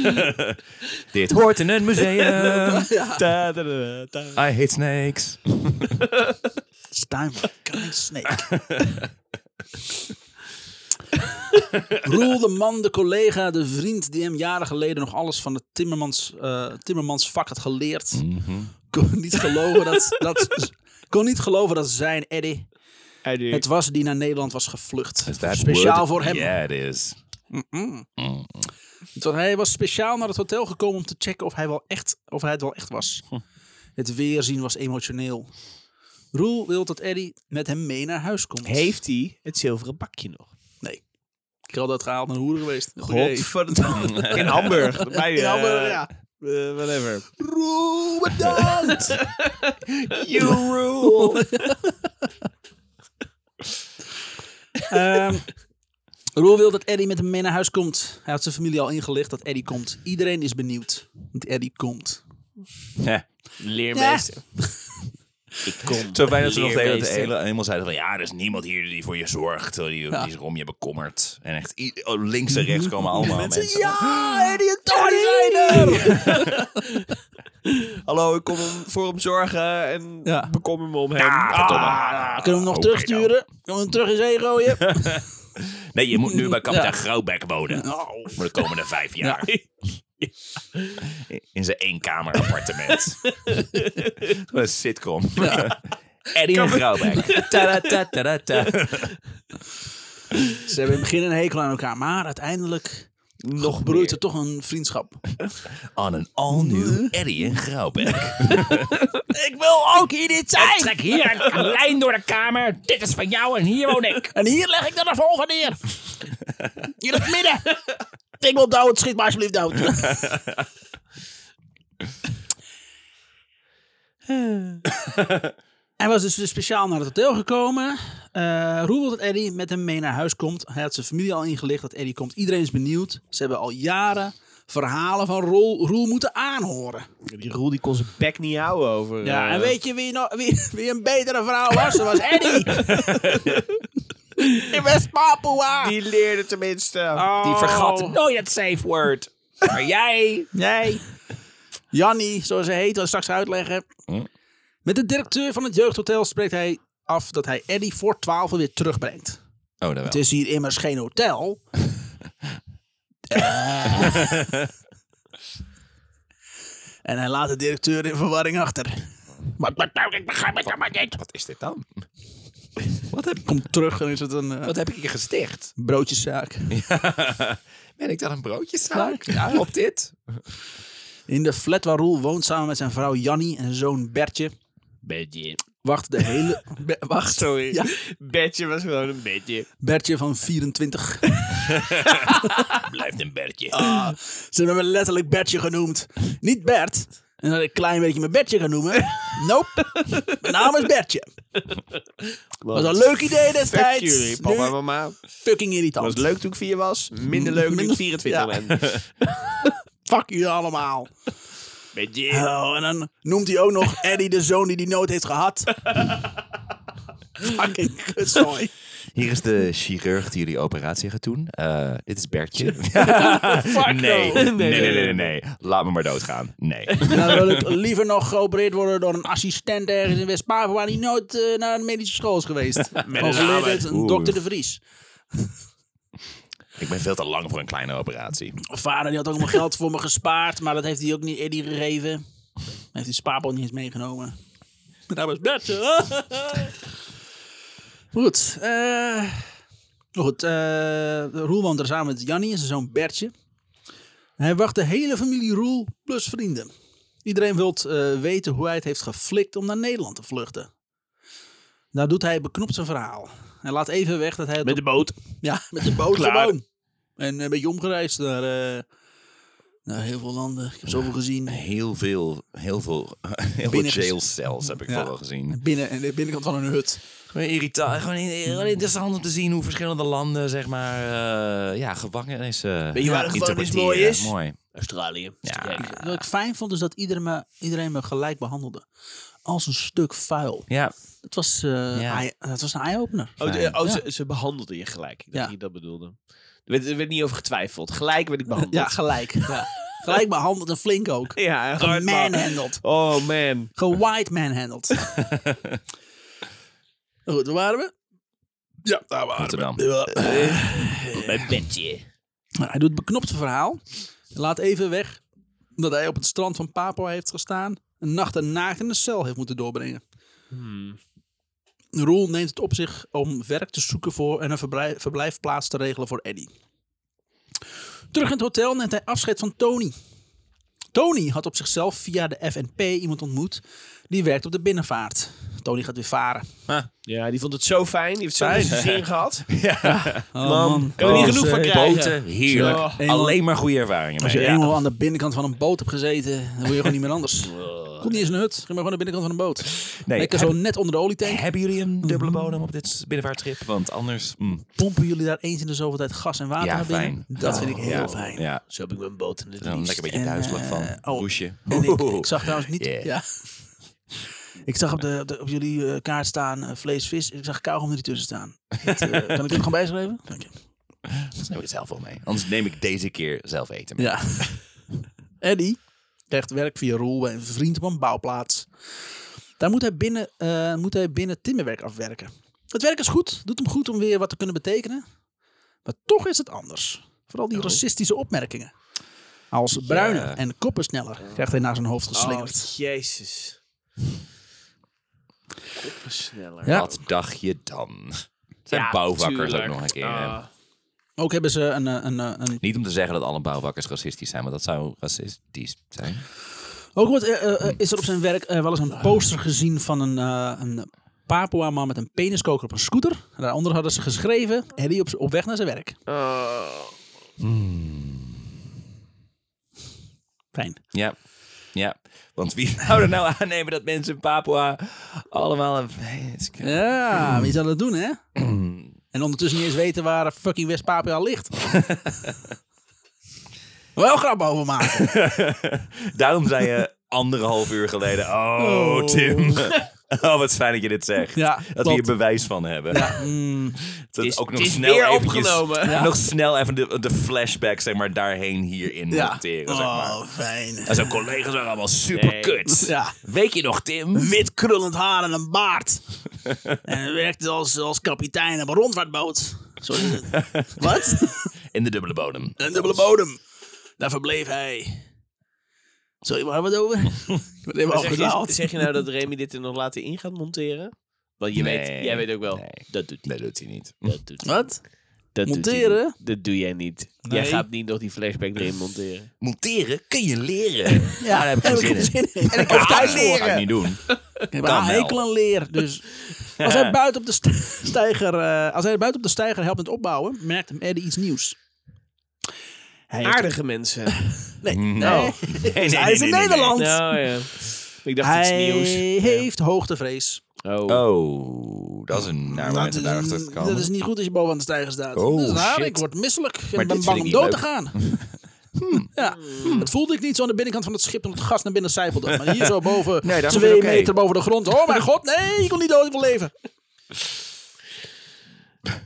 [SPEAKER 2] Dit hoort in een museum.
[SPEAKER 3] Ta, ta, ta, ta.
[SPEAKER 2] I hate snakes.
[SPEAKER 1] Stein van Klein Snake. Roel de man, de collega, de vriend die hem jaren geleden nog alles van het Timmermans, eh Timmermans vak had geleerd.
[SPEAKER 2] Mhm.
[SPEAKER 1] Kon niet geloven dat, dat, kon niet geloven dat zijn Eddie
[SPEAKER 3] Hij doet-
[SPEAKER 1] het was die naar Nederland was gevlucht.
[SPEAKER 2] Is that
[SPEAKER 1] Speciaal
[SPEAKER 2] wood?
[SPEAKER 1] voor hem.
[SPEAKER 2] Yeah, it is.
[SPEAKER 1] Want hij was speciaal naar het hotel gekomen om te checken of hij, wel echt, of hij het wel echt was.
[SPEAKER 2] Hm.
[SPEAKER 1] Het weerzien was emotioneel. Roel wil dat Eddie met hem mee naar huis komt.
[SPEAKER 3] Heeft hij het zilveren bakje nog?
[SPEAKER 1] Nee. Ik had dat gehaald naar hoeren geweest. Oké.
[SPEAKER 3] Godverdomme. In Hamburg. Bij,
[SPEAKER 1] In
[SPEAKER 3] eh,
[SPEAKER 1] Hamburg, ja.
[SPEAKER 3] Eh, whatever.
[SPEAKER 1] Roebedaard!
[SPEAKER 3] You rule.
[SPEAKER 1] Ehm Roel wil dat Eddie met hem mee naar huis komt. Hij had zijn familie al ingelicht dat Eddie komt. Iedereen is benieuwd. Want Eddie komt.
[SPEAKER 2] Ja.
[SPEAKER 3] Leermeester. Ik kom.
[SPEAKER 2] Zo fijn dat ze nog de hele, de
[SPEAKER 3] leermeester.
[SPEAKER 2] hele, helemaal zeiden van... Ja, er is niemand hier die voor je zorgt. Die, die
[SPEAKER 1] Ja. Mhm.
[SPEAKER 2] zich om je bekommert. En echt i- oh, links en rechts komen allemaal mensen.
[SPEAKER 1] Ja, Eddie en "Ah, Tony zijn er!
[SPEAKER 3] Hallo, ik kom hem- voor hem zorgen en
[SPEAKER 1] Ja.
[SPEAKER 3] bekommer me om hem.
[SPEAKER 2] Ah, verdomme.
[SPEAKER 1] Kunnen we hem nog
[SPEAKER 2] Oké
[SPEAKER 1] terugsturen? Kunnen we hem terug in zee gooien?
[SPEAKER 2] dan. Nee, je moet nu bij kapitein
[SPEAKER 1] Ja.
[SPEAKER 2] Grauwbeck wonen. Voor de komende vijf jaar. In zijn eenkamer appartement. een sitcom. Eddie en Grauwbeck. Ta -ta -ta -ta.
[SPEAKER 1] Ze hebben in het begin een hekel aan elkaar, maar uiteindelijk nog broeit er toch een vriendschap.
[SPEAKER 2] Aan een all-new Eddie en Grauwbeck.
[SPEAKER 3] Ik wil ook hier dit zijn.
[SPEAKER 5] Trek hier een lijn door de kamer. Dit is van jou en hier woon ik.
[SPEAKER 1] En hier leg ik dan de volgende neer. Hier in het midden. Ik wil dood, schiet maar alsjeblieft dood. Hij was dus dus speciaal naar het hotel gekomen. Eh Roel wil dat Eddie met hem mee naar huis komt. Hij had zijn familie al ingelicht dat Eddie komt. Iedereen is benieuwd. Ze hebben al jaren verhalen van Roel, Roel moeten aanhoren.
[SPEAKER 3] Die Roel die kon zijn bek niet houden over...
[SPEAKER 1] Ja,
[SPEAKER 3] eh,
[SPEAKER 1] en weet je wie, nou- wie, wie een betere vrouw was? Dat was Eddie. In West-Papua.
[SPEAKER 3] Die leerde tenminste.
[SPEAKER 5] Die vergat
[SPEAKER 1] Oh.
[SPEAKER 5] nooit het safe word. Maar jij...
[SPEAKER 1] Nee. Jannie, zoals ze heet, wil ik straks uitleggen.
[SPEAKER 2] Hm?
[SPEAKER 1] Met de directeur van het jeugdhotel spreekt hij af dat hij Eddie voor 12 weer terugbrengt.
[SPEAKER 2] Oh, dat
[SPEAKER 1] Het is hier immers geen hotel. Eh. en hij laat de directeur in verwarring achter.
[SPEAKER 5] Wat, wat nou, ik begrijp het helemaal niet.
[SPEAKER 2] Wat is dit dan? Wat heb,
[SPEAKER 1] Komt terug en is het een eh,
[SPEAKER 2] wat heb ik hier gesticht?
[SPEAKER 1] broodjeszaak.
[SPEAKER 2] Ben ik dan een broodjeszaak? Ja, op dit?
[SPEAKER 1] In de flat waar Roel woont samen met zijn vrouw Jannie en zijn zoon Bertje.
[SPEAKER 3] Bedje.
[SPEAKER 1] Wacht de hele... Be- wacht.
[SPEAKER 3] Sorry.
[SPEAKER 1] Ja.
[SPEAKER 3] Bedje was gewoon een bedje.
[SPEAKER 1] Bertje van 24.
[SPEAKER 2] Blijft een bertje.
[SPEAKER 1] Ze hebben me letterlijk Bertje genoemd. Niet Bert. En dat ik een klein beetje mijn Bertje gaan noemen. Nope. Mijn naam is Bertje. Was een leuk idee
[SPEAKER 3] Fuck
[SPEAKER 1] destijds.
[SPEAKER 3] jullie, papa en
[SPEAKER 1] Nu
[SPEAKER 3] mama. Het
[SPEAKER 1] fucking irritant.
[SPEAKER 3] was leuk toen ik vier was. Minder leuk nu ik
[SPEAKER 1] Minder-
[SPEAKER 3] 24
[SPEAKER 1] Ja.
[SPEAKER 3] ben.
[SPEAKER 1] Fuck jullie allemaal.
[SPEAKER 3] Bedje.
[SPEAKER 1] Oh, en dan noemt hij ook nog Eddie de zoon die die nooit heeft gehad. fucking kutzooi.
[SPEAKER 2] Hier is de chirurg die jullie operatie gaat doen. Eh, dit is Bertje. nee. Nee,
[SPEAKER 3] no.
[SPEAKER 2] nee, nee, nee, nee. Laat me maar doodgaan. Nee.
[SPEAKER 1] Nou wil ik liever nog geopereerd worden door een assistent ergens in West-Papua die nooit eh, naar een medische school is geweest. Overleden
[SPEAKER 3] namen.
[SPEAKER 1] het een
[SPEAKER 2] Oeh.
[SPEAKER 1] dokter de Vries.
[SPEAKER 2] ik ben veel te lang voor een kleine operatie.
[SPEAKER 1] Mijn vader die had ook mijn geld voor me gespaard, maar dat heeft hij ook niet Eddie gegeven. Hij heeft die spaarpot niet eens meegenomen. Dat was Bertje. goed. eh, goed. eh, Roel woont er samen met Jannie en zijn zoon Bertje. Hij wacht de hele familie Roel plus vrienden. Iedereen wil eh, weten hoe hij het heeft geflikt om naar Nederland te vluchten. Daar doet hij beknopt zijn verhaal. Hij laat even weg dat hij het
[SPEAKER 3] Met de boot.
[SPEAKER 1] ja, met de boot
[SPEAKER 3] Klaar.
[SPEAKER 1] gewoon. En een beetje omgereisd naar, eh, naar heel veel landen. Ik heb zoveel gezien.
[SPEAKER 2] Heel veel, heel veel, heel veel
[SPEAKER 1] Binnen-
[SPEAKER 2] jail cells heb ik
[SPEAKER 1] Ja.
[SPEAKER 2] vooral gezien.
[SPEAKER 1] Binnen, en de binnenkant van een hut.
[SPEAKER 2] Gewoon irritant. Gewoon in- gewoon interessant om te zien hoe verschillende landen, zeg maar, eh, ja, gevangenis. eh
[SPEAKER 3] Weet je waar de gevangenis mooi
[SPEAKER 2] interpreteren.
[SPEAKER 3] is?
[SPEAKER 2] Mooi.
[SPEAKER 3] Australië.
[SPEAKER 2] Ja.
[SPEAKER 3] Ja.
[SPEAKER 1] Wat ik fijn vond, is dat iedereen me, iedereen me gelijk behandelde. Als een stuk vuil.
[SPEAKER 2] Ja,
[SPEAKER 1] Dat was, eh,
[SPEAKER 2] Ja.
[SPEAKER 1] eye- dat was een eye-opener.
[SPEAKER 3] Oh, de- oh,
[SPEAKER 1] Ja.
[SPEAKER 3] ze, ze behandelden je gelijk. Ik dacht
[SPEAKER 1] Ja.
[SPEAKER 3] dat je dat bedoelde. Er werd, er werd niet over getwijfeld. Gelijk werd ik behandeld.
[SPEAKER 1] Ja, Oh, gelijk. Ja. Gelijk behandeld en flink ook.
[SPEAKER 3] ja gewoon maar-
[SPEAKER 1] Manhandled.
[SPEAKER 3] Oh man.
[SPEAKER 1] Gewide manhandled. Goed, waar waren we? Ja, daar waren
[SPEAKER 2] Rotterdam. Eh,
[SPEAKER 3] Mijn bedje.
[SPEAKER 1] Nou, hij doet het beknopte verhaal. Laat even weg dat hij op het strand van Papua heeft gestaan. Een nacht en naakt in de cel heeft moeten doorbrengen. Roel neemt het op zich om werk te zoeken voor en een verbrij- verblijfplaats te regelen voor Eddie. Terug in het hotel neemt hij afscheid van Tony. Tony had op zichzelf via de FNP iemand ontmoet die werkt op de binnenvaart. Tony gaat weer varen.
[SPEAKER 3] Ja, die vond het zo fijn. Die heeft zo'n
[SPEAKER 1] Fijn.
[SPEAKER 3] zin gehad.
[SPEAKER 1] Oh,
[SPEAKER 3] Kan er niet genoeg van krijgen.
[SPEAKER 2] Boten, heerlijk.
[SPEAKER 1] Ja.
[SPEAKER 2] Alleen maar goede ervaringen
[SPEAKER 1] Als
[SPEAKER 2] mee.
[SPEAKER 1] je
[SPEAKER 2] Ja.
[SPEAKER 1] eenmaal aan de binnenkant van een boot hebt gezeten, dan word je gewoon niet meer anders. Komt niet eens een hut, ga maar gewoon aan de binnenkant van een boot.
[SPEAKER 2] Nee,
[SPEAKER 1] Lekker zo net onder de olietank.
[SPEAKER 2] Hebben jullie een dubbele
[SPEAKER 3] Mhm.
[SPEAKER 2] bodem op dit binnenvaarttrip? Want anders... mm.
[SPEAKER 1] Pompen jullie daar eens in de zoveel tijd gas en water
[SPEAKER 2] Ja,
[SPEAKER 1] naar binnen?
[SPEAKER 2] fijn.
[SPEAKER 1] Dat vind ik heel
[SPEAKER 2] ja,
[SPEAKER 1] fijn.
[SPEAKER 2] Ja,
[SPEAKER 3] Zo heb ik mijn boot in de
[SPEAKER 2] dan lekker een beetje
[SPEAKER 1] En,
[SPEAKER 2] duizelig van.
[SPEAKER 1] eh, oh.
[SPEAKER 2] Roesje.
[SPEAKER 1] En ik, ik zag trouwens niet...
[SPEAKER 2] Yeah.
[SPEAKER 1] Ja. Ik zag op, de, op, de- op jullie eh, kaart staan eh, vlees, vis. Ik zag kauwgom er tussen staan. Dat, eh, kan ik dit gewoon bijschrijven? Dank je.
[SPEAKER 2] Daar neem ik het zelf wel mee. Anders neem ik deze keer zelf eten mee.
[SPEAKER 1] Ja. Eddie krijgt werk via Roel bij een vriend op een bouwplaats. Daar moet hij binnen, eh, moet hij binnen timmerwerk afwerken. Het werk is goed, doet hem goed om weer wat te kunnen betekenen. Maar toch is het anders. Vooral die racistische opmerkingen. Als bruine en koppensneller krijgt hij naar zijn hoofd geslingerd.
[SPEAKER 3] Oh, jezus. Koppersneller.
[SPEAKER 1] Ja.
[SPEAKER 2] Wat dacht je dan? Het zijn
[SPEAKER 3] Ja,
[SPEAKER 2] bouwvakkers
[SPEAKER 3] tuurlijk.
[SPEAKER 2] ook nog een keer.
[SPEAKER 3] Ah.
[SPEAKER 1] Ook hebben ze een, eh, een, eh, een
[SPEAKER 2] Niet om te zeggen dat alle bouwvakkers racistisch zijn, want dat zou racistisch zijn.
[SPEAKER 1] Ook wordt, eh, eh, eh, is er op zijn werk eh, wel eens een poster gezien van een, eh, een Papua-man met een peniskoker op een scooter. En daaronder hadden ze geschreven, Eddie op, op weg naar zijn werk.
[SPEAKER 2] Eh.
[SPEAKER 1] Hmm. Fijn.
[SPEAKER 2] Ja. Ja, want wie zou er nou aannemen dat mensen in Papua allemaal een penis-
[SPEAKER 1] Ja, wie zal dat doen, hè? en ondertussen niet eens weten waar fucking West-Papua ligt. wel grap over maken.
[SPEAKER 2] Daarom zei je anderhalf uur geleden, oh, Tim, oh wat fijn dat je dit zegt.
[SPEAKER 1] Ja,
[SPEAKER 2] dat we
[SPEAKER 1] klopt.
[SPEAKER 2] hier bewijs van hebben.
[SPEAKER 1] Mm,
[SPEAKER 2] Dat
[SPEAKER 3] Het is-
[SPEAKER 2] ook nog
[SPEAKER 3] het is
[SPEAKER 2] snel
[SPEAKER 3] weer
[SPEAKER 2] eventjes-
[SPEAKER 3] opgenomen.
[SPEAKER 2] Nog snel even de, de flashback zeg maar, daarheen hierin
[SPEAKER 1] ja.
[SPEAKER 2] monteren. Zeg maar.
[SPEAKER 1] Oh, fijn.
[SPEAKER 2] En zijn collega's waren allemaal super kut.
[SPEAKER 1] Ja.
[SPEAKER 2] Weet je nog, Tim?
[SPEAKER 1] wit krullend haar en een baard. en werkte als, als kapitein op een rondvaartboot. Sorry. Wat?
[SPEAKER 2] In de dubbele bodem.
[SPEAKER 1] een dubbele bodem. Daar verbleef hij. Sorry, waar hebben we het over? Ik word even
[SPEAKER 3] Zeg je,
[SPEAKER 1] afgedwaald.
[SPEAKER 3] zeg je nou dat Remy dit er nog later in gaat monteren? Want je
[SPEAKER 2] Nee.
[SPEAKER 3] weet, jij weet ook wel,
[SPEAKER 2] Nee.
[SPEAKER 3] dat doet hij
[SPEAKER 2] Dat doet hij niet.
[SPEAKER 3] niet. Dat doet hij
[SPEAKER 1] Wat?
[SPEAKER 3] niet. Dat doet hij
[SPEAKER 1] Monteren?
[SPEAKER 3] niet. Dat doe jij niet. Jij
[SPEAKER 1] Nee.
[SPEAKER 3] gaat niet nog die flashback erin monteren.
[SPEAKER 2] Monteren kun je leren.
[SPEAKER 1] Ja, daar heb ik geen zin in. En ik heb
[SPEAKER 2] Tijd
[SPEAKER 1] tijd
[SPEAKER 2] voor
[SPEAKER 1] leren.
[SPEAKER 2] ga ik niet doen.
[SPEAKER 1] Ik heb
[SPEAKER 2] Kan
[SPEAKER 1] een
[SPEAKER 2] wel.
[SPEAKER 1] hekel aan leer. Dus als hij buiten op de st- steiger, eh, als hij buiten op de steiger helpt met opbouwen, merkt hem Eddie iets nieuws. Hij heeft-
[SPEAKER 3] Aardige mensen.
[SPEAKER 1] Nee,
[SPEAKER 2] Nou.
[SPEAKER 1] nee.
[SPEAKER 2] Nee, nee,
[SPEAKER 1] Hij is in
[SPEAKER 2] nee, nee, nee.
[SPEAKER 1] Nederland.
[SPEAKER 3] nou ja. Ik dacht
[SPEAKER 1] Hij
[SPEAKER 3] iets nieuws.
[SPEAKER 1] heeft hoogtevrees.
[SPEAKER 3] Ja. Oh.
[SPEAKER 2] Oh, dat is een naar
[SPEAKER 1] Dat
[SPEAKER 2] waar
[SPEAKER 1] is,
[SPEAKER 2] je daarachter te
[SPEAKER 1] dat is
[SPEAKER 2] komen.
[SPEAKER 1] niet goed als je boven aan de stijger staat.
[SPEAKER 2] Oh,
[SPEAKER 1] dat is raar,
[SPEAKER 2] shit.
[SPEAKER 1] ik word misselijk en ben
[SPEAKER 2] dit vind
[SPEAKER 1] bang om
[SPEAKER 2] ik niet
[SPEAKER 1] dood
[SPEAKER 2] leuk. Hmm.
[SPEAKER 1] te gaan. Hmm. Ja, dat voelde ik niet zo aan de binnenkant van het schip toen het gas naar binnen sijpelde. Maar hier zo boven,
[SPEAKER 2] Nee, daar
[SPEAKER 1] twee
[SPEAKER 2] vond ik oké.
[SPEAKER 1] meter boven de grond. Oh mijn god, nee, ik wil niet dood, ik wil leven.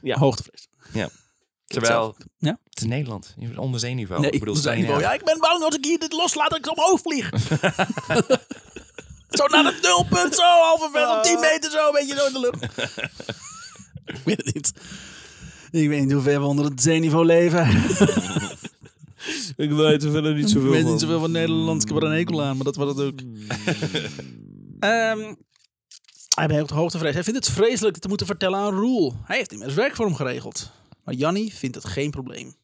[SPEAKER 3] Ja.
[SPEAKER 1] Hoogtevrees.
[SPEAKER 2] Terwijl,
[SPEAKER 1] Ja?
[SPEAKER 2] het is Nederland. Je bent onder zeeniveau.
[SPEAKER 1] Nee,
[SPEAKER 2] ik bedoel,
[SPEAKER 1] zijn
[SPEAKER 2] Scandinavië.
[SPEAKER 1] niveau. Ja, ik ben bang als ik hier dit loslaat dat ik omhoog vlieg. zo naar het nulpunt, zo halve ver op 10 meter, zo een beetje zo in de lucht. Ah. ik weet het niet. Ik weet niet hoe ver we onder het zeeniveau leven.
[SPEAKER 3] Ik weet er verder niet
[SPEAKER 1] Ik weet niet zoveel van Nederlands. Ik heb er een hekel aan, maar dat was het ook. Ehm, hij heeft hoogtevrees. Hij vindt het vreselijk dit te moeten vertellen aan Roel. Hij heeft immers werk voor hem geregeld. Maar Jannie vindt het geen probleem.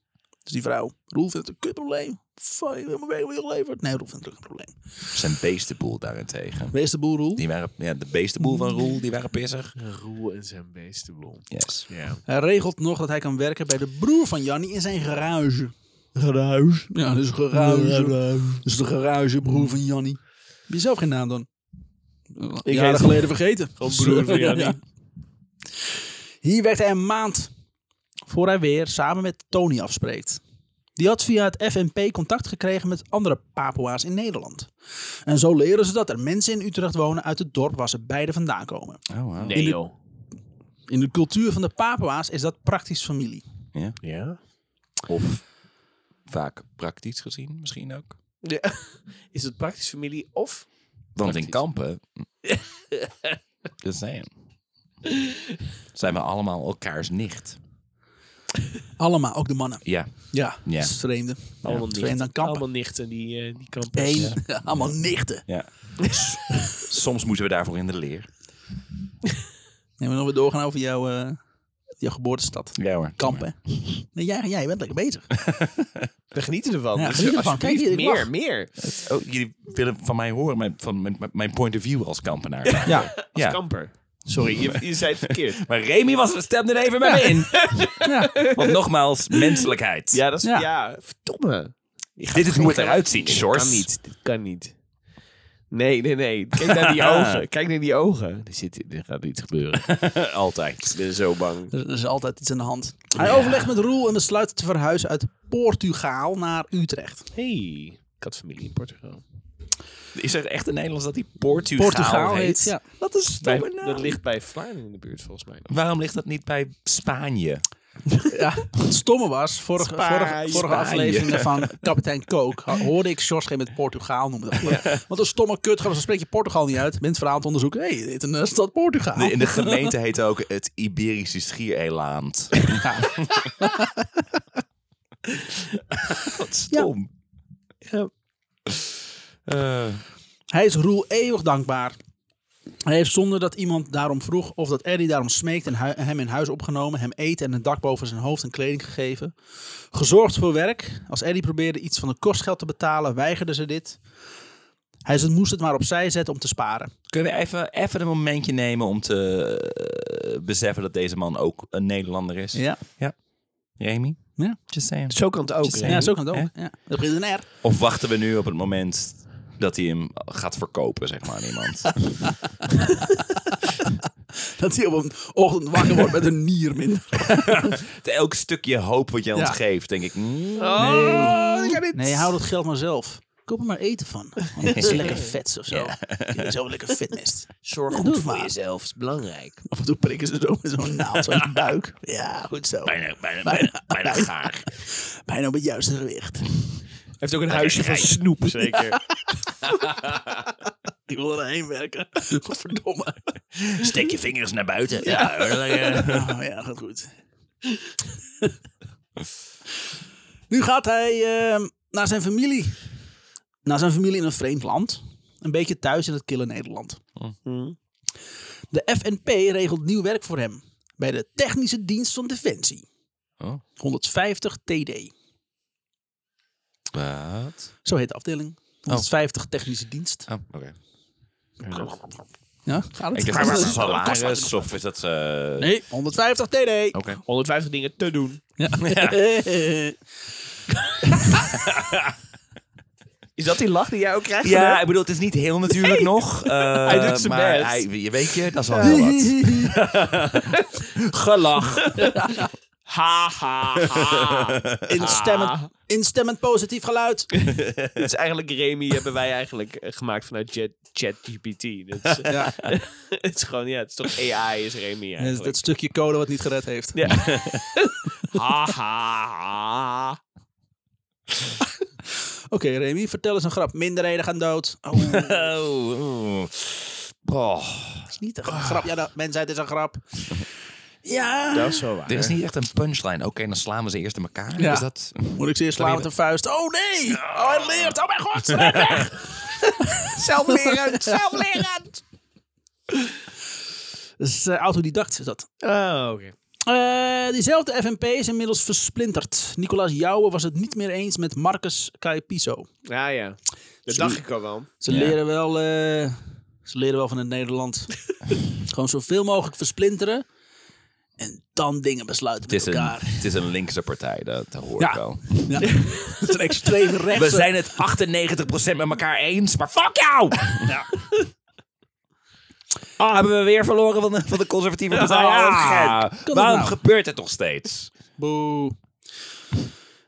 [SPEAKER 1] Dus die vrouw, Roel vindt het een kutprobleem. Fuck, ik wil mijn werk weer geleverd. Nee, Roel vindt het ook een probleem.
[SPEAKER 2] Zijn beestenboel daarentegen.
[SPEAKER 1] Wees de boel, Roel.
[SPEAKER 2] Die waren, ja, de beestenboel van Roel, die waren pissig.
[SPEAKER 3] Roel en zijn beestenbol.
[SPEAKER 2] Yes.
[SPEAKER 3] Ja.
[SPEAKER 1] Hij regelt nog dat hij kan werken bij de broer van Jannie in zijn garage. Garage? Ja, dus garage. Dus de garagebroer van Jannie. Heb je zelf geen naam dan? Ik jaren
[SPEAKER 3] heet-
[SPEAKER 1] geleden vergeten.
[SPEAKER 3] Gewoon broer van Jannie.
[SPEAKER 1] Ja. Hier werkt hij een maand voor hij weer samen met Tony afspreekt. Die had via het FNP contact gekregen met andere Papua's in Nederland. En zo leren ze dat er mensen in Utrecht wonen uit het dorp waar ze beide vandaan komen.
[SPEAKER 2] Oh, wow.
[SPEAKER 3] Nee joh.
[SPEAKER 1] In de cultuur van de Papua's is dat praktisch familie.
[SPEAKER 3] Ja?
[SPEAKER 2] Of vaak praktisch gezien misschien ook.
[SPEAKER 3] Is het praktisch familie of...
[SPEAKER 2] Want
[SPEAKER 3] Praktisch.
[SPEAKER 2] in kampen. dat zijn. Zijn we allemaal elkaars nicht?
[SPEAKER 1] Allemaal, ook de mannen.
[SPEAKER 2] Ja.
[SPEAKER 1] Ja,
[SPEAKER 2] Ja.
[SPEAKER 1] dat is vreemde.
[SPEAKER 3] Allemaal
[SPEAKER 1] Ja.
[SPEAKER 3] nichten.
[SPEAKER 1] En dan kampen.
[SPEAKER 3] Allemaal nichten die, eh, die kampen.
[SPEAKER 1] Eén, allemaal nichten.
[SPEAKER 2] ja. S- Soms moeten we daarvoor in de leer.
[SPEAKER 1] En we nog weer doorgaan over jouw eh, je geboortestad.
[SPEAKER 2] Ja hoor.
[SPEAKER 1] Kampen. Nee, jij, jij bent lekker bezig.
[SPEAKER 3] We genieten ervan.
[SPEAKER 1] Ja,
[SPEAKER 3] dus
[SPEAKER 1] geniet ervan.
[SPEAKER 3] alsjeblieft,
[SPEAKER 1] Kijk, ik
[SPEAKER 3] meer,
[SPEAKER 1] lach.
[SPEAKER 3] meer.
[SPEAKER 2] Oh, jullie willen van mij horen, mijn, van mijn, mijn point of view als kampenaar.
[SPEAKER 1] Ja,
[SPEAKER 3] Als
[SPEAKER 2] Ja.
[SPEAKER 3] kamper. Sorry, je, je zei het verkeerd.
[SPEAKER 2] Maar Remy was, stemde er even met me in. Want nogmaals, menselijkheid.
[SPEAKER 3] Ja, dat is... Ja,
[SPEAKER 1] Ja.
[SPEAKER 3] verdomme. Je gaat
[SPEAKER 2] Dit is
[SPEAKER 3] gewoon
[SPEAKER 2] hoe het
[SPEAKER 3] geen-
[SPEAKER 2] eruit ziet,
[SPEAKER 3] Dit
[SPEAKER 2] Sjors.
[SPEAKER 3] kan niet. Dit kan niet. Nee, nee, nee. Kijk naar die ogen. Kijk naar die ogen. Er, zit, er gaat iets gebeuren.
[SPEAKER 2] Altijd.
[SPEAKER 3] Ik ben zo bang.
[SPEAKER 1] er, er is altijd iets aan de hand. Hij overlegt met Roel en besluit te verhuizen uit Portugal naar Utrecht.
[SPEAKER 3] Hey, ik had familie in Portugal.
[SPEAKER 2] Is er echt in Nederlands dat die Portugal,
[SPEAKER 1] Portugal
[SPEAKER 2] heet?
[SPEAKER 1] heet, ja.
[SPEAKER 2] Dat is nou.
[SPEAKER 3] Bij-
[SPEAKER 2] stomme
[SPEAKER 1] nou.
[SPEAKER 2] naam.
[SPEAKER 3] dat ligt bij Vlaanderen in de buurt volgens mij. nog.
[SPEAKER 2] Waarom ligt dat niet bij Spanje?
[SPEAKER 1] Ja, het stomme was, vorige,
[SPEAKER 3] Spanje.
[SPEAKER 1] vorige, vorige
[SPEAKER 2] Spanje.
[SPEAKER 1] aflevering van Kapitein Kook ha- hoorde ik Sjors geen met Portugaal noemen. Dat- Want een stomme kut, dan spreek je Portugal niet uit. Bent verhaal aan het onderzoeken. Hé, hey, dit is een eh, stad Portugal.
[SPEAKER 2] De, in de gemeente heet ook het Iberische Schiereiland. Wat stom. Eh,
[SPEAKER 1] Hij is Roel eeuwig dankbaar. Hij heeft zonder dat iemand daarom vroeg of dat Eddie daarom smeekt en hu- hem in huis opgenomen, hem eten en een dak boven zijn hoofd en kleding gegeven. Gezorgd voor werk. Als Eddie probeerde iets van het kostgeld te betalen, weigerde ze dit. Hij ze- moest het maar opzij zetten om te sparen.
[SPEAKER 2] Kunnen we even, even een momentje nemen om te eh, beseffen dat deze man ook een Nederlander is?
[SPEAKER 1] Ja,
[SPEAKER 2] Remy?
[SPEAKER 1] Ja.
[SPEAKER 2] Just saying.
[SPEAKER 3] Zo kan het ook.
[SPEAKER 2] Just
[SPEAKER 3] hè?
[SPEAKER 1] ja zo kan het ook.
[SPEAKER 2] Hè?
[SPEAKER 1] Ja. Dat begint een R.
[SPEAKER 2] Of wachten we nu op het moment dat hij hem gaat verkopen, zeg maar, aan iemand?
[SPEAKER 1] Dat hij op een ochtend wakker wordt met een nier minder.
[SPEAKER 2] Elk stukje hoop wat je ons
[SPEAKER 1] Ja.
[SPEAKER 2] geeft, denk ik... mm,
[SPEAKER 3] Oh.
[SPEAKER 1] Nee, hou dat geld maar zelf. Koop er maar eten van. Want het is lekker vet of zo. Het is ook lekker fitness.
[SPEAKER 3] Zorg
[SPEAKER 1] Ja,
[SPEAKER 3] goed
[SPEAKER 1] doe het
[SPEAKER 3] voor
[SPEAKER 1] maar.
[SPEAKER 3] jezelf. is belangrijk.
[SPEAKER 1] Af en toe prikken ze zo met zo'n naald zo in de buik. Ja, goed zo.
[SPEAKER 2] Bijna, bijna, bijna, bijna gaar.
[SPEAKER 1] Bijna op het juiste gewicht.
[SPEAKER 3] heeft ook een huisje van snoep, zeker.
[SPEAKER 1] Die wil erheen werken. Godverdomme.
[SPEAKER 2] Steek je vingers naar buiten. Ja,
[SPEAKER 1] Oh, ja, gaat goed. nu gaat hij eh, naar zijn familie. Naar zijn familie in een vreemd land. Een beetje thuis in het kille Nederland.
[SPEAKER 2] Mm-hmm.
[SPEAKER 1] De FNP regelt nieuw werk voor hem. Bij de Technische Dienst van Defensie.
[SPEAKER 2] Oh.
[SPEAKER 1] 150 TD.
[SPEAKER 2] Wat?
[SPEAKER 1] Zo heet de afdeling. 150 Technische Dienst.
[SPEAKER 2] Oh, oké.
[SPEAKER 1] Ja, gaat het? Gaat
[SPEAKER 2] Ik dacht, is
[SPEAKER 1] het?
[SPEAKER 2] dat een
[SPEAKER 1] Kost wat?
[SPEAKER 2] salaris of is Oh. dat... eh,
[SPEAKER 1] Nee, 150 TD.
[SPEAKER 2] Oké.
[SPEAKER 3] 150 dingen te doen. Is dat die lach die jij ook krijgt?
[SPEAKER 2] Ja, ik bedoel, het is niet heel natuurlijk nog. eh,
[SPEAKER 3] Hij doet zijn
[SPEAKER 2] maar
[SPEAKER 3] best.
[SPEAKER 2] Hij, je weet je, dat is al heel wat.
[SPEAKER 3] Gelach. ha, ha, ha.
[SPEAKER 2] Ah.
[SPEAKER 1] Instemmend, instemmend positief geluid.
[SPEAKER 3] Dit is eigenlijk Remy, hebben wij eigenlijk eh, gemaakt vanuit Jet- ChatGPT. Dat is, eh,
[SPEAKER 1] Ja,
[SPEAKER 3] het is gewoon, ja, het is toch AI is Remy
[SPEAKER 1] dat,
[SPEAKER 3] eigenlijk.
[SPEAKER 1] stukje code wat niet gered heeft.
[SPEAKER 3] Ja. ha, ha, ha.
[SPEAKER 1] Oké, Remy, vertel eens een grap. Minderheden gaan dood. Oh, dat
[SPEAKER 2] Oh, oh. Oh,
[SPEAKER 1] is niet een grap. Ja, de mensheid is een grap. Ja.
[SPEAKER 3] Dat is wel waar.
[SPEAKER 2] er is niet echt een punchline. Oké, dan slaan we ze eerst in elkaar.
[SPEAKER 1] Ja.
[SPEAKER 2] Is dat...
[SPEAKER 1] Moet ik ze eerst slaan met een vuist? Oh nee! Oh, hij leert. Oh mijn god, ren weg!
[SPEAKER 3] Zelflerend, zelflerend.
[SPEAKER 1] Dus eh, autodidact is dat.
[SPEAKER 3] Oh, oké.
[SPEAKER 1] Eh, diezelfde FNP is inmiddels versplinterd. Nicolaas Jouwe was het niet meer eens met Marcus Caipiso.
[SPEAKER 3] Ja, ja. Dat dacht ik al wel.
[SPEAKER 1] Ze, leren wel, eh, ze leren wel van het Nederland. Gewoon zoveel mogelijk versplinteren. En dan dingen besluiten
[SPEAKER 2] Het is,
[SPEAKER 1] met
[SPEAKER 2] een,
[SPEAKER 1] elkaar.
[SPEAKER 2] het is een linkse partij, dat hoor
[SPEAKER 1] Ja.
[SPEAKER 2] ik wel.
[SPEAKER 1] Ja. Het is een extreem rechts.
[SPEAKER 2] We zijn het 98% met elkaar eens, maar fuck jou! Ah, hebben we weer verloren van de, van de conservatieve partij?
[SPEAKER 1] Ja,
[SPEAKER 2] Ah,
[SPEAKER 1] gek. Kan
[SPEAKER 2] waarom
[SPEAKER 1] het nou?
[SPEAKER 2] gebeurt het nog steeds?
[SPEAKER 1] Boe.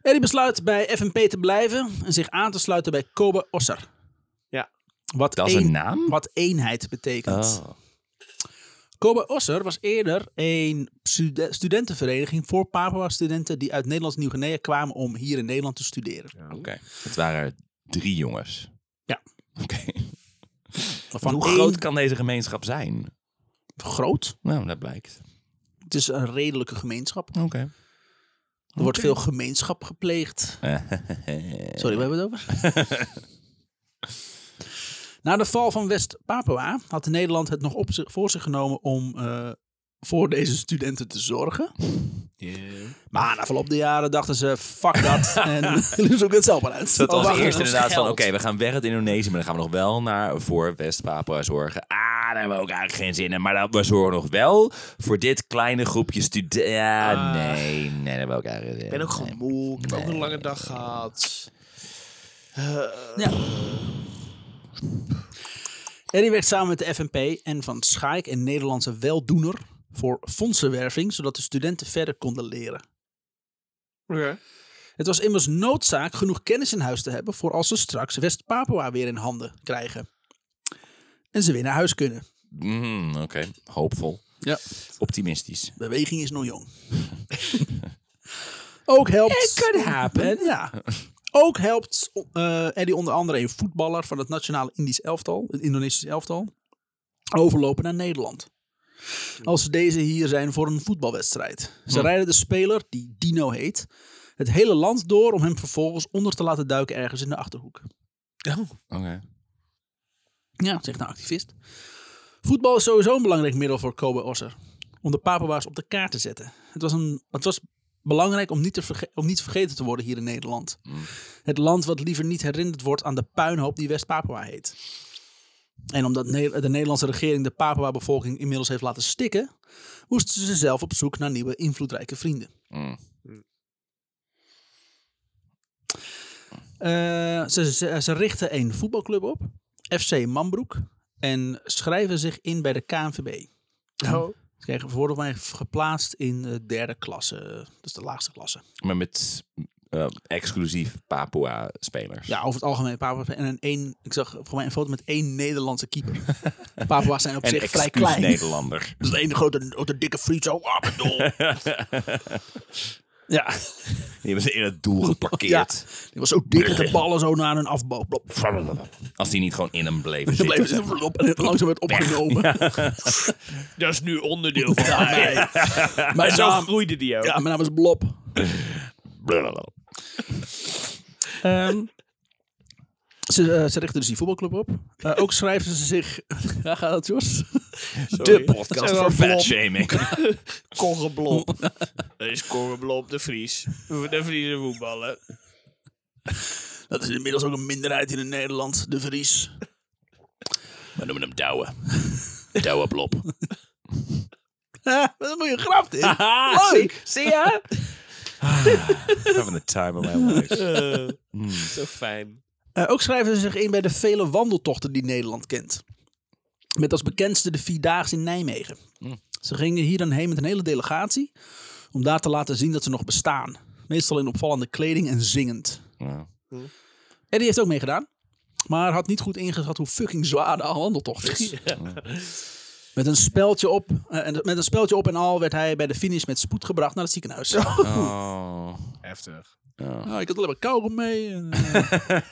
[SPEAKER 1] Eddie besluit bij FNP te blijven en zich aan te sluiten bij Kobe Osser.
[SPEAKER 3] Ja.
[SPEAKER 1] Wat
[SPEAKER 2] Dat is een
[SPEAKER 1] een-
[SPEAKER 2] naam? Oh.
[SPEAKER 1] Wat eenheid betekent. Kobe Osser was eerder een stude- studentenvereniging voor Papua-studenten die uit Nederlands Nieuw-Guinea kwamen om hier in Nederland te studeren.
[SPEAKER 2] Oké. Het waren drie jongens.
[SPEAKER 1] Ja.
[SPEAKER 2] Oké.
[SPEAKER 1] Waarvan
[SPEAKER 2] Hoe
[SPEAKER 1] één-
[SPEAKER 2] groot kan deze gemeenschap zijn?
[SPEAKER 1] Groot.
[SPEAKER 2] Nou, dat blijkt.
[SPEAKER 1] Het is een redelijke gemeenschap. Er
[SPEAKER 2] Oké.
[SPEAKER 1] wordt veel gemeenschap gepleegd. Sorry, waar hebben we het over? Na de val van West-Papua had Nederland het nog op zich, voor zich genomen om eh, voor deze studenten te zorgen. Maar na verloop der jaren dachten ze, fuck dat. en jullie zoeken het zelf maar uit.
[SPEAKER 2] Dat was
[SPEAKER 1] Oh, wacht, dat
[SPEAKER 2] eerst
[SPEAKER 1] was
[SPEAKER 2] inderdaad van,
[SPEAKER 1] geld.
[SPEAKER 2] oké, we gaan weg uit Indonesië, maar dan gaan we nog wel naar voor West-Papua zorgen. Ah, daar hebben we ook eigenlijk geen zin in. Maar dan, we zorgen nog wel voor dit kleine groepje studenten. Ja,
[SPEAKER 1] Ah.
[SPEAKER 2] nee, nee, daar hebben we ook eigenlijk geen zin
[SPEAKER 3] Ik ben ook
[SPEAKER 2] in.
[SPEAKER 3] gewoon moe. Ik heb ook een lange dag gehad.
[SPEAKER 1] En die werkt samen met de FNP en Van Schaik, een Nederlandse weldoener, voor fondsenwerving, zodat de studenten verder konden leren. Het was immers noodzaak genoeg kennis in huis te hebben voor als ze straks West-Papua weer in handen krijgen. En ze weer naar huis kunnen.
[SPEAKER 2] Mm, oké, hoopvol.
[SPEAKER 1] Ja.
[SPEAKER 2] Optimistisch.
[SPEAKER 1] Beweging is nog jong. Ook helpt... It could happen. Ja. Ook helpt eh Eddie onder andere een voetballer van het nationale Indisch elftal, het Indonesisch elftal, overlopen naar Nederland. Als deze hier zijn voor een voetbalwedstrijd. Ze rijden de speler, die Dino heet, het hele land door om hem vervolgens onder te laten duiken ergens in de Achterhoek.
[SPEAKER 2] Oké.
[SPEAKER 1] Ja, zegt een activist. Voetbal is sowieso een belangrijk middel voor Kobe Osser. Om de Papua's op de kaart te zetten. Het was, een, het was belangrijk om niet, te verge- om niet vergeten te worden hier in Nederland. Het land wat liever niet herinnerd wordt aan de puinhoop die West-Papua heet. En omdat Ne- de Nederlandse regering de Papua-bevolking inmiddels heeft laten stikken, moesten ze zelf op zoek naar nieuwe invloedrijke vrienden.
[SPEAKER 2] Mm.
[SPEAKER 1] Eh, ze, ze, ze richten een voetbalclub op, FC Manbroek, en schrijven zich in bij de KNVB.
[SPEAKER 3] Oh.
[SPEAKER 1] Ze kregen- ze worden volgens mij geplaatst in de derde klasse, dus de laagste klasse.
[SPEAKER 2] Maar met eh, exclusief Papua-spelers.
[SPEAKER 1] Ja, over het algemeen Papua's en een één, ik zag voor mij een foto met één Nederlandse keeper. Papua's zijn op
[SPEAKER 2] en
[SPEAKER 1] zich vrij
[SPEAKER 2] excuus
[SPEAKER 1] klein.
[SPEAKER 2] Nederlander.
[SPEAKER 1] Dus de ene grote, grote dikke friet zo, ah, mijn doel. ja,
[SPEAKER 2] Die hebben ze in het doel geparkeerd.
[SPEAKER 1] die was zo dik dat de ballen zo naar hun afbouw. Blop.
[SPEAKER 2] Als die niet gewoon in hem bleven
[SPEAKER 1] Ze
[SPEAKER 2] zitten.
[SPEAKER 1] bleven ze op en het langzaam werd opgenomen.
[SPEAKER 3] Dat is nu onderdeel van
[SPEAKER 1] Ja,
[SPEAKER 3] mij.
[SPEAKER 1] nee. Mijn
[SPEAKER 3] Zo
[SPEAKER 1] naam,
[SPEAKER 3] groeide die ook.
[SPEAKER 1] ja, mijn naam is Blob.
[SPEAKER 2] Blablabla.
[SPEAKER 1] Ze, eh, ze richten dus die voetbalclub op. Eh, ook schrijven ze zich... Waar gaat het, Jos?
[SPEAKER 3] Sorry.
[SPEAKER 1] De
[SPEAKER 2] Podcast
[SPEAKER 3] Zijn we
[SPEAKER 2] voor
[SPEAKER 3] flop?
[SPEAKER 2] fatshaming.
[SPEAKER 3] Korreblop. Dat is Korreblop de Vries. De Vriezen voetballen.
[SPEAKER 1] Dat is inmiddels ook een minderheid hier in Nederland. De Vries.
[SPEAKER 2] We noemen hem Douwe. Douwe Blop.
[SPEAKER 1] Ah, wat een goede grap, dit. Leuk.
[SPEAKER 3] Zie je?
[SPEAKER 2] Having the time of my life.
[SPEAKER 3] Zo fijn.
[SPEAKER 1] Eh, ook schrijven ze zich in bij de vele wandeltochten die Nederland kent. Met als bekendste de Vierdaagse in Nijmegen.
[SPEAKER 2] Hm.
[SPEAKER 1] Ze gingen hier dan heen met een hele delegatie om daar te laten zien dat ze nog bestaan. Meestal in opvallende kleding en zingend.
[SPEAKER 2] Ja.
[SPEAKER 1] Eddie heeft ook meegedaan, maar had niet goed ingeschat hoe fucking zwaar de wandeltocht is. Met een, speldje op, eh, en met een speldje op en al werd hij bij de finish met spoed gebracht naar het ziekenhuis.
[SPEAKER 2] Oh.
[SPEAKER 3] Heftig.
[SPEAKER 1] Ah, ik had alleen maar kauwgom mee. En,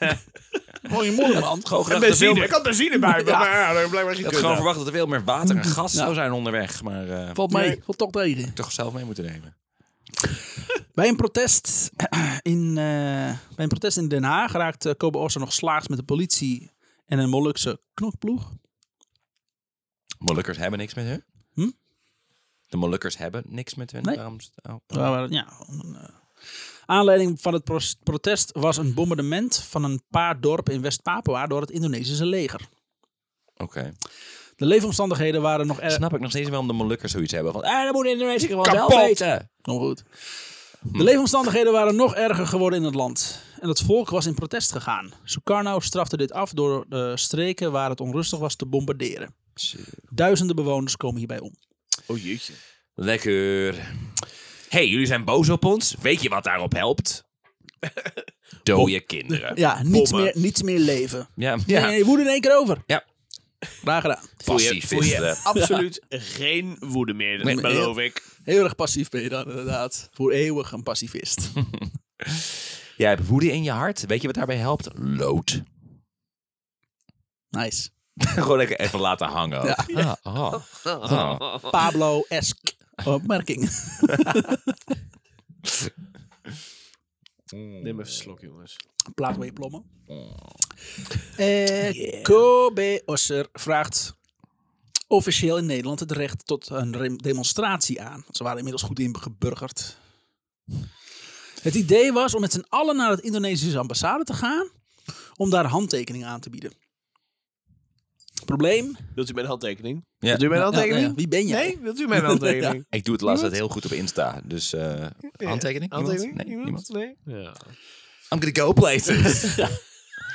[SPEAKER 1] Mooi moeder, man. Gewoon
[SPEAKER 2] graag te veel meer-
[SPEAKER 3] had benzine bij
[SPEAKER 1] Ja.
[SPEAKER 3] ja, dat blijkbaar
[SPEAKER 2] Ik
[SPEAKER 3] geen
[SPEAKER 2] had gewoon verwacht dat er veel meer water en gas zou zijn onderweg. Maar eh, heb
[SPEAKER 1] Valt mee, valt toch tegen.
[SPEAKER 2] ik toch zelf mee moeten nemen.
[SPEAKER 1] Bij een protest in, eh, bij een protest in Den Haag raakt eh, Kobe Orson nog slaags met de politie en een Molukse knokploeg.
[SPEAKER 2] Molukkers hebben niks met hun.
[SPEAKER 1] Hm?
[SPEAKER 2] De Molukkers hebben niks met hun.
[SPEAKER 1] Nee.
[SPEAKER 2] Daarom... oh.
[SPEAKER 1] Waar we- ja, een, eh, Aanleiding van het pros- protest was een bombardement van een paar dorpen in West-Papua door het Indonesische leger.
[SPEAKER 2] Oké.
[SPEAKER 1] De leefomstandigheden waren nog erg.
[SPEAKER 2] Eh, Snap ik nog steeds wel om de Molukkers zoiets hebben. Van, eh, dat moet Indonesië gewoon
[SPEAKER 3] Kapot.
[SPEAKER 2] zelf weten.
[SPEAKER 1] Nog goed. De leefomstandigheden waren nog erger geworden in het land. En het volk was in protest gegaan. Sukarno strafte dit af door de streken waar het onrustig was te bombarderen. Duizenden bewoners komen hierbij om.
[SPEAKER 3] Oh jeetje.
[SPEAKER 2] Lekker. hey, jullie zijn boos op ons. Weet je wat daarop helpt? Dode kinderen.
[SPEAKER 1] Ja, niets,
[SPEAKER 3] Bommen.
[SPEAKER 1] meer, niets meer leven.
[SPEAKER 2] Ja,
[SPEAKER 1] Ja. Nee, woede in één keer over.
[SPEAKER 2] Ja.
[SPEAKER 1] Graag gedaan.
[SPEAKER 3] Voel je, voel je
[SPEAKER 2] Pacifisten.
[SPEAKER 3] absoluut geen woede meer, dat
[SPEAKER 1] Nee.
[SPEAKER 3] beloof ik.
[SPEAKER 1] Heel erg passief ben je dan inderdaad. Voor eeuwig een pacifist.
[SPEAKER 2] Jij hebt woede in je hart. Weet je wat daarbij helpt? Lood.
[SPEAKER 1] Nice.
[SPEAKER 2] Gewoon lekker even laten hangen. ook. Ah, ah, ah.
[SPEAKER 1] Pablo-esque opmerking.
[SPEAKER 3] Neem even een slok, jongens.
[SPEAKER 1] Plaat waar je plommen. Eh, Kobe Osser vraagt officieel in Nederland het recht tot een rem- demonstratie aan. Ze waren inmiddels goed ingeburgerd. Het idee was om met z'n allen naar het Indonesische ambassade te gaan om daar handtekeningen aan te bieden. Probleem?
[SPEAKER 3] Wilt u mijn handtekening?
[SPEAKER 2] Ja.
[SPEAKER 3] Wilt u mijn handtekening?
[SPEAKER 1] Ja, ja. Wie ben jij?
[SPEAKER 3] Nee, wilt u mijn handtekening?
[SPEAKER 2] Ik doe het laatst tijd heel goed op Insta. Dus eh, handtekening? Iemand?
[SPEAKER 3] Handtekening?
[SPEAKER 2] Nee, niemand.
[SPEAKER 3] Nee?
[SPEAKER 2] I'm gonna go places.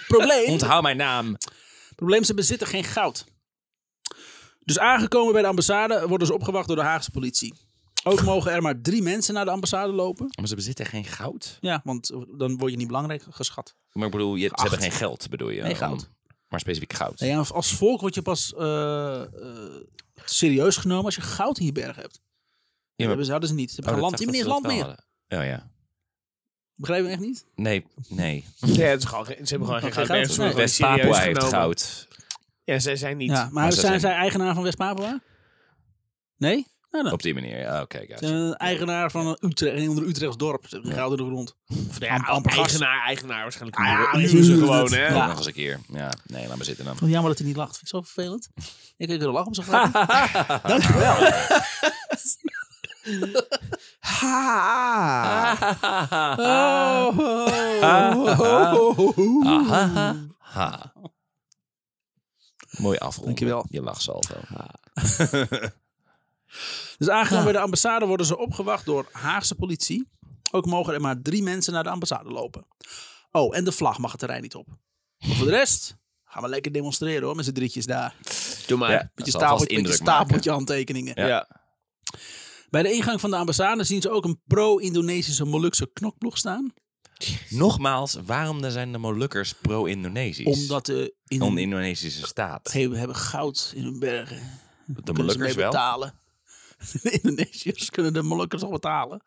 [SPEAKER 1] Probleem?
[SPEAKER 2] Onthoud mijn naam.
[SPEAKER 1] Probleem, ze bezitten geen goud. Dus aangekomen bij de ambassade worden ze opgewacht door de Haagse politie. Ook mogen er maar drie mensen naar de ambassade lopen.
[SPEAKER 2] Maar ze bezitten geen goud.
[SPEAKER 1] Ja, want eh, dan word je niet belangrijk geschat.
[SPEAKER 2] Maar ik bedoel, je, ze hebben geen geld, bedoel je?
[SPEAKER 1] Nee,
[SPEAKER 2] om-
[SPEAKER 1] goud.
[SPEAKER 2] Maar specifiek goud.
[SPEAKER 1] Nee, ja, als volk word je pas eh, eh, serieus genomen als je goud in je berg hebt.
[SPEAKER 2] maar-
[SPEAKER 1] Ja, maar... Ze hadden ze niet. Ze hebben
[SPEAKER 2] Oh,
[SPEAKER 1] geen
[SPEAKER 2] dat
[SPEAKER 1] land.
[SPEAKER 2] dacht
[SPEAKER 1] Die meneer is
[SPEAKER 2] dat
[SPEAKER 1] land
[SPEAKER 2] ze dat
[SPEAKER 1] meer.
[SPEAKER 2] wel hadden. Oh ja.
[SPEAKER 1] Begrijp je echt niet?
[SPEAKER 2] Nee, nee.
[SPEAKER 3] Ja, het is gewoon, geen- ze hebben gewoon geen
[SPEAKER 1] Geen
[SPEAKER 3] goud.
[SPEAKER 1] goud,
[SPEAKER 3] meer. Ze worden
[SPEAKER 1] nee.
[SPEAKER 3] Oh, serieus
[SPEAKER 2] West-Papua heeft
[SPEAKER 3] genomen.
[SPEAKER 2] goud.
[SPEAKER 3] Ja, zij zijn niet...
[SPEAKER 1] Ja, maar,
[SPEAKER 2] Maar ze
[SPEAKER 1] zijn
[SPEAKER 2] zijn-
[SPEAKER 1] zij eigenaar van West-Papua? Nee? Nou, dan.
[SPEAKER 2] Op die manier. Ja, Oké, guys.
[SPEAKER 1] Ze zijn een eigenaar van een Utrecht, een onder Utrechts dorp. Ze hebben een gouden grond.
[SPEAKER 3] Of, nou ja,
[SPEAKER 1] Amper- amper gas.
[SPEAKER 3] eigenaar, eigenaar nou, waarschijnlijk.
[SPEAKER 1] Ah, ja,
[SPEAKER 3] huren-
[SPEAKER 1] die
[SPEAKER 3] huren ze
[SPEAKER 1] huren
[SPEAKER 3] gewoon,
[SPEAKER 1] het.
[SPEAKER 3] hè?
[SPEAKER 1] Ja.
[SPEAKER 2] Nog eens een keer. Ja, nee, laat maar zitten dan.
[SPEAKER 1] Ik vond het jammer dat hij niet lacht. Vind ik zo vervelend. Ik heb er een lach om zijn graag. Dankjewel.
[SPEAKER 2] Aha. Ha. Mooi afronden.
[SPEAKER 1] Dankjewel. Ah.
[SPEAKER 2] Je lachsalvo.
[SPEAKER 1] Dus aangenomen bij de ambassade worden ze opgewacht door Haagse politie. Ook mogen er maar drie mensen naar de ambassade lopen. Oh, en de vlag mag het terrein niet op. Maar voor de rest gaan we lekker demonstreren hoor, met z'n drietjes daar.
[SPEAKER 3] Doe maar.
[SPEAKER 2] Ja,
[SPEAKER 1] Met je
[SPEAKER 2] dat zal
[SPEAKER 1] stapeltje,
[SPEAKER 2] vast
[SPEAKER 1] met je,
[SPEAKER 2] indruk
[SPEAKER 1] stapeltje handtekeningen.
[SPEAKER 2] Ja.
[SPEAKER 1] Bij de ingang van de ambassade zien ze ook een pro-Indonesische Molukse knokploeg staan.
[SPEAKER 2] maken. Nogmaals, waarom dan zijn de Molukkers pro-Indonesisch?
[SPEAKER 1] Omdat de
[SPEAKER 2] Een
[SPEAKER 1] Indonesische
[SPEAKER 2] Indonesische staat.
[SPEAKER 1] hebben goud in hun bergen.
[SPEAKER 2] De
[SPEAKER 1] kunnen ze
[SPEAKER 2] Molukkers
[SPEAKER 1] mee
[SPEAKER 2] wel.
[SPEAKER 1] betalen. De Indonesiërs kunnen de Molukkers toch betalen.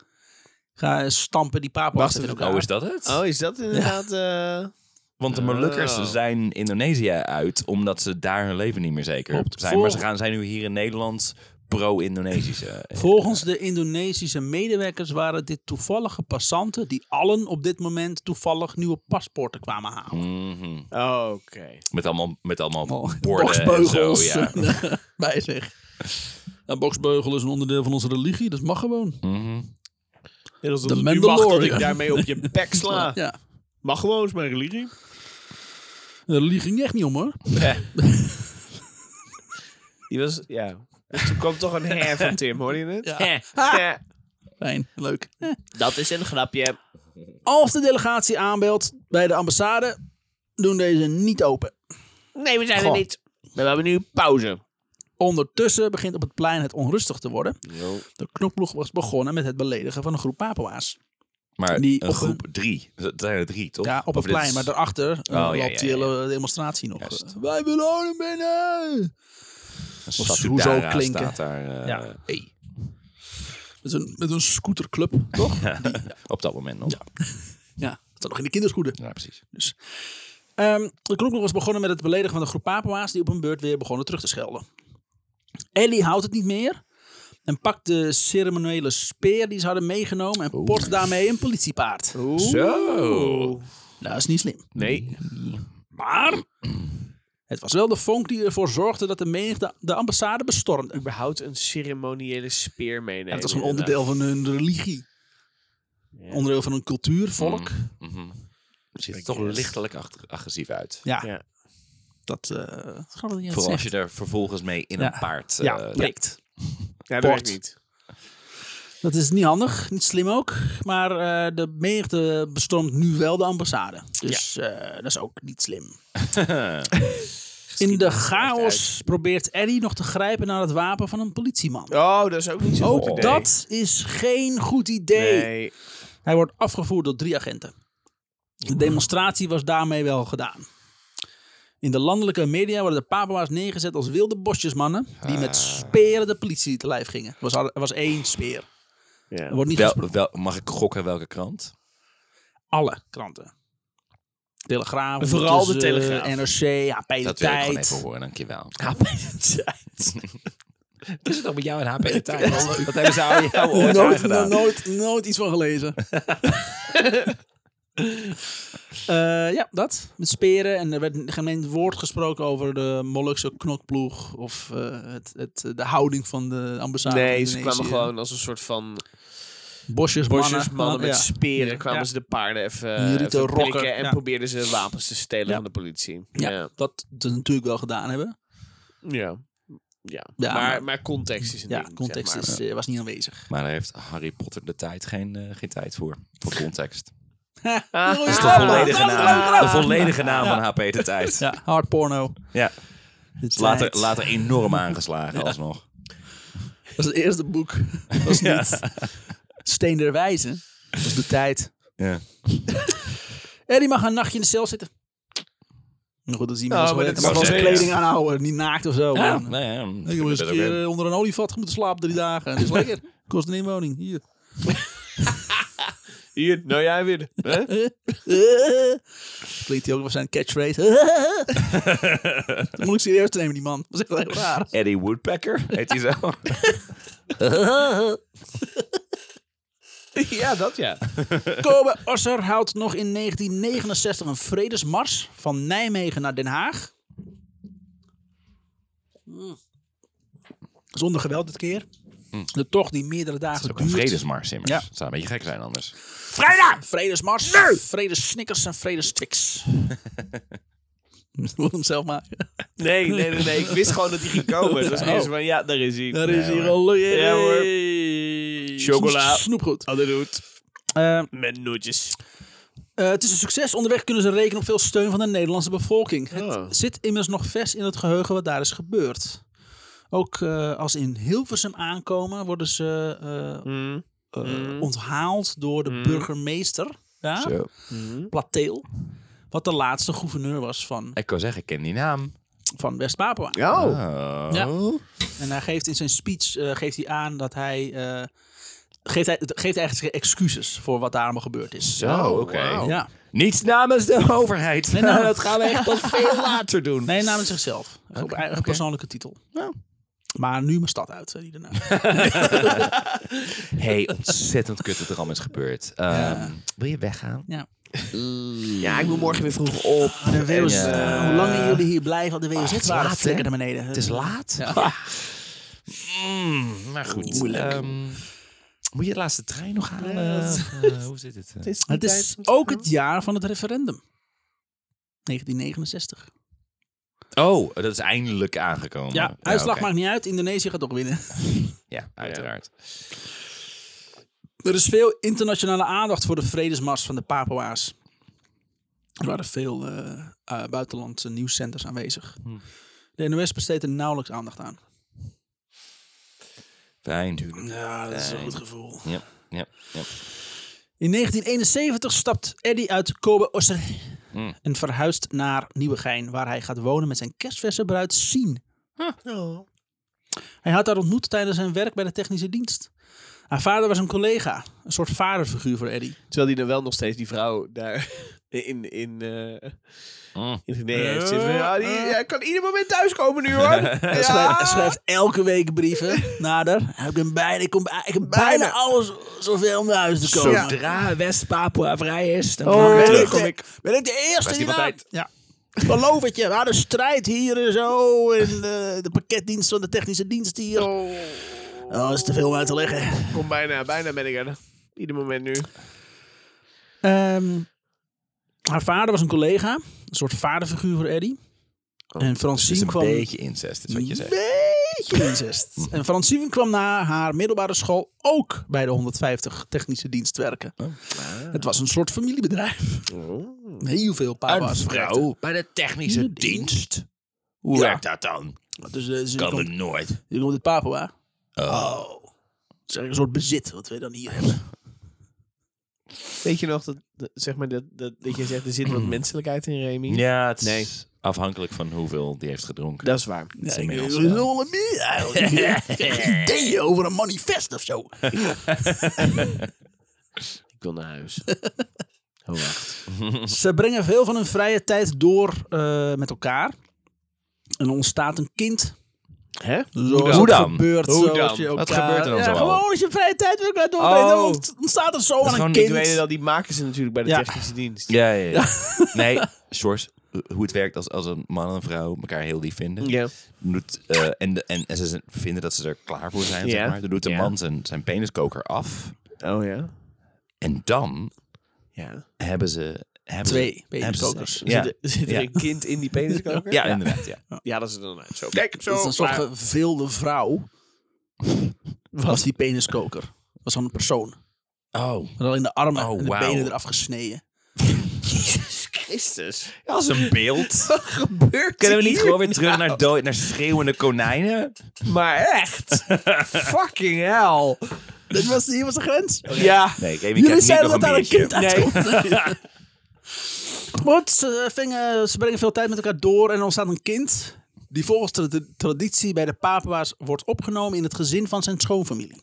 [SPEAKER 1] Ga eh, stampen die papoea's
[SPEAKER 3] Wacht
[SPEAKER 1] in
[SPEAKER 3] even,
[SPEAKER 1] elkaar.
[SPEAKER 2] Oh, is dat het?
[SPEAKER 3] Oh, is dat inderdaad... eh,
[SPEAKER 2] Want de Molukkers
[SPEAKER 3] Oh.
[SPEAKER 2] zijn Indonesië uit omdat ze daar hun leven niet meer zeker
[SPEAKER 1] Klopt.
[SPEAKER 2] zijn.
[SPEAKER 1] Vol-
[SPEAKER 2] Maar ze gaan, zijn nu hier in Nederland eh, pro-Indonesische.
[SPEAKER 1] Volgens de Indonesische medewerkers waren dit toevallige passanten die allen op dit moment toevallig nieuwe paspoorten kwamen halen.
[SPEAKER 2] Mhm.
[SPEAKER 3] Oh, Oké.
[SPEAKER 2] Met allemaal, met allemaal
[SPEAKER 1] Oh,
[SPEAKER 2] borden en zo,
[SPEAKER 1] boksbeugels.
[SPEAKER 2] ja.
[SPEAKER 1] Bij zich. Een boksbeugel is een onderdeel van onze religie, dat mag gewoon.
[SPEAKER 2] Mhm.
[SPEAKER 3] Inmiddels
[SPEAKER 1] De
[SPEAKER 3] dat het nu mag dat ik
[SPEAKER 1] Mandalorian.
[SPEAKER 3] daarmee op je bek sla.
[SPEAKER 1] Ja.
[SPEAKER 3] Mag gewoon, is mijn religie.
[SPEAKER 1] De religie ging echt niet om hoor.
[SPEAKER 3] Die was... Ja. Dus Toen kwam toch een her van Tim, hoor je het?
[SPEAKER 1] Ja.
[SPEAKER 3] Hè. Hè.
[SPEAKER 1] Fijn, leuk. Eh.
[SPEAKER 3] Dat is een grapje.
[SPEAKER 1] Als de delegatie aanbelt bij de ambassade, doen deze niet open.
[SPEAKER 3] Nee, we zijn
[SPEAKER 1] Goh.
[SPEAKER 3] er niet. We hebben nu pauze.
[SPEAKER 1] Ondertussen begint op het plein het onrustig te worden. De knokploeg was begonnen met het beledigen van een groep Papua's.
[SPEAKER 2] Maar
[SPEAKER 1] Die
[SPEAKER 2] een
[SPEAKER 1] op
[SPEAKER 2] groep drie. Dat zijn er drie, toch?
[SPEAKER 1] Ja, op het
[SPEAKER 2] Of Oh, dit
[SPEAKER 1] plein,
[SPEAKER 2] is- Oh,
[SPEAKER 1] maar daarachter eh,
[SPEAKER 2] ja,
[SPEAKER 1] loopt
[SPEAKER 2] ja,
[SPEAKER 1] die
[SPEAKER 2] ja,
[SPEAKER 1] hele demonstratie nog.
[SPEAKER 2] Juist.
[SPEAKER 1] Eh, Wij willen hem binnen!
[SPEAKER 2] een
[SPEAKER 1] of
[SPEAKER 2] Satudara
[SPEAKER 1] Soezo klinken.
[SPEAKER 2] staat daar. eh,
[SPEAKER 1] Ja.
[SPEAKER 2] hey,
[SPEAKER 1] Met een, met een scooterclub, toch?
[SPEAKER 2] op dat moment nog. Ja,
[SPEAKER 1] ja, dat staat nog in de kinderschoenen.
[SPEAKER 2] precies.
[SPEAKER 1] Ehm, de knokploeg was begonnen met het beledigen van de groep Papua's die op hun beurt weer begonnen terug te schelden. Ellie houdt het niet meer en pakt de ceremoniële speer die ze hadden meegenomen en port daarmee een politiepaard.
[SPEAKER 2] Zo.
[SPEAKER 1] Dat is niet slim.
[SPEAKER 3] Nee.
[SPEAKER 1] Maar het was wel de vonk die ervoor zorgde dat de menigte de ambassade bestormde. En
[SPEAKER 3] Überhaupt een ceremoniële speer meenemen.
[SPEAKER 1] dat was gewoon onderdeel van hun religie. Onderdeel van hun cultuur, volk.
[SPEAKER 3] Mm.
[SPEAKER 2] Mhm. Ziet er
[SPEAKER 3] Ik
[SPEAKER 2] toch
[SPEAKER 3] guess.
[SPEAKER 2] lichtelijk ag- agressief uit.
[SPEAKER 1] Ja,
[SPEAKER 3] Ja.
[SPEAKER 1] dat eh, dat gaat het niet
[SPEAKER 2] Vooral als
[SPEAKER 1] zeggen.
[SPEAKER 2] je er vervolgens mee in
[SPEAKER 1] Ja.
[SPEAKER 2] een paard... eh,
[SPEAKER 1] Ja, prikt.
[SPEAKER 3] Ja, dat
[SPEAKER 1] Port.
[SPEAKER 3] werkt niet.
[SPEAKER 1] Dat is niet handig, niet slim ook. Maar eh, de menigte bestormt nu wel de ambassade. Dus eh, dat is ook niet slim. In de chaos probeert Eddie nog te grijpen naar het wapen van een politieman.
[SPEAKER 3] Oh, dat is ook niet zo
[SPEAKER 1] Ook
[SPEAKER 3] goed idee.
[SPEAKER 1] dat is geen goed idee.
[SPEAKER 3] Nee.
[SPEAKER 1] Hij wordt afgevoerd door drie agenten. De demonstratie was daarmee wel gedaan. In de landelijke media werden de Papua's neergezet als wilde bosjesmannen. die
[SPEAKER 2] Ah.
[SPEAKER 1] met speren de politie te lijf gingen. Er was, al- er was één speer.
[SPEAKER 3] Ja.
[SPEAKER 1] Er wordt niet
[SPEAKER 2] Wel, wel, mag ik gokken welke krant?
[SPEAKER 1] alle kranten. Telegraaf,
[SPEAKER 3] Vooral de
[SPEAKER 1] ondertussen,
[SPEAKER 3] Telegraaf.
[SPEAKER 1] NRC, HP de
[SPEAKER 2] Dat wil ik gewoon
[SPEAKER 1] Tijd.
[SPEAKER 2] even horen, dankjewel.
[SPEAKER 3] HP de tijd.
[SPEAKER 2] Wat is het dan met jou en HP de tijd? Dat hebben ze aan jou ooit
[SPEAKER 1] nooit,
[SPEAKER 2] aangedaan.
[SPEAKER 1] nooit, nooit iets van gelezen. Eh, ja, dat. Met speren. En er werd gemeen woord gesproken over de Molukse knokploeg. Of eh, het, het, de houding van de ambassade.
[SPEAKER 3] Nee,
[SPEAKER 1] in
[SPEAKER 3] ze kwamen
[SPEAKER 1] Indonesië.
[SPEAKER 3] gewoon als een soort van
[SPEAKER 1] Bosjes,
[SPEAKER 3] bosjes
[SPEAKER 1] mannen,
[SPEAKER 3] mannen met
[SPEAKER 1] ja.
[SPEAKER 3] speren. Kwamen
[SPEAKER 1] Ja.
[SPEAKER 3] ze de paarden even,
[SPEAKER 1] Die rieten
[SPEAKER 3] even
[SPEAKER 1] rokken,
[SPEAKER 3] prikken en
[SPEAKER 1] ja.
[SPEAKER 3] probeerden ze wapens te stelen
[SPEAKER 1] Ja.
[SPEAKER 3] van de politie.
[SPEAKER 1] Ja.
[SPEAKER 3] Ja.
[SPEAKER 1] Dat ze natuurlijk wel gedaan hebben.
[SPEAKER 3] Ja. Ja.
[SPEAKER 1] Ja,
[SPEAKER 3] maar,
[SPEAKER 1] maar-
[SPEAKER 3] maar context is een
[SPEAKER 1] Ja,
[SPEAKER 3] ding,
[SPEAKER 1] context
[SPEAKER 3] zeg
[SPEAKER 1] is,
[SPEAKER 3] maar.
[SPEAKER 1] eh, was niet aanwezig.
[SPEAKER 2] Maar daar heeft Harry Potter de tijd geen, eh, geen tijd voor. Voor context.
[SPEAKER 3] Ah,
[SPEAKER 1] Mooie
[SPEAKER 2] De
[SPEAKER 1] Ah,
[SPEAKER 2] volledige
[SPEAKER 1] dat is leuk
[SPEAKER 2] naam,
[SPEAKER 1] gedaan.
[SPEAKER 2] de volledige naam van HP de tijd.
[SPEAKER 1] Ja, hard porno.
[SPEAKER 2] Ja.
[SPEAKER 1] De
[SPEAKER 2] Is Later,
[SPEAKER 1] tijd.
[SPEAKER 2] later enorm aangeslagen alsnog.
[SPEAKER 1] Dat is het eerste boek. Dat was niet Steen der Wijze. Dat was de tijd.
[SPEAKER 2] Ja.
[SPEAKER 1] Eddie mag een nachtje in de cel zitten. Nou goed, dat is iemand
[SPEAKER 3] Oh,
[SPEAKER 1] als
[SPEAKER 3] maar
[SPEAKER 1] wel-
[SPEAKER 3] dat
[SPEAKER 1] mag
[SPEAKER 2] is-
[SPEAKER 1] wel zijn
[SPEAKER 2] Ja.
[SPEAKER 1] kleding aanhouden. Niet naakt of zo.
[SPEAKER 2] Ja,
[SPEAKER 1] maar-
[SPEAKER 2] nou ja,
[SPEAKER 1] Ik heb eens
[SPEAKER 2] dat
[SPEAKER 1] een
[SPEAKER 2] ook
[SPEAKER 1] keer
[SPEAKER 2] weer.
[SPEAKER 1] eh, onder een olievat moeten slapen drie dagen. Dat is lekker. Kost een inwoning. Hier.
[SPEAKER 3] Hier, nou jij weer. Hè?
[SPEAKER 1] Klinkt hij ook wel zijn catchphrase. Dan moet ik serieus nemen, die man. Dat is echt heel raar.
[SPEAKER 2] Eddie Woodpecker, heet hij zo?
[SPEAKER 3] ja, dat ja.
[SPEAKER 1] Kobe Osser houdt nog in 1969 een vredesmars van Nijmegen naar Den Haag. Mm. Zonder geweld dit keer. De tocht die meerdere dagen
[SPEAKER 2] Mm. Ook een
[SPEAKER 1] duurt.
[SPEAKER 2] vredesmars immers.
[SPEAKER 1] Ja.
[SPEAKER 2] Het zou een beetje gek zijn anders.
[SPEAKER 1] Vrijdag! Vredesmars, vredessnickers en vredestwix. Moet hem zelf maken.
[SPEAKER 3] Nee, nee, nee, nee. Ik wist gewoon dat hij ging komen. Het was
[SPEAKER 1] Oh.
[SPEAKER 3] meer zo van, ja, daar is hij.
[SPEAKER 1] Daar is
[SPEAKER 2] hoor.
[SPEAKER 1] hier al.
[SPEAKER 3] Ja, hoor. Chocola.
[SPEAKER 1] Snoepgoed.
[SPEAKER 3] Hadden doet.
[SPEAKER 1] Eh,
[SPEAKER 3] Met nootjes.
[SPEAKER 1] Eh, het is een succes. Onderweg kunnen ze rekenen op veel steun van de Nederlandse bevolking.
[SPEAKER 3] Oh.
[SPEAKER 1] Het zit immers nog vers in het geheugen wat daar is gebeurd. Ook eh, als ze in Hilversum aankomen, worden ze eh,
[SPEAKER 3] Mm.
[SPEAKER 1] eh,
[SPEAKER 3] Mm.
[SPEAKER 1] onthaald door de
[SPEAKER 3] Mm.
[SPEAKER 1] burgemeester, ja?
[SPEAKER 2] Zo.
[SPEAKER 1] Plateel. Wat de laatste gouverneur was van,
[SPEAKER 2] Ik kan zeggen, ik ken die naam.
[SPEAKER 1] van West-Papua.
[SPEAKER 3] Oh.
[SPEAKER 2] Oh.
[SPEAKER 1] Ja. En hij geeft in zijn speech eh, geeft hij aan dat hij, eh, geeft hij. geeft eigenlijk excuses voor wat daar allemaal gebeurd is.
[SPEAKER 2] Zo, Oh, oké.
[SPEAKER 3] wauw.
[SPEAKER 1] Ja.
[SPEAKER 2] Niet namens de overheid.
[SPEAKER 1] Nee, nou-
[SPEAKER 2] dat gaan we echt pas veel later doen.
[SPEAKER 1] Nee, namens zichzelf. op eigen persoonlijke titel.
[SPEAKER 2] Ja.
[SPEAKER 1] Maar nu mijn stad uit, eh, zei hij daarna.
[SPEAKER 2] hey, ontzettend kut dat er allemaal is gebeurd. Ehm, Wil je weggaan?
[SPEAKER 1] Ja.
[SPEAKER 3] Ja, ik moet morgen weer vroeg op.
[SPEAKER 1] De WOZ,
[SPEAKER 2] En, eh, Ah,
[SPEAKER 1] hoe langer jullie hier blijven, want de WOZ
[SPEAKER 2] het is
[SPEAKER 1] waren
[SPEAKER 2] laat, hè?
[SPEAKER 1] flikker naar beneden.
[SPEAKER 2] Het is laat.
[SPEAKER 1] Ja.
[SPEAKER 2] Mm, maar goed. Ehm, moet je de laatste trein nog halen? Of, eh, hoe zit het? eh?
[SPEAKER 1] Het is ook het jaar van het referendum.
[SPEAKER 2] Ah,
[SPEAKER 1] 1969.
[SPEAKER 2] Oh, dat is eindelijk aangekomen.
[SPEAKER 1] Ja, uitslag
[SPEAKER 2] oké.
[SPEAKER 1] maakt niet uit. Indonesië gaat toch winnen.
[SPEAKER 2] Ja, uiteraard.
[SPEAKER 1] Er is veel internationale aandacht voor de vredesmars van de Papua's. Er waren veel eh, eh, buitenlandse nieuwscenters aanwezig.
[SPEAKER 2] Hm.
[SPEAKER 1] De NOS besteedt er nauwelijks aandacht aan.
[SPEAKER 2] Fijn.
[SPEAKER 1] Ja, dat
[SPEAKER 2] is een goed
[SPEAKER 1] gevoel.
[SPEAKER 2] Ja, ja, ja.
[SPEAKER 1] In 1971 stapt Eddie uit Kobe Osser
[SPEAKER 2] Mm.
[SPEAKER 1] en verhuist naar Nieuwegein, waar hij gaat wonen met zijn kerstverse bruid Sien. Hij had haar ontmoet tijdens zijn werk bij de technische dienst. Haar vader was een collega, een soort vaderfiguur voor Eddie.
[SPEAKER 3] Terwijl hij dan wel nog steeds die vrouw daar in, in, eh
[SPEAKER 2] Mm.
[SPEAKER 3] in Guinea heeft zitten. Ja, die, hij kan ieder moment thuiskomen nu hoor.
[SPEAKER 1] Hij, schrijft, hij schrijft elke week brieven nader. Ik ben bijna, ik kom, bij- ik heb bijna,
[SPEAKER 3] Bijna.
[SPEAKER 1] alles zoveel om naar huis te komen.
[SPEAKER 5] Zodra West-Papua vrij is, dan
[SPEAKER 3] Oh,
[SPEAKER 5] oh,
[SPEAKER 1] ben,
[SPEAKER 3] terug
[SPEAKER 1] ik
[SPEAKER 3] kom
[SPEAKER 1] de,
[SPEAKER 3] ik.
[SPEAKER 1] ben ik de eerste
[SPEAKER 2] Was die
[SPEAKER 1] die
[SPEAKER 2] wat
[SPEAKER 1] daar-
[SPEAKER 2] tijd?
[SPEAKER 1] Ja. Beloof het je, we hadden strijd hier en zo. En eh, de pakketdienst van de technische dienst hier. Oh, dat is te veel om uit te leggen.
[SPEAKER 3] Kom bijna, bijna ben ik er. Ieder moment nu.
[SPEAKER 1] Ehm, haar vader was een collega. Een soort vaderfiguur voor Eddie. en
[SPEAKER 2] Oh. Dus Het is
[SPEAKER 1] Francine
[SPEAKER 2] een
[SPEAKER 1] kwam...
[SPEAKER 2] beetje incest, is wat je zegt.
[SPEAKER 1] beetje incest. en Francine kwam na haar middelbare school ook bij de 150 technische dienst werken. Het was een soort familiebedrijf. Heel veel papa's.
[SPEAKER 2] bij de technische dienst. Hoe
[SPEAKER 1] Ja.
[SPEAKER 2] werkt dat dan?
[SPEAKER 1] Dus, eh, ze
[SPEAKER 2] Kan
[SPEAKER 1] komt-
[SPEAKER 2] het nooit.
[SPEAKER 1] Je komt uit Papua. Oh. Het is eigenlijk een soort bezit wat wij dan hier hebben.
[SPEAKER 3] Weet je nog dat, dat- zeg maar, dat, dat, dat je zegt, er zit wat menselijkheid in Remy?
[SPEAKER 2] Ja, het is
[SPEAKER 3] Nee.
[SPEAKER 2] afhankelijk van hoeveel die heeft gedronken.
[SPEAKER 3] Dat is waar.
[SPEAKER 1] Ja, ik
[SPEAKER 2] inmiddels,
[SPEAKER 1] wil wel een bier eigenlijk. Ik heb geen idee over een manifest of zo.
[SPEAKER 3] Ik wil naar huis. Oh, wacht.
[SPEAKER 1] Ze brengen veel van hun vrije tijd door eh, met elkaar. En er ontstaat een kind.
[SPEAKER 3] Hè?
[SPEAKER 1] Zo,
[SPEAKER 2] dan? Hoe dan?
[SPEAKER 1] gebeurt
[SPEAKER 2] Hoe
[SPEAKER 1] zoals
[SPEAKER 2] dan?
[SPEAKER 1] je ook
[SPEAKER 2] Wat
[SPEAKER 1] daar-
[SPEAKER 2] gebeurt er dan
[SPEAKER 1] ja,
[SPEAKER 2] zo allemaal?
[SPEAKER 1] Gewoon als je vrije tijd wil gaan doorbrengen,
[SPEAKER 2] Oh.
[SPEAKER 1] dan ontstaat er zo
[SPEAKER 3] Dat is
[SPEAKER 1] aan een
[SPEAKER 3] gewoon, ik
[SPEAKER 1] kind.
[SPEAKER 3] weet dat die maken ze natuurlijk bij de
[SPEAKER 1] Ja.
[SPEAKER 3] technische dienst.
[SPEAKER 2] Ja, ja, ja. nee, Sjors, hoe het werkt als, als een man en een vrouw elkaar heel lief vinden.
[SPEAKER 3] Ja.
[SPEAKER 2] doet, eh, en, de- en, en ze zijn- vinden dat ze er klaar voor zijn,
[SPEAKER 3] Ja.
[SPEAKER 2] zeg maar. Dan doet de
[SPEAKER 3] Ja.
[SPEAKER 2] man zijn, zijn peniskoker af.
[SPEAKER 3] Oh ja.
[SPEAKER 2] En dan
[SPEAKER 3] Ja.
[SPEAKER 2] hebben ze... Hebben
[SPEAKER 1] Twee
[SPEAKER 2] ze-
[SPEAKER 1] peniskokers.
[SPEAKER 2] hebben ze- Ja,
[SPEAKER 3] Zit, er, zit er
[SPEAKER 2] Ja.
[SPEAKER 3] een kind in die peniskoker?
[SPEAKER 2] ja, inderdaad. Ja.
[SPEAKER 3] Ja, Oh. dat is het dan uit. Zo. Ah, Kijk,
[SPEAKER 1] Dat is een soort gevilde vrouw. Was die peniskoker. Dat was zo'n persoon.
[SPEAKER 2] Oh.
[SPEAKER 1] Maar al in de armen
[SPEAKER 2] Oh,
[SPEAKER 1] en de
[SPEAKER 2] wauw.
[SPEAKER 1] benen eraf gesneden.
[SPEAKER 3] Christus.
[SPEAKER 2] Dat is een beeld.
[SPEAKER 1] Gebeurt
[SPEAKER 2] Kunnen we niet
[SPEAKER 1] hier?
[SPEAKER 2] gewoon weer terug naar, dood, naar schreeuwende konijnen?
[SPEAKER 3] Maar echt. Fucking hell.
[SPEAKER 1] Dit was, hier was de grens.
[SPEAKER 3] Ja.
[SPEAKER 2] Nee,
[SPEAKER 1] Jullie
[SPEAKER 2] Kevin krijgt Oh, niet
[SPEAKER 1] zeiden
[SPEAKER 2] nog
[SPEAKER 1] dat
[SPEAKER 2] een
[SPEAKER 1] daar een
[SPEAKER 2] biertje.
[SPEAKER 1] kind uitkomt. Goed, ze, eh, vingen, ze brengen veel tijd met elkaar door en er ontstaat een kind. Die volgens de, de traditie bij de Papua's wordt opgenomen in het gezin van zijn schoonfamilie.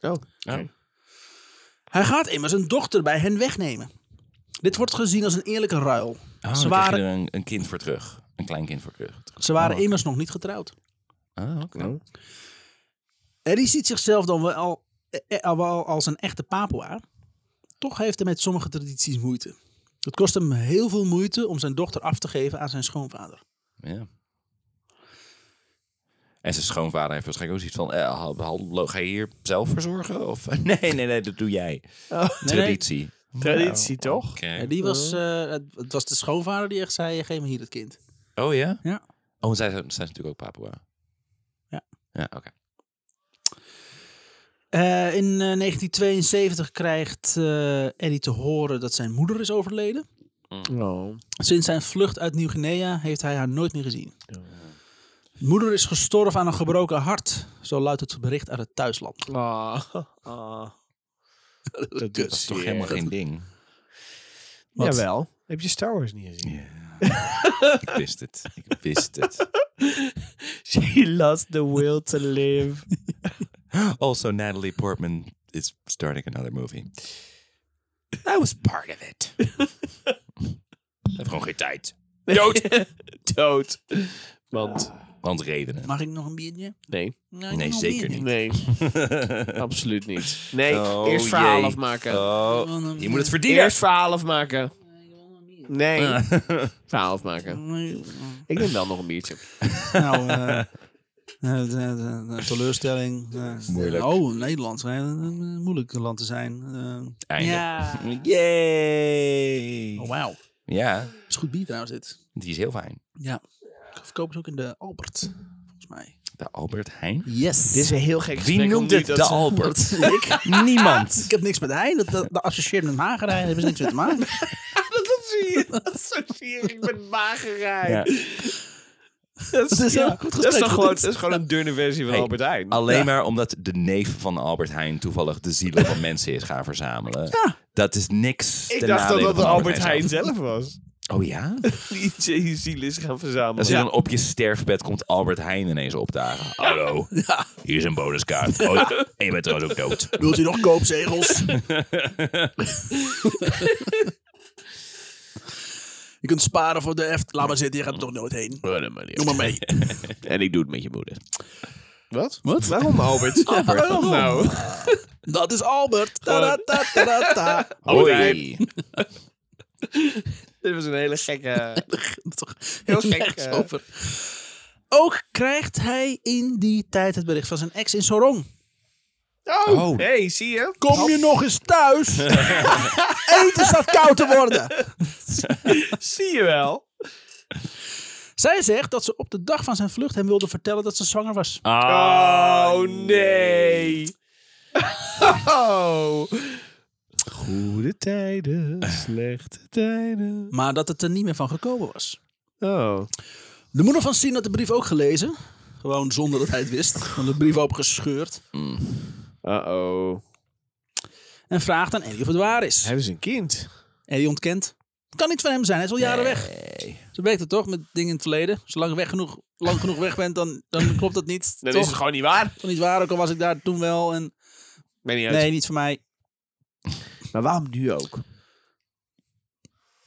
[SPEAKER 3] Oh.
[SPEAKER 1] Hij gaat immers een dochter bij hen wegnemen. Dit wordt gezien als een eerlijke ruil.
[SPEAKER 2] Oh,
[SPEAKER 1] ze
[SPEAKER 2] dan krijg je
[SPEAKER 1] waren,
[SPEAKER 2] er een, een kind voor terug. Een klein kind voor terug.
[SPEAKER 1] ze
[SPEAKER 2] Oh,
[SPEAKER 1] waren immers nog niet getrouwd.
[SPEAKER 2] Ah, oké.
[SPEAKER 1] Eddie ziet zichzelf dan wel, eh, eh, al wel als een echte Papua. Toch heeft hij met sommige tradities moeite. Het kost hem heel veel moeite om zijn dochter af te geven aan zijn schoonvader.
[SPEAKER 2] Ja. En zijn schoonvader heeft waarschijnlijk ook zoiets van... eh, ha- hallo, ga je hier zelf voor zorgen? Of, nee, nee, nee, dat doe jij.
[SPEAKER 3] Oh.
[SPEAKER 2] Traditie.
[SPEAKER 3] Traditie, toch?
[SPEAKER 2] Oké.
[SPEAKER 1] Ja, die was, eh, het, het was de schoonvader die echt zei: geef me hier het kind.
[SPEAKER 2] Oh ja?
[SPEAKER 1] Ja.
[SPEAKER 2] Oh, en zij zijn, zij zijn natuurlijk ook Papua.
[SPEAKER 1] Ja.
[SPEAKER 2] Ja, oké.
[SPEAKER 1] Eh, in eh, 1972 krijgt eh, Eddie te horen dat zijn moeder is overleden.
[SPEAKER 2] Mm.
[SPEAKER 3] Oh.
[SPEAKER 1] Sinds zijn vlucht uit Nieuw-Guinea heeft hij haar nooit meer gezien. Moeder is gestorven aan een gebroken hart. Zo luidt het bericht uit het thuisland.
[SPEAKER 3] Ah. Ah. Dat
[SPEAKER 2] Dat is toch helemaal geen ding?
[SPEAKER 1] Wat?
[SPEAKER 3] Jawel. Heb je Star Wars niet gezien?
[SPEAKER 2] Ik wist het. Ik wist het.
[SPEAKER 3] She lost the will to live.
[SPEAKER 2] Also, Natalie Portman is starting another movie. I was part of it. Ik heb gewoon geen tijd.
[SPEAKER 3] Dood. Ah. Dood. Want,
[SPEAKER 2] Want redenen.
[SPEAKER 1] Mag ik nog een biertje? Nou,
[SPEAKER 3] nee.
[SPEAKER 1] ik
[SPEAKER 2] Nee,
[SPEAKER 1] wil nog
[SPEAKER 2] zeker
[SPEAKER 1] meer
[SPEAKER 2] niet.
[SPEAKER 3] Nee, absoluut niet. Nee,
[SPEAKER 2] Oh,
[SPEAKER 3] eerst verhaal
[SPEAKER 2] jee.
[SPEAKER 3] afmaken.
[SPEAKER 2] Oh, je moet het verdienen.
[SPEAKER 3] Eerst verhaal afmaken. Nee, verhaal afmaken. Ik neem wel nog een biertje.
[SPEAKER 1] Nou, eh, eh, eh, eh, teleurstelling. eh,
[SPEAKER 2] Moeilijk.
[SPEAKER 1] Oh, Nederland. eh, Een moeilijk land te zijn. eh.
[SPEAKER 2] Einde.
[SPEAKER 1] ja.
[SPEAKER 2] Yay.
[SPEAKER 1] Oh, wauw.
[SPEAKER 2] Ja,
[SPEAKER 1] Is goed bier trouwens dit.
[SPEAKER 2] die is heel fijn.
[SPEAKER 1] Ja. Verkopen ze ook in de Albert. Volgens mij.
[SPEAKER 2] De Albert Heijn.
[SPEAKER 1] Yes.
[SPEAKER 3] Dit is een heel gek gesprek.
[SPEAKER 2] Wie noemt
[SPEAKER 3] om niet
[SPEAKER 2] het
[SPEAKER 3] dat
[SPEAKER 2] de
[SPEAKER 3] ze-
[SPEAKER 2] Albert? Ik? Niemand.
[SPEAKER 1] Ik heb niks met Hein. Dat, dat, dat associeert met magerij. Daar hebben ze niks mee te maken.
[SPEAKER 3] Dat zie je. Dat associeer ik met magerij.
[SPEAKER 2] Ja.
[SPEAKER 3] Dat is,
[SPEAKER 1] Dat is
[SPEAKER 3] ja,
[SPEAKER 1] een goed
[SPEAKER 3] dat is
[SPEAKER 1] gesprek.
[SPEAKER 3] toch gewoon, dat is gewoon een dunne versie van
[SPEAKER 2] Hey,
[SPEAKER 3] Albert Heijn.
[SPEAKER 2] Alleen maar omdat de neef van Albert Heijn toevallig de zielen van mensen is gaan verzamelen. Dat is niks.
[SPEAKER 3] ik
[SPEAKER 2] ten
[SPEAKER 3] dacht dat
[SPEAKER 2] nadele
[SPEAKER 3] dat
[SPEAKER 2] van
[SPEAKER 3] Albert Heijn
[SPEAKER 2] zelf.
[SPEAKER 3] zelf was.
[SPEAKER 2] Oh ja?
[SPEAKER 3] Die je ziel is gaan verzamelen.
[SPEAKER 2] Als je dan op je sterfbed komt Albert Heijn ineens opdagen. Hallo, hier is een bonuskaart. Oh, en je bent trouwens ook dood.
[SPEAKER 1] Wilt u nog koopzegels? je kunt sparen voor de Eft. Laat maar zitten. Je gaat er toch nooit heen. Doe maar mee.
[SPEAKER 3] En ik doe het met je moeder. Wat?
[SPEAKER 1] Wat?
[SPEAKER 3] Waarom Albert? Albert, waarom nou?
[SPEAKER 1] Dat is Albert. Ta -da -ta -ta -ta -ta.
[SPEAKER 2] Hoi.
[SPEAKER 3] Dit was een hele gekke...
[SPEAKER 1] Toch
[SPEAKER 3] Heel
[SPEAKER 1] heel
[SPEAKER 3] gek,
[SPEAKER 1] gek
[SPEAKER 3] eh.
[SPEAKER 1] over. Ook krijgt hij in die tijd het bericht van zijn ex in Sorong.
[SPEAKER 3] Oh,
[SPEAKER 2] Oh.
[SPEAKER 3] hey, zie je?
[SPEAKER 1] Kom je nog eens thuis? Eten staat koud te worden.
[SPEAKER 3] Zie je wel?
[SPEAKER 1] Zij zegt dat ze op de dag van zijn vlucht hem wilde vertellen dat ze zwanger was.
[SPEAKER 3] Ah. Oh, nee. Oh. Goede tijden, slechte tijden.
[SPEAKER 1] Maar dat het er niet meer van gekomen was.
[SPEAKER 3] Oh.
[SPEAKER 1] De moeder van Sien had de brief ook gelezen. Gewoon zonder dat hij het wist. Want de brief opgescheurd.
[SPEAKER 3] Uh-oh.
[SPEAKER 1] En vraagt aan Ellie of het waar is.
[SPEAKER 3] Hij is een kind.
[SPEAKER 1] Ellie ontkent. Het kan niet van hem zijn, hij is al jaren weg. Ze werkt het toch met dingen in het verleden. Zolang je weg genoeg, lang genoeg weg bent, dan, dan klopt dat niet.
[SPEAKER 3] Dat
[SPEAKER 1] toch?
[SPEAKER 3] is het gewoon niet waar.
[SPEAKER 1] Toch niet waar, ook al was ik daar toen wel. En
[SPEAKER 3] Maakt niet uit.
[SPEAKER 1] nee, niet voor mij.
[SPEAKER 3] Maar waarom nu ook?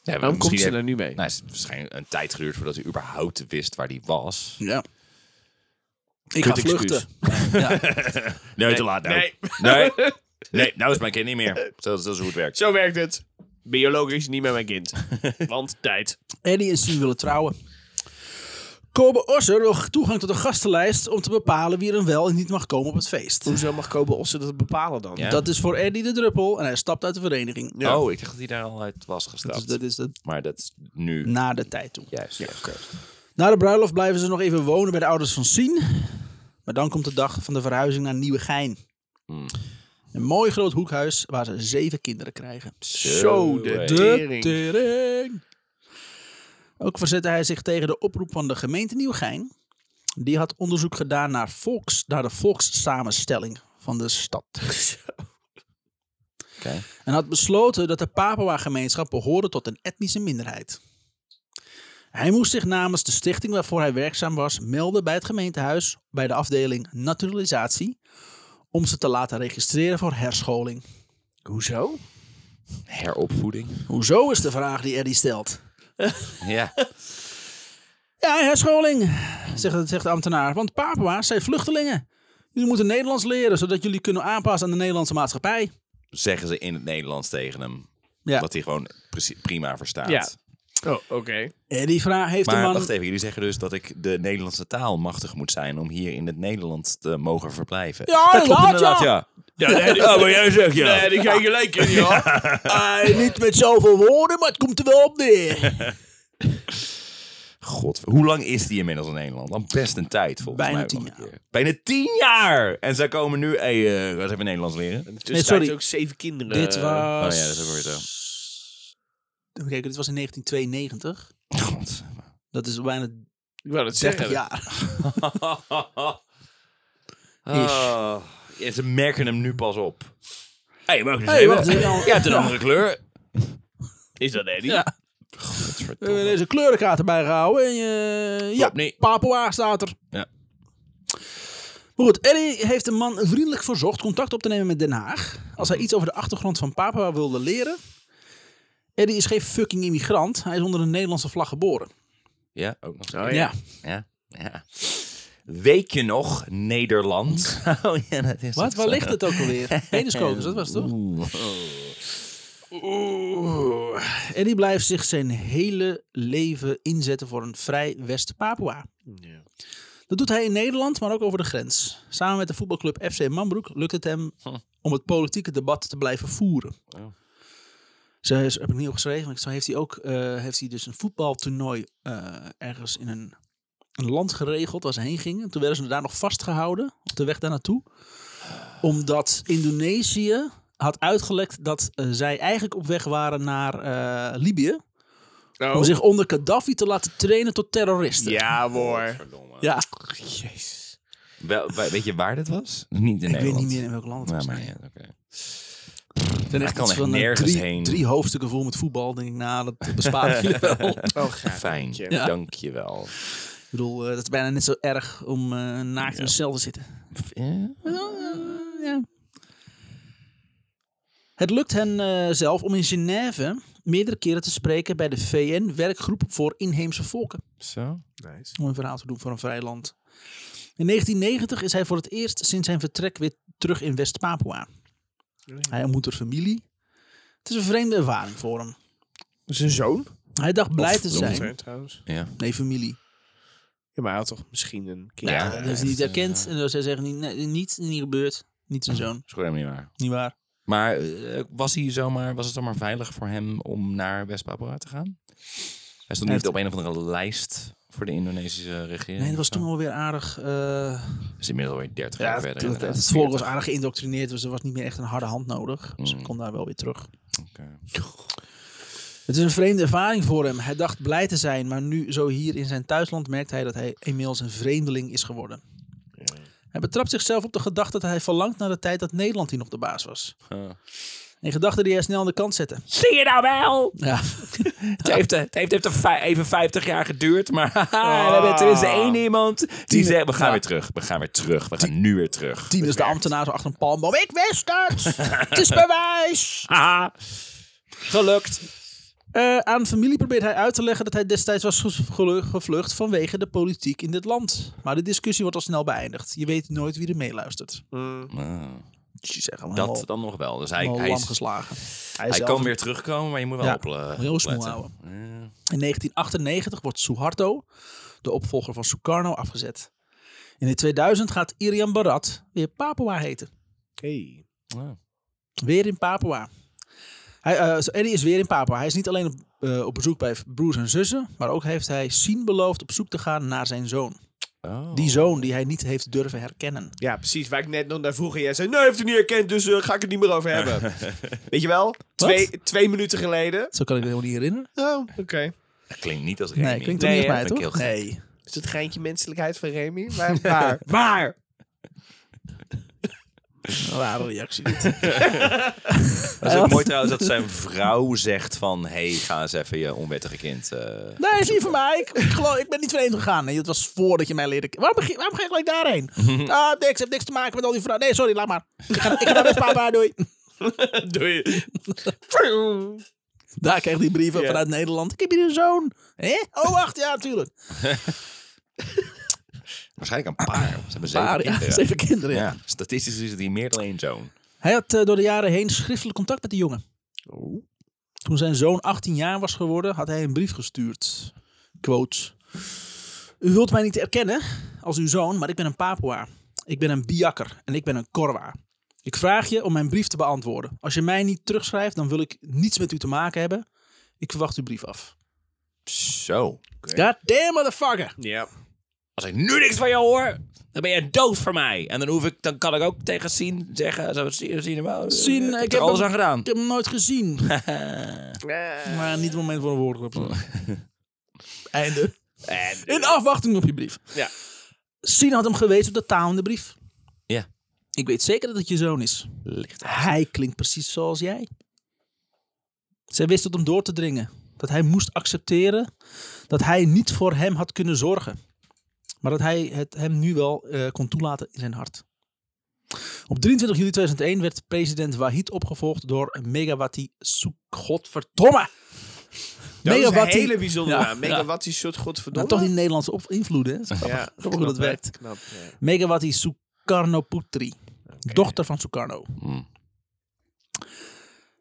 [SPEAKER 2] Ja,
[SPEAKER 3] Waarom komt
[SPEAKER 2] misschien
[SPEAKER 3] ze
[SPEAKER 2] heb-
[SPEAKER 3] daar nu mee?
[SPEAKER 2] Nou, het is waarschijnlijk een tijd geduurd voordat hij überhaupt wist waar hij was.
[SPEAKER 1] Ja. Ik ga
[SPEAKER 2] Kut
[SPEAKER 1] vluchten.
[SPEAKER 2] excuus. Nee, te laat nou.
[SPEAKER 3] nee.
[SPEAKER 2] Nee. Nee, nou is mijn kind niet meer. Dat, dat is hoe het werkt.
[SPEAKER 3] Zo werkt het. Biologisch niet met mijn kind. Want tijd.
[SPEAKER 1] Eddie en Sue willen trouwen. Kobe Osser wil toegang tot de gastenlijst om te bepalen wie er wel en niet mag komen op het feest.
[SPEAKER 3] Hoezo mag Kobe Ossen dat bepalen dan?
[SPEAKER 2] Ja.
[SPEAKER 1] Dat is voor Eddie de druppel en hij stapt uit de vereniging.
[SPEAKER 2] Oh, ik dacht dat hij daar al uit was gestapt.
[SPEAKER 1] Dus dat is het
[SPEAKER 2] Maar dat is nu.
[SPEAKER 1] na de tijd toe.
[SPEAKER 2] Juist. Ja,
[SPEAKER 1] Na de bruiloft blijven ze nog even wonen bij de ouders van Sien. Maar dan komt de dag van de verhuizing naar Nieuwegein. Een mooi groot hoekhuis waar ze zeven kinderen krijgen.
[SPEAKER 3] Zo, de
[SPEAKER 2] hey.
[SPEAKER 3] tering.
[SPEAKER 1] tering. Ook verzette hij zich tegen de oproep van de gemeente Nieuwegein. Die had onderzoek gedaan naar, volks, naar de volkssamenstelling van de stad.
[SPEAKER 2] Oké.
[SPEAKER 1] En had besloten dat de Papua-gemeenschap behoorde tot een etnische minderheid. Hij moest zich namens de stichting waarvoor hij werkzaam was melden bij het gemeentehuis bij de afdeling naturalisatie om ze te laten registreren voor herscholing.
[SPEAKER 3] Hoezo?
[SPEAKER 2] Heropvoeding.
[SPEAKER 1] Hoezo is de vraag die Eddie stelt?
[SPEAKER 2] Ja.
[SPEAKER 1] Ja, herscholing, zegt, zegt de ambtenaar. Want Papua's zijn vluchtelingen. Jullie moeten Nederlands leren, zodat jullie kunnen aanpassen aan de Nederlandse maatschappij.
[SPEAKER 2] Zeggen ze in het Nederlands tegen hem.
[SPEAKER 1] Ja.
[SPEAKER 2] Wat hij gewoon precie- prima verstaat.
[SPEAKER 3] Ja. Oh, oké.
[SPEAKER 1] Eddie vraagt, heeft de
[SPEAKER 2] Maar
[SPEAKER 1] man...
[SPEAKER 2] wacht even, jullie zeggen dus dat ik de Nederlandse taal machtig moet zijn om hier in het Nederland te mogen verblijven.
[SPEAKER 1] Ja, dat klopt
[SPEAKER 2] inderdaad,
[SPEAKER 1] ja.
[SPEAKER 2] ja. Ja,
[SPEAKER 3] oh,
[SPEAKER 2] maar jij zegt ja.
[SPEAKER 3] Nee, die ga je gelijk in, joh.
[SPEAKER 1] Eh, niet met zoveel woorden, maar het komt er wel op
[SPEAKER 2] Eh, oh
[SPEAKER 1] neer.
[SPEAKER 2] God, hoe lang is die inmiddels in Nederland? Dan best een tijd, volgens
[SPEAKER 1] Bijna
[SPEAKER 2] mij.
[SPEAKER 1] tien
[SPEAKER 2] wel een keer. Bijna tien jaar! En zij komen nu... Hé, hey, eh, wat even Nederlands leren?
[SPEAKER 1] Nee,
[SPEAKER 3] Dus
[SPEAKER 1] sorry.
[SPEAKER 3] sorry. ook zeven kinderen.
[SPEAKER 1] dit was...
[SPEAKER 2] oh ja, dat is ook weer zo.
[SPEAKER 1] Even kijken, dit was in 1992.
[SPEAKER 2] God.
[SPEAKER 1] Dat is bijna
[SPEAKER 3] Ik wou dat
[SPEAKER 1] 30
[SPEAKER 3] zeggen.
[SPEAKER 1] jaar.
[SPEAKER 2] Ah, ja, ze merken hem nu pas op. Hé, hey, mag ik
[SPEAKER 1] Hey, wacht nou- even.
[SPEAKER 2] Je hebt een andere kleur.
[SPEAKER 3] Is dat Eddie?
[SPEAKER 1] Ja. We hebben deze kleurenkaart erbij gehouden. En, eh, ja,
[SPEAKER 2] Klopt niet.
[SPEAKER 1] Papua staat er.
[SPEAKER 2] Ja.
[SPEAKER 1] Maar goed, Eddie heeft de man vriendelijk verzocht contact op te nemen met Den Haag. Als hij iets over de achtergrond van Papua wilde leren. Eddie is geen fucking immigrant. Hij is onder een Nederlandse vlag geboren.
[SPEAKER 2] Ja, ook nog zo.
[SPEAKER 3] Oh, ja.
[SPEAKER 2] Ja, ja. Weet je nog, Nederland? oh ja, dat is
[SPEAKER 1] Wat?
[SPEAKER 2] het.
[SPEAKER 1] Waar ligt het ook alweer? Hedescopes, dat was het toch?
[SPEAKER 2] Oeh.
[SPEAKER 1] Oeh. Eddie blijft zich zijn hele leven inzetten voor een vrij West-Papua.
[SPEAKER 3] Ja.
[SPEAKER 1] Dat doet hij in Nederland, maar ook over de grens. Samen met de voetbalclub FC Manbroek lukt het hem om het politieke debat te blijven voeren. Zo is, heb ik niet opgeschreven, maar zo heeft hij ook eh, heeft hij dus een voetbaltoernooi eh, ergens in een, een land geregeld waar ze heen gingen. Toen werden ze daar nog vastgehouden op de weg daar naartoe. Omdat Indonesië had uitgelekt dat eh, zij eigenlijk op weg waren naar eh, Libië. Om
[SPEAKER 3] Oh.
[SPEAKER 1] zich onder Gaddafi te laten trainen tot terroristen.
[SPEAKER 3] Ja, hoor.
[SPEAKER 2] Verdomme.
[SPEAKER 1] Ja.
[SPEAKER 3] Jezus.
[SPEAKER 2] Wel, we- weet je waar dit was? Niet in
[SPEAKER 1] Ik weet
[SPEAKER 2] Nederland.
[SPEAKER 1] niet meer in welk land het
[SPEAKER 2] Ja,
[SPEAKER 1] was.
[SPEAKER 2] maar
[SPEAKER 1] nee.
[SPEAKER 2] ja, oké.
[SPEAKER 1] Ik ben echt
[SPEAKER 2] kan
[SPEAKER 1] iets
[SPEAKER 2] echt
[SPEAKER 1] van eh,
[SPEAKER 2] nergens
[SPEAKER 1] drie,
[SPEAKER 2] heen.
[SPEAKER 1] drie hoofdstukken vol met voetbal. Denk ik, nou, dat bespaar ik jullie wel.
[SPEAKER 3] Oh, graag.
[SPEAKER 2] Fijn,
[SPEAKER 3] Ja.
[SPEAKER 2] dank je wel.
[SPEAKER 1] Ik bedoel, eh, dat is bijna net zo erg om eh, naakt in een cel te zitten.
[SPEAKER 2] Ja.
[SPEAKER 1] Ja. Het lukt hen eh, zelf om in Genève meerdere keren te spreken bij de VN-werkgroep voor inheemse volken.
[SPEAKER 2] Zo.
[SPEAKER 3] Nice.
[SPEAKER 1] Om een verhaal te doen voor een vrij land. In 1990 is hij voor het eerst sinds zijn vertrek weer terug in West-Papua. Hij ontmoet er familie. Het is een vreemde ervaring voor hem.
[SPEAKER 3] Zijn zoon?
[SPEAKER 1] Hij dacht blij
[SPEAKER 2] Of
[SPEAKER 1] te
[SPEAKER 2] dochter.
[SPEAKER 1] zijn.
[SPEAKER 3] trouwens.
[SPEAKER 2] Ja.
[SPEAKER 1] Nee, familie.
[SPEAKER 3] Ja, maar hij had toch misschien een kind.
[SPEAKER 1] Ja,
[SPEAKER 2] Ja,
[SPEAKER 1] dat
[SPEAKER 2] hij
[SPEAKER 1] heeft hij niet
[SPEAKER 2] heeft,
[SPEAKER 1] herkend. En dat zij zeggen, niet, nee, niet, niet gebeurd. Niet zijn zoon.
[SPEAKER 2] Is goed helemaal niet waar.
[SPEAKER 1] Niet waar.
[SPEAKER 2] Maar eh, was, hij zomaar, was het zomaar veilig voor hem om naar West-Papua te gaan? Hij stond niet
[SPEAKER 1] heeft-
[SPEAKER 2] op een of andere lijst voor de Indonesische regering.
[SPEAKER 1] Nee, dat was
[SPEAKER 2] of zo?
[SPEAKER 1] toen alweer aardig... eh,
[SPEAKER 2] is inmiddels alweer 30
[SPEAKER 1] ja,
[SPEAKER 2] jaar
[SPEAKER 1] het,
[SPEAKER 2] verder.
[SPEAKER 1] het-
[SPEAKER 2] inderdaad.
[SPEAKER 1] het volk was aardig geïndoctrineerd. Dus er was niet meer echt een harde hand nodig. Dus ik
[SPEAKER 2] Mm.
[SPEAKER 1] kon daar wel weer terug.
[SPEAKER 2] Oké.
[SPEAKER 1] Het is een vreemde ervaring voor hem. Hij dacht blij te zijn. Maar nu zo hier in zijn thuisland merkt hij dat hij inmiddels een vreemdeling is geworden. Hij betrapt zichzelf op de gedachte dat hij verlangt naar de tijd dat Nederland hier nog de baas was.
[SPEAKER 2] Ah.
[SPEAKER 1] Een gedachte die hij snel aan de kant zette.
[SPEAKER 5] Zie je nou wel?
[SPEAKER 1] Ja.
[SPEAKER 2] Het heeft, eh, het heeft, heeft er vij- even 50 jaar geduurd, maar
[SPEAKER 3] Ah.
[SPEAKER 2] we hebben tenminste één
[SPEAKER 3] Oh.
[SPEAKER 2] iemand Oh. die
[SPEAKER 1] Tien-
[SPEAKER 2] zegt: we gaan
[SPEAKER 1] Ja.
[SPEAKER 2] weer terug, we gaan weer terug, we gaan nu weer terug.
[SPEAKER 1] Tien is de ambtenaar zo achter een palmboom. Ik wist het! het is bewijs!
[SPEAKER 2] Haha, gelukt.
[SPEAKER 1] Eh, aan de familie probeert hij uit te leggen dat hij destijds was ge- gelu- gevlucht vanwege de politiek in dit land. Maar de discussie wordt al snel beëindigd. Je weet nooit wie er meeluistert.
[SPEAKER 3] Mm.
[SPEAKER 2] Ah,
[SPEAKER 1] Dus je zegt allemaal
[SPEAKER 2] dat dan nog wel. Dus hij,
[SPEAKER 1] helemaal
[SPEAKER 2] hij,
[SPEAKER 1] lam
[SPEAKER 2] is,
[SPEAKER 1] geslagen.
[SPEAKER 3] Hij,
[SPEAKER 2] hij
[SPEAKER 3] is
[SPEAKER 2] kan weer terugkomen, maar je moet wel
[SPEAKER 1] Ja,
[SPEAKER 2] opla-
[SPEAKER 1] heel smoel
[SPEAKER 2] opletten.
[SPEAKER 1] houden.
[SPEAKER 2] Ja.
[SPEAKER 1] In 1998 wordt Suharto, de opvolger van Sukarno, afgezet. En in 2000 gaat Irian Barat weer Papua heten.
[SPEAKER 3] Hey.
[SPEAKER 1] Weer in Papua. Hij, eh, zo- Eddie is weer in Papua. Hij is niet alleen op, eh, op bezoek bij v- broers en zussen, maar ook heeft hij Sien beloofd op zoek te gaan naar zijn zoon.
[SPEAKER 2] Oh.
[SPEAKER 1] Die zoon die hij niet heeft durven herkennen.
[SPEAKER 3] Ja, precies. Waar ik net nog naar vroeg en jij zei... Nee, hij heeft het niet herkend, dus eh, ga ik het niet meer over hebben. Weet je wel? Twee, twee minuten geleden.
[SPEAKER 1] Zo kan ik me helemaal niet herinneren.
[SPEAKER 3] Oh, oké.
[SPEAKER 2] Dat klinkt niet als Remy.
[SPEAKER 1] Nee, klinkt er
[SPEAKER 3] Nee,
[SPEAKER 1] niet
[SPEAKER 3] hè,
[SPEAKER 1] bij,
[SPEAKER 2] vind ik
[SPEAKER 1] toch?
[SPEAKER 2] heel gek.
[SPEAKER 1] Nee.
[SPEAKER 3] Is het geintje menselijkheid van Remy? Waar? Waar? waar?
[SPEAKER 1] Rare reactie dit.
[SPEAKER 2] Dat is ook mooi trouwens dat zijn vrouw zegt van... hey, ga eens even je onwettige kind... eh,
[SPEAKER 1] Nee, is niet van mij. Ik, ik geloof, ik ben niet vreemd gegaan. Nee, dat was voordat je mij leerde kennen. Waarom, begin- waarom ga je gelijk daarheen? Ah, niks. Heeft niks te maken met al die vrouwen. Nee, sorry, laat maar. Ik ga, ik ga naar West-Papa, doei.
[SPEAKER 3] Doe je...
[SPEAKER 1] Daar kreeg hij brieven
[SPEAKER 3] Ja.
[SPEAKER 1] vanuit Nederland. Ik heb hier een zoon. Hé? Oh, wacht, ja, tuurlijk.
[SPEAKER 2] waarschijnlijk een paar. Ze hebben zeven
[SPEAKER 1] Paar, ja,
[SPEAKER 2] kinderen.
[SPEAKER 1] zeven kinderen. ja.
[SPEAKER 2] Ja, statistisch is het hier meer dan één zoon.
[SPEAKER 1] Hij had eh, door de jaren heen schriftelijk contact met de jongen. Toen zijn zoon 18 jaar was geworden, had hij een brief gestuurd. Quote. U wilt mij niet herkennen als uw zoon, maar ik ben een Papua. Ik ben een Biakker en ik ben een Korwa. Ik vraag je om mijn brief te beantwoorden. Als je mij niet terugschrijft, dan wil ik niets met u te maken hebben. Ik verwacht uw brief af.
[SPEAKER 2] Zo.
[SPEAKER 1] God damn motherfucker!
[SPEAKER 3] Ja.
[SPEAKER 2] Als ik nu niks van jou hoor, dan ben je dood voor mij. En dan, hoef ik, dan kan ik ook tegen Sien zeggen... Zo, Sien, Sien, wel, eh,
[SPEAKER 1] Sien,
[SPEAKER 2] er
[SPEAKER 1] ik heb
[SPEAKER 2] alles
[SPEAKER 1] hem-
[SPEAKER 2] aan gedaan.
[SPEAKER 1] Ik heb hem nooit gezien. maar niet het moment voor een woordgrap. Einde. In afwachting op je brief.
[SPEAKER 3] Ja.
[SPEAKER 1] Sien had hem gewezen op de taal in de brief.
[SPEAKER 2] Ja.
[SPEAKER 1] Ik weet zeker dat het je zoon is.
[SPEAKER 2] Licht.
[SPEAKER 1] Hij klinkt precies zoals jij. Zij wist het om door te dringen. Dat hij moest accepteren dat hij niet voor hem had kunnen zorgen. Maar dat hij het hem nu wel eh, kon toelaten in zijn hart. Op 23 juli 2001 werd president Wahid opgevolgd door Megawati Soek. Godverdomme!
[SPEAKER 3] Dat is een
[SPEAKER 1] Megawati-
[SPEAKER 3] hele bijzondere
[SPEAKER 1] Ja,
[SPEAKER 3] naam.
[SPEAKER 1] ja.
[SPEAKER 3] Megawatt is shot,
[SPEAKER 1] Nou,
[SPEAKER 3] godverdomme.
[SPEAKER 1] toch die Nederlandse op- invloeden. hè? Dat is
[SPEAKER 3] Ja,
[SPEAKER 1] Grappig hoe dat
[SPEAKER 3] knap, hè?
[SPEAKER 1] werkt.
[SPEAKER 3] Knap, ja.
[SPEAKER 1] Megawati Sukarnoputri, dochter van Sukarno.
[SPEAKER 2] Hmm.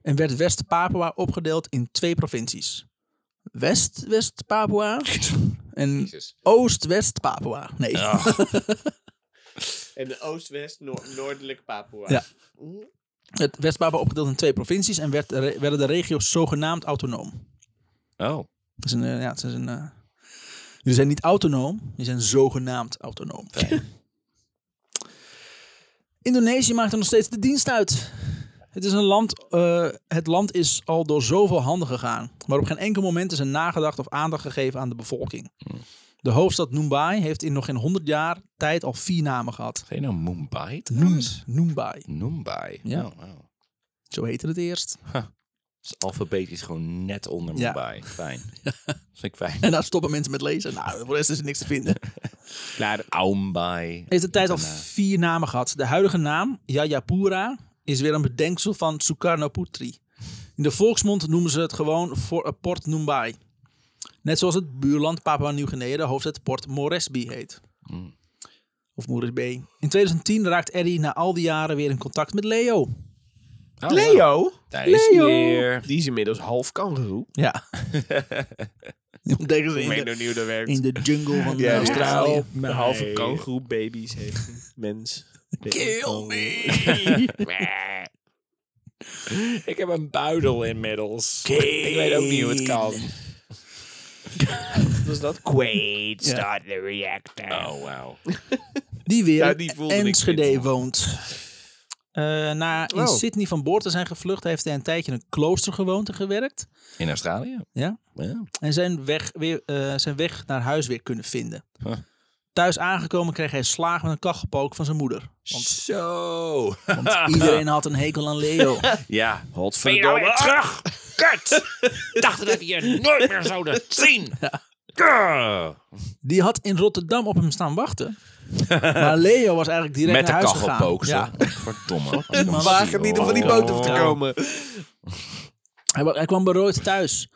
[SPEAKER 1] En werd West-Papua opgedeeld in twee provincies. West-West-Papua en Oost-West-Papua. Nee.
[SPEAKER 3] En de Oost-West, noor- Noordelijk Papua.
[SPEAKER 1] Ja. Het West-Papua opgedeeld in twee provincies en werd, re- werden de regio's zogenaamd autonoom.
[SPEAKER 2] Oh.
[SPEAKER 1] Dat is een, eh, ja, dat is een, eh, die zijn niet autonoom, die zijn zogenaamd autonoom. Indonesië maakt er nog steeds de dienst uit. Het, is een land, eh, het land is al door zoveel handen gegaan, maar op geen enkel moment is er nagedacht of aandacht gegeven aan de bevolking. De hoofdstad Mumbai heeft in nog geen 100 jaar tijd al vier namen gehad.
[SPEAKER 2] Zijn nou Mumbai?
[SPEAKER 1] Noem- Mumbai,
[SPEAKER 2] Mumbai.
[SPEAKER 1] Ja.
[SPEAKER 2] Oh, wow.
[SPEAKER 1] zo heette het eerst.
[SPEAKER 2] Dus alfabetisch gewoon net onder
[SPEAKER 1] Ja.
[SPEAKER 2] Mumbai. Fijn. Vind ik fijn.
[SPEAKER 1] En daar stoppen mensen met lezen. Nou, voor de rest is er niks te vinden.
[SPEAKER 2] Aumbai.
[SPEAKER 1] Heeft de tijd al vier namen gehad. De huidige naam, Jayapura, is weer een bedenksel van Sukarnaputri. In de volksmond noemen ze het gewoon voor- eh, Port Mumbai. Net zoals het buurland Papua Nieuw-Guinea de hoofdstad Port Moresby heet.
[SPEAKER 3] Hmm.
[SPEAKER 1] Of Moresby. In 2010 raakt Eddie na al die jaren weer in contact met Leo.
[SPEAKER 2] Oh,
[SPEAKER 3] Leo,
[SPEAKER 2] Daar is hij
[SPEAKER 1] Leo.
[SPEAKER 2] weer.
[SPEAKER 3] die is inmiddels half kangeroe.
[SPEAKER 1] Ja. Die ontdekken ze in de,
[SPEAKER 3] nog niet hoe dat werkt.
[SPEAKER 1] in de jungle van
[SPEAKER 3] Ja,
[SPEAKER 1] Australië.
[SPEAKER 3] Australië. Een halve kangeroe baby's heeft een mens.
[SPEAKER 1] Kill
[SPEAKER 2] Eh,
[SPEAKER 5] me! ik heb een buidel inmiddels. Ik weet ook niet hoe het kan.
[SPEAKER 3] Wat was dat?
[SPEAKER 5] Quaid, start the reactor.
[SPEAKER 2] Oh, wauw.
[SPEAKER 1] Die weer
[SPEAKER 3] Ja,
[SPEAKER 1] in
[SPEAKER 3] die voelde niks
[SPEAKER 1] Enschede
[SPEAKER 3] meer.
[SPEAKER 1] woont. Eh, na in
[SPEAKER 3] Oh.
[SPEAKER 1] Sydney van boord te zijn gevlucht, heeft hij een tijdje in een klooster gewoond en gewerkt.
[SPEAKER 2] In Australië?
[SPEAKER 1] Ja.
[SPEAKER 2] Ja.
[SPEAKER 1] En zijn weg, weer, eh, zijn weg naar huis weer kunnen vinden.
[SPEAKER 2] Huh.
[SPEAKER 1] Thuis aangekomen kreeg hij slaag met een kachelpook van zijn moeder. Want
[SPEAKER 2] Zo.
[SPEAKER 1] iedereen had een hekel aan Leo.
[SPEAKER 2] ja.
[SPEAKER 5] Ben je nou weer
[SPEAKER 3] Godverdomme.
[SPEAKER 5] terug? Kut! Ik dacht dat we je nooit meer zouden zien.
[SPEAKER 2] Grrr.
[SPEAKER 1] Die had in Rotterdam op hem staan wachten. Maar Leo was eigenlijk direct
[SPEAKER 2] Met de
[SPEAKER 1] naar huis gegaan.
[SPEAKER 2] kachelpook.
[SPEAKER 1] Ja.
[SPEAKER 2] Ja. Verdomme.
[SPEAKER 1] Man.
[SPEAKER 3] Oh. Wagen niet om van die boot af te komen.
[SPEAKER 1] Hij, wa- hij kwam berooid thuis.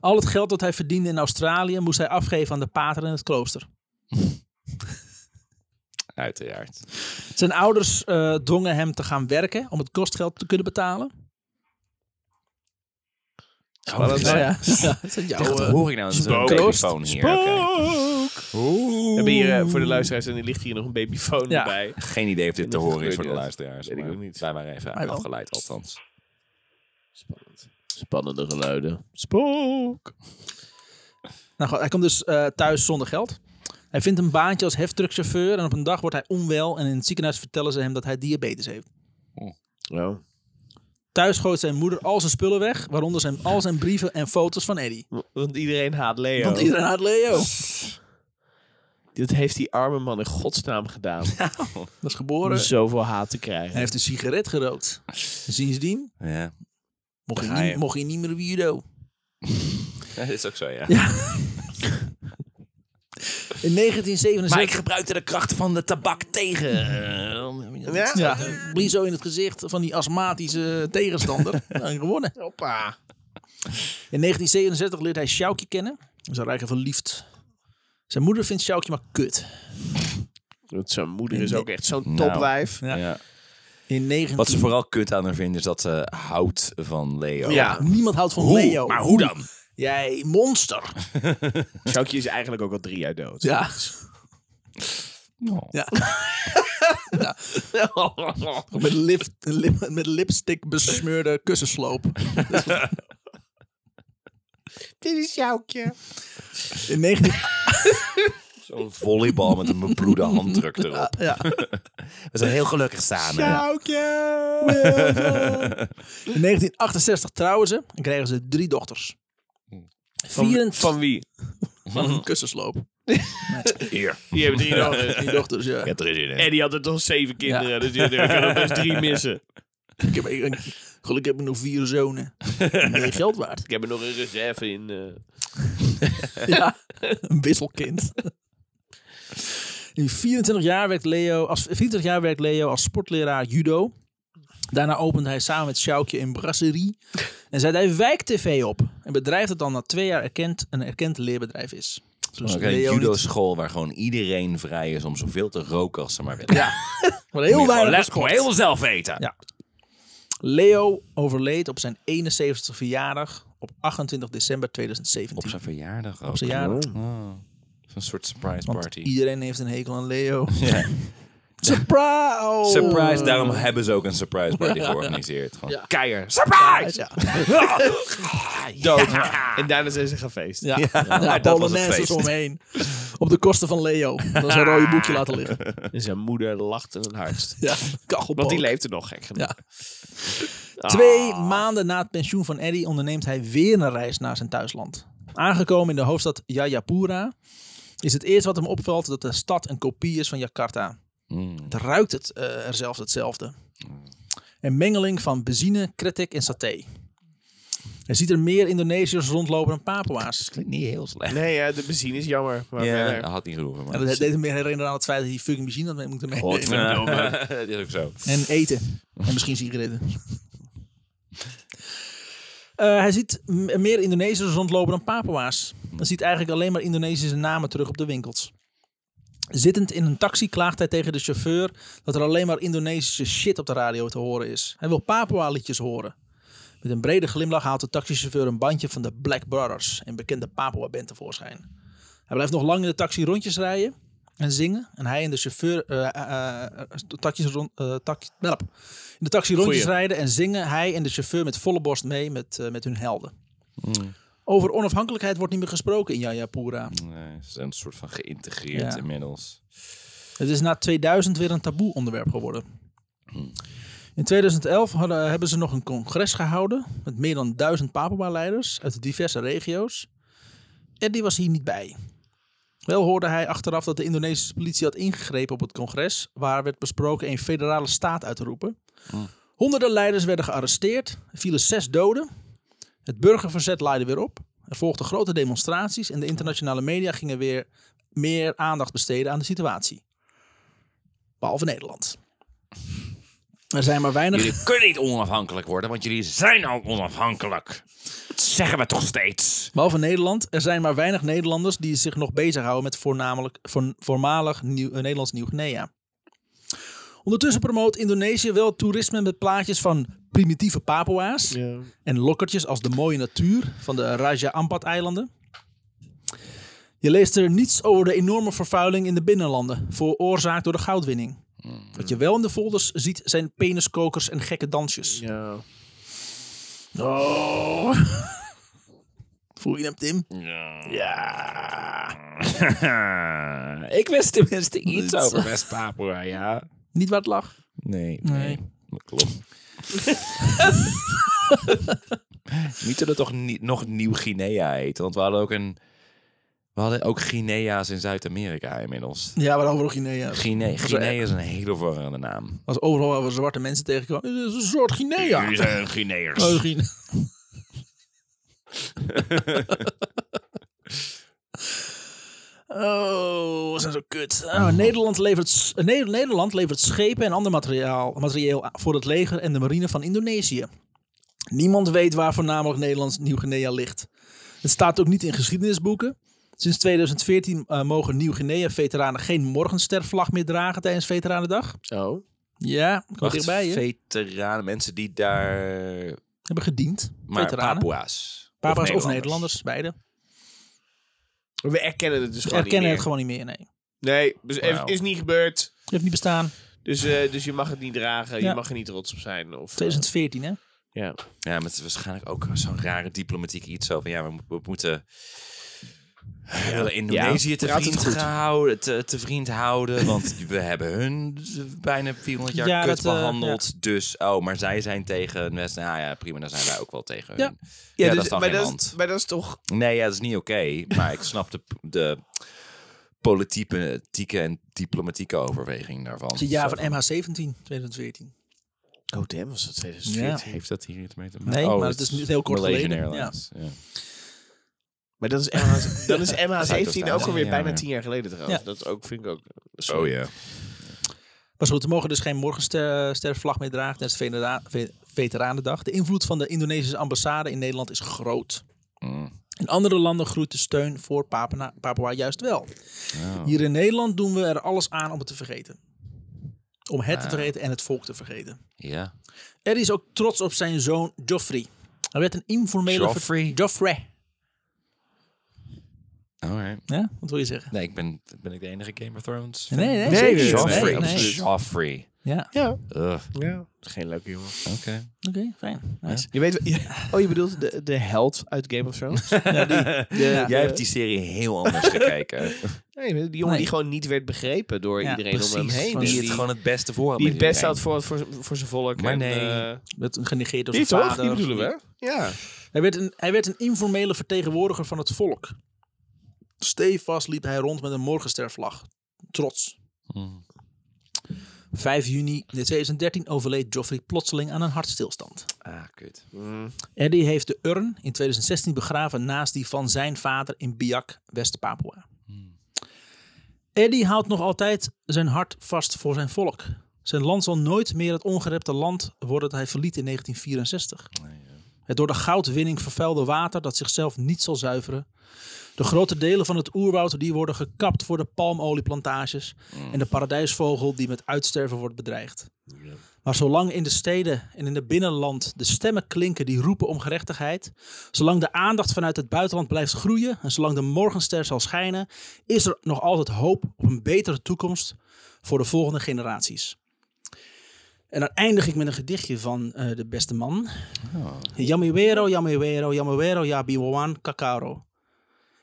[SPEAKER 1] Al het geld dat hij verdiende in Australië moest hij afgeven aan de pater in het klooster.
[SPEAKER 5] Uiteraard.
[SPEAKER 1] Zijn ouders eh, dwongen hem te gaan werken om het kostgeld te kunnen betalen.
[SPEAKER 2] Oh, dat is-
[SPEAKER 1] Oh ja. ja. Is dat jouw,
[SPEAKER 2] Wat
[SPEAKER 1] eh,
[SPEAKER 2] hoor ik nou? Een telefoon hier. oké.
[SPEAKER 3] We hebben hier eh, voor de luisteraars en er ligt hier nog een babyfoon
[SPEAKER 1] Ja.
[SPEAKER 3] bij.
[SPEAKER 2] Geen idee of dit te
[SPEAKER 3] Dat
[SPEAKER 2] horen is voor de
[SPEAKER 3] gebeurt niet.
[SPEAKER 2] luisteraars.
[SPEAKER 3] Weet ik
[SPEAKER 2] maar
[SPEAKER 3] ook niet.
[SPEAKER 2] Wij waren even
[SPEAKER 1] Mij wel.
[SPEAKER 2] afgeleid althans.
[SPEAKER 3] Spannende geluiden. Spook.
[SPEAKER 1] Nou, goed, hij komt dus eh, thuis zonder geld. Hij vindt een baantje als heftruckchauffeur en op een dag wordt hij onwel en in het ziekenhuis vertellen ze hem dat hij diabetes heeft.
[SPEAKER 3] Oh.
[SPEAKER 1] Thuis gooit zijn moeder al zijn spullen weg, waaronder zijn, al zijn brieven en foto's van Eddie.
[SPEAKER 3] Want iedereen haat Leo.
[SPEAKER 1] Want iedereen haat Leo.
[SPEAKER 3] Dit heeft die arme man in godsnaam gedaan.
[SPEAKER 1] Dat is
[SPEAKER 3] om
[SPEAKER 1] geboren.
[SPEAKER 3] zoveel haat te
[SPEAKER 1] Hij
[SPEAKER 3] krijgen.
[SPEAKER 1] heeft een sigaret gerookt. En Sindsdien
[SPEAKER 2] Ja.
[SPEAKER 1] mocht
[SPEAKER 2] Daar
[SPEAKER 1] hij,
[SPEAKER 2] ga
[SPEAKER 1] niet,
[SPEAKER 2] je.
[SPEAKER 1] mocht hij niet meer judo.
[SPEAKER 2] Dat is ook zo, ja.
[SPEAKER 1] In 1977...
[SPEAKER 2] Maar ik gebruikte de kracht van de tabak tegen. eh,
[SPEAKER 1] Ja, blies zo in het gezicht van die astmatische tegenstander. en gewonnen. In 1967 leert hij Sjoukje kennen. Ze raken verliefd. Zijn moeder vindt Sjoukje maar kut.
[SPEAKER 3] Want zijn moeder is
[SPEAKER 1] Nee.
[SPEAKER 3] ook echt zo'n
[SPEAKER 2] Nou.
[SPEAKER 3] topwijf.
[SPEAKER 1] Ja.
[SPEAKER 2] Ja.
[SPEAKER 1] In 19...
[SPEAKER 2] Wat ze vooral kut aan haar vinden is dat ze houdt van Leo.
[SPEAKER 3] Ja.
[SPEAKER 1] Niemand houdt van
[SPEAKER 2] Hoe?
[SPEAKER 1] Leo.
[SPEAKER 2] Maar hoe dan?
[SPEAKER 1] Jij monster.
[SPEAKER 3] Sjoukje is eigenlijk ook al drie jaar dood.
[SPEAKER 1] Ja.
[SPEAKER 2] Nou.
[SPEAKER 1] ja. Ja. Met, lip, lip- met lipstick besmeurde kussensloop.
[SPEAKER 3] Dit is Sjoukje.
[SPEAKER 1] In 19...
[SPEAKER 2] Zo'n volleybal met een bebloede handdruk erop.
[SPEAKER 1] Ja.
[SPEAKER 2] We zijn heel gelukkig samen.
[SPEAKER 1] In 1968 trouwen ze en krijgen ze drie dochters.
[SPEAKER 2] Hm.
[SPEAKER 3] Van,
[SPEAKER 1] Vierend
[SPEAKER 3] van wie?
[SPEAKER 1] van een kussensloop.
[SPEAKER 2] Hier.
[SPEAKER 3] Die hebben drie
[SPEAKER 1] Ja,
[SPEAKER 3] nodig.
[SPEAKER 1] die dochters, ja.
[SPEAKER 2] Ja, er is hier een.
[SPEAKER 3] En die had er toch zeven kinderen.
[SPEAKER 1] Ja.
[SPEAKER 3] Dus die die kan er best drie missen.
[SPEAKER 1] Ik heb, ik, ik- gelukkig heb ik nog vier zonen. Meer geld waard.
[SPEAKER 3] Ik heb er nog een reserve in. eh.
[SPEAKER 1] Ja, een wisselkind. In 24 jaar werkt Leo als, 24 jaar werkt Leo als sportleraar judo. Daarna opende hij samen met Sjoukje een brasserie. En zet hij Wijk-TV op. Een bedrijf dat dan na twee jaar erkend, een erkend leerbedrijf is. Dus
[SPEAKER 2] Oké, Een
[SPEAKER 1] Leo niet-
[SPEAKER 2] judo-school waar gewoon iedereen vrij is om zoveel te roken als ze maar willen.
[SPEAKER 1] Ja, maar heel weinig
[SPEAKER 2] Let
[SPEAKER 1] gesport.
[SPEAKER 2] gewoon heel zelf eten.
[SPEAKER 1] Ja. Leo overleed op zijn 71 verjaardag op 28 december 2017.
[SPEAKER 2] Op zijn verjaardag ook.
[SPEAKER 1] Op zijn jaren.
[SPEAKER 2] Oh. Zo'n soort surprise
[SPEAKER 1] Want
[SPEAKER 2] party.
[SPEAKER 1] iedereen heeft een hekel aan Leo.
[SPEAKER 2] Ja.
[SPEAKER 1] Surprise! Oh.
[SPEAKER 2] Surprise, daarom hebben ze ook een surprise party georganiseerd. Gewoon.
[SPEAKER 1] Ja.
[SPEAKER 3] Keier.
[SPEAKER 1] Surprise! Ja,
[SPEAKER 2] Dood.
[SPEAKER 3] En daarna zijn ze gaan feesten.
[SPEAKER 1] ja. ja.
[SPEAKER 2] dat was het
[SPEAKER 1] Polonaises
[SPEAKER 2] feest.
[SPEAKER 1] omheen. Op de kosten van Leo. Dat is een rode boekje laten liggen.
[SPEAKER 3] En zijn moeder lachte het hardst.
[SPEAKER 1] Ja,
[SPEAKER 3] Want
[SPEAKER 1] kachelpoot.
[SPEAKER 3] die leefde nog, gek genoeg.
[SPEAKER 1] Ja. Twee maanden na het pensioen van Eddie onderneemt hij weer een reis naar zijn thuisland. Aangekomen in de hoofdstad Jayapura is het eerst wat hem opvalt dat de stad een kopie is van Jakarta.
[SPEAKER 2] Mm.
[SPEAKER 1] Het ruikt het, eh, er zelfs hetzelfde. Een mengeling van benzine, kretek en saté. Hij ziet er meer Indonesiërs rondlopen dan Papua's.
[SPEAKER 2] Klinkt niet heel slecht.
[SPEAKER 3] Nee, ja, de benzine is jammer. Maar
[SPEAKER 2] Ja,
[SPEAKER 3] verder.
[SPEAKER 2] dat Oh, had niet geroepen.
[SPEAKER 1] En
[SPEAKER 2] Maar.
[SPEAKER 1] dat deed hem meer herinneren aan het feit dat hij fucking benzine had mee moeten meenemen.
[SPEAKER 2] Ja, dat is ook zo.
[SPEAKER 1] En eten. En misschien sigaretten. Eh, hij ziet m- meer Indonesiërs rondlopen dan Papua's. Hij ziet eigenlijk alleen maar Indonesische namen terug op de winkels. Zittend in een taxi klaagt hij tegen de chauffeur dat er alleen maar Indonesische shit op de radio te horen is. Hij wil Papua-liedjes horen. Met een brede glimlach haalt de taxichauffeur een bandje van de Black Brothers, een bekende Papua-band tevoorschijn. Hij blijft nog lang in de taxi rondjes rijden en zingen. En hij en de chauffeur eh eh, eh, de taxis rond, eh, tax- welp. in de taxi rondjes
[SPEAKER 3] Goeie.
[SPEAKER 1] rijden en zingen. Hij en de chauffeur met volle borst mee met, eh, met hun helden. Over onafhankelijkheid wordt niet meer gesproken in Jayapura.
[SPEAKER 2] Nee, eh, ze zijn een soort van geïntegreerd
[SPEAKER 1] Ja.
[SPEAKER 2] inmiddels.
[SPEAKER 1] Het is na 2000 weer een taboe onderwerp geworden. In 2011 hadden, hebben ze nog een congres gehouden met meer dan duizend Papua-leiders uit diverse regio's. Eddie was hier niet bij. Wel hoorde hij achteraf dat de Indonesische politie had ingegrepen op het congres, waar werd besproken een federale staat uit te roepen. Honderden leiders werden gearresteerd, er vielen zes doden. Het burgerverzet laaide weer op. Er volgden grote demonstraties en de internationale media gingen weer meer aandacht besteden aan de situatie. Behalve Nederland. Er zijn maar weinig.
[SPEAKER 2] Jullie kunnen niet onafhankelijk worden, want jullie zijn al onafhankelijk. Dat zeggen we toch steeds.
[SPEAKER 1] Behalve Nederland, er zijn maar weinig Nederlanders die zich nog bezighouden met voornamelijk, voor, voormalig Nieuw- eh, Nederlands Nieuw-Guinea. Ondertussen promoot Indonesië wel toerisme met plaatjes van primitieve Papua's en lokkertjes als de mooie natuur van de Raja Ampat-eilanden. Je leest er niets over de enorme vervuiling in de binnenlanden, veroorzaakt door de goudwinning. Wat je wel in de folders ziet zijn peniskokers en gekke dansjes.
[SPEAKER 3] Ja.
[SPEAKER 1] Oh. Voel je hem, Tim?
[SPEAKER 5] Ja. ik wist tenminste iets over West-Papua, ja.
[SPEAKER 1] Niet waar het lag.
[SPEAKER 2] Nee, nee. Dat klopt. niet dat het toch ni- nog Nieuw-Guinea heet. Want we hadden ook een... We hadden ook Guinea's in Zuid-Amerika inmiddels.
[SPEAKER 1] Ja, maar over Guinea.
[SPEAKER 2] Guinea, Guinea is een hele verwarrende naam.
[SPEAKER 1] Als overal waar we zwarte mensen tegenkwamen. "Dit is een soort Guinea.
[SPEAKER 2] zijn Guineërs.
[SPEAKER 1] Oh, Guinea. Oh, we zijn zo kut. Oh, Nederland, levert, s- eh, Ne- Nederland levert schepen en ander materiaal, materieel a- voor het leger en de marine van Indonesië. Niemand weet waar voornamelijk Nederlands Nieuw-Guinea ligt. Het staat ook niet in geschiedenisboeken. Sinds 2014 eh, mogen Nieuw-Guinea-veteranen geen morgenstervlag meer dragen tijdens Veteranendag.
[SPEAKER 3] Oh.
[SPEAKER 1] Ja, kwam dichtbij hè?
[SPEAKER 2] veteranen, mensen die daar...
[SPEAKER 1] Hebben gediend.
[SPEAKER 2] Maar
[SPEAKER 1] veteranen.
[SPEAKER 2] Papua's.
[SPEAKER 1] Papa's of Nederlanders, beide.
[SPEAKER 3] We erkennen het dus
[SPEAKER 1] Ze
[SPEAKER 3] gewoon
[SPEAKER 1] erkennen het
[SPEAKER 3] niet
[SPEAKER 1] gewoon niet meer, nee.
[SPEAKER 3] meer. Nee, dus
[SPEAKER 2] Wauw.
[SPEAKER 3] is niet gebeurd.
[SPEAKER 1] Heeft niet bestaan.
[SPEAKER 3] Dus, eh, dus je mag het niet dragen.
[SPEAKER 1] Ja.
[SPEAKER 3] Je mag er niet trots op zijn. Of, eh,
[SPEAKER 1] 2014, hè?
[SPEAKER 3] ja.
[SPEAKER 2] Ja, maar het is waarschijnlijk ook zo'n rare diplomatiek iets zo van ja, we, mo- we moeten we willen Indonesië te,
[SPEAKER 3] praat het
[SPEAKER 2] vriend
[SPEAKER 3] goed.
[SPEAKER 2] gehouden, te, te vriend houden, want we hebben hun bijna 400 jaar
[SPEAKER 1] Ja,
[SPEAKER 2] kut
[SPEAKER 1] dat, eh,
[SPEAKER 2] behandeld. Dus, oh, maar zij zijn tegen West. Nou ja, prima, dan zijn wij ook wel tegen hun.
[SPEAKER 1] Ja. dus-
[SPEAKER 2] Ja, dat is dan
[SPEAKER 3] Dus, maar,
[SPEAKER 2] geen
[SPEAKER 3] dat
[SPEAKER 2] land.
[SPEAKER 3] is, maar dat is toch...
[SPEAKER 2] Nee, ja, dat is niet oké, maar ik snap de, de politieke en diplomatieke overweging daarvan.
[SPEAKER 1] Het is het jaar van MH17, 2014.
[SPEAKER 3] Oh damn, was dat
[SPEAKER 1] 2014?
[SPEAKER 2] Heeft dat hier iets mee te maken?
[SPEAKER 1] Nee, maar het is niet heel kort
[SPEAKER 2] Oh, Malaysian
[SPEAKER 1] geleden.
[SPEAKER 2] Airlines, ja.
[SPEAKER 3] Maar dat is MH, dan is MH17 ook
[SPEAKER 2] Zuidoost-Azië,
[SPEAKER 3] alweer
[SPEAKER 2] ja,
[SPEAKER 3] bijna
[SPEAKER 2] ja.
[SPEAKER 3] tien jaar geleden trouwens.
[SPEAKER 1] Ja.
[SPEAKER 3] Dat ook, vind ik ook...
[SPEAKER 2] Oh
[SPEAKER 3] sorry.
[SPEAKER 2] ja.
[SPEAKER 1] Maar goed, er mogen dus geen morgenstervlag meer dragen tijdens Venera- Ve- Veteranendag. De invloed van de Indonesische ambassade in Nederland is groot.
[SPEAKER 2] Mm.
[SPEAKER 1] In andere landen groeit de steun voor Papua, Papua juist wel.
[SPEAKER 2] Ja.
[SPEAKER 1] Hier in Nederland doen we er alles aan om het te vergeten. Om het te
[SPEAKER 2] Ah.
[SPEAKER 1] vergeten en het volk te vergeten.
[SPEAKER 2] ja.
[SPEAKER 1] Eddie is ook trots op zijn zoon Joffrey. Hij werd een informele... ver-
[SPEAKER 2] Joffrey?
[SPEAKER 1] Joffrey.
[SPEAKER 2] Alright.
[SPEAKER 1] Ja, wat wil je zeggen?
[SPEAKER 2] Nee, ik ben, ben ik de enige Game of Thrones?
[SPEAKER 1] Nee, nee,
[SPEAKER 3] Nee,
[SPEAKER 1] zeker.
[SPEAKER 3] nee,
[SPEAKER 2] Joffrey.
[SPEAKER 1] nee,
[SPEAKER 2] Joffrey.
[SPEAKER 1] nee.
[SPEAKER 2] Joffrey.
[SPEAKER 1] Ja,
[SPEAKER 2] Ugh,
[SPEAKER 3] Ja. Geen leuke jongen.
[SPEAKER 2] oké.
[SPEAKER 1] oké, fijn. Nice.
[SPEAKER 3] Je weet, oh, je bedoelt de, de held uit Game of Thrones?
[SPEAKER 1] Ja.
[SPEAKER 2] Jij hebt die serie heel anders gekeken.
[SPEAKER 3] Nee, die jongen
[SPEAKER 1] Nee.
[SPEAKER 3] die gewoon niet werd begrepen door
[SPEAKER 1] Ja,
[SPEAKER 3] iedereen om hem
[SPEAKER 1] precies.
[SPEAKER 3] heen.
[SPEAKER 1] Van
[SPEAKER 3] Dus
[SPEAKER 2] Die
[SPEAKER 3] Die,
[SPEAKER 2] het gewoon het beste voor had
[SPEAKER 3] die het
[SPEAKER 2] met
[SPEAKER 3] best had
[SPEAKER 2] iedereen.
[SPEAKER 3] voor, voor, voor zijn volk.
[SPEAKER 2] Maar
[SPEAKER 3] en,
[SPEAKER 2] nee.
[SPEAKER 3] eh,
[SPEAKER 1] Werd genegeerd door
[SPEAKER 3] die
[SPEAKER 1] zijn
[SPEAKER 3] toch?
[SPEAKER 1] vader.
[SPEAKER 3] Die bedoelen we? Ja.
[SPEAKER 1] Hij werd, een, hij werd een informele vertegenwoordiger van het volk. Stevast liep hij rond met een morgenstervlag. Trots.
[SPEAKER 2] Mm.
[SPEAKER 1] 5 juni 2013 overleed Joffrey plotseling aan een hartstilstand.
[SPEAKER 2] Ah, kut.
[SPEAKER 1] Eddie heeft de urn in 2016 begraven naast die van zijn vader in Biak, West-Papua. Eddie houdt nog altijd zijn hart vast voor zijn volk. Zijn land zal nooit meer het ongerepte land worden dat hij verliet in 1964. Het door de goudwinning vervuilde water dat zichzelf niet zal zuiveren. De grote delen van het oerwoud die worden gekapt voor de palmolieplantages. En de paradijsvogel die met uitsterven wordt bedreigd. Maar zolang in de steden en in het binnenland de stemmen klinken die roepen om gerechtigheid, zolang de aandacht vanuit het buitenland blijft groeien en zolang de morgenster zal schijnen, is er nog altijd hoop op een betere toekomst voor de volgende generaties. En dan eindig ik met een gedichtje van eh, de beste man.
[SPEAKER 2] Oh.
[SPEAKER 1] Yamiwero, Yamiwero, Yamiwero, Yabiwan, Kakaro.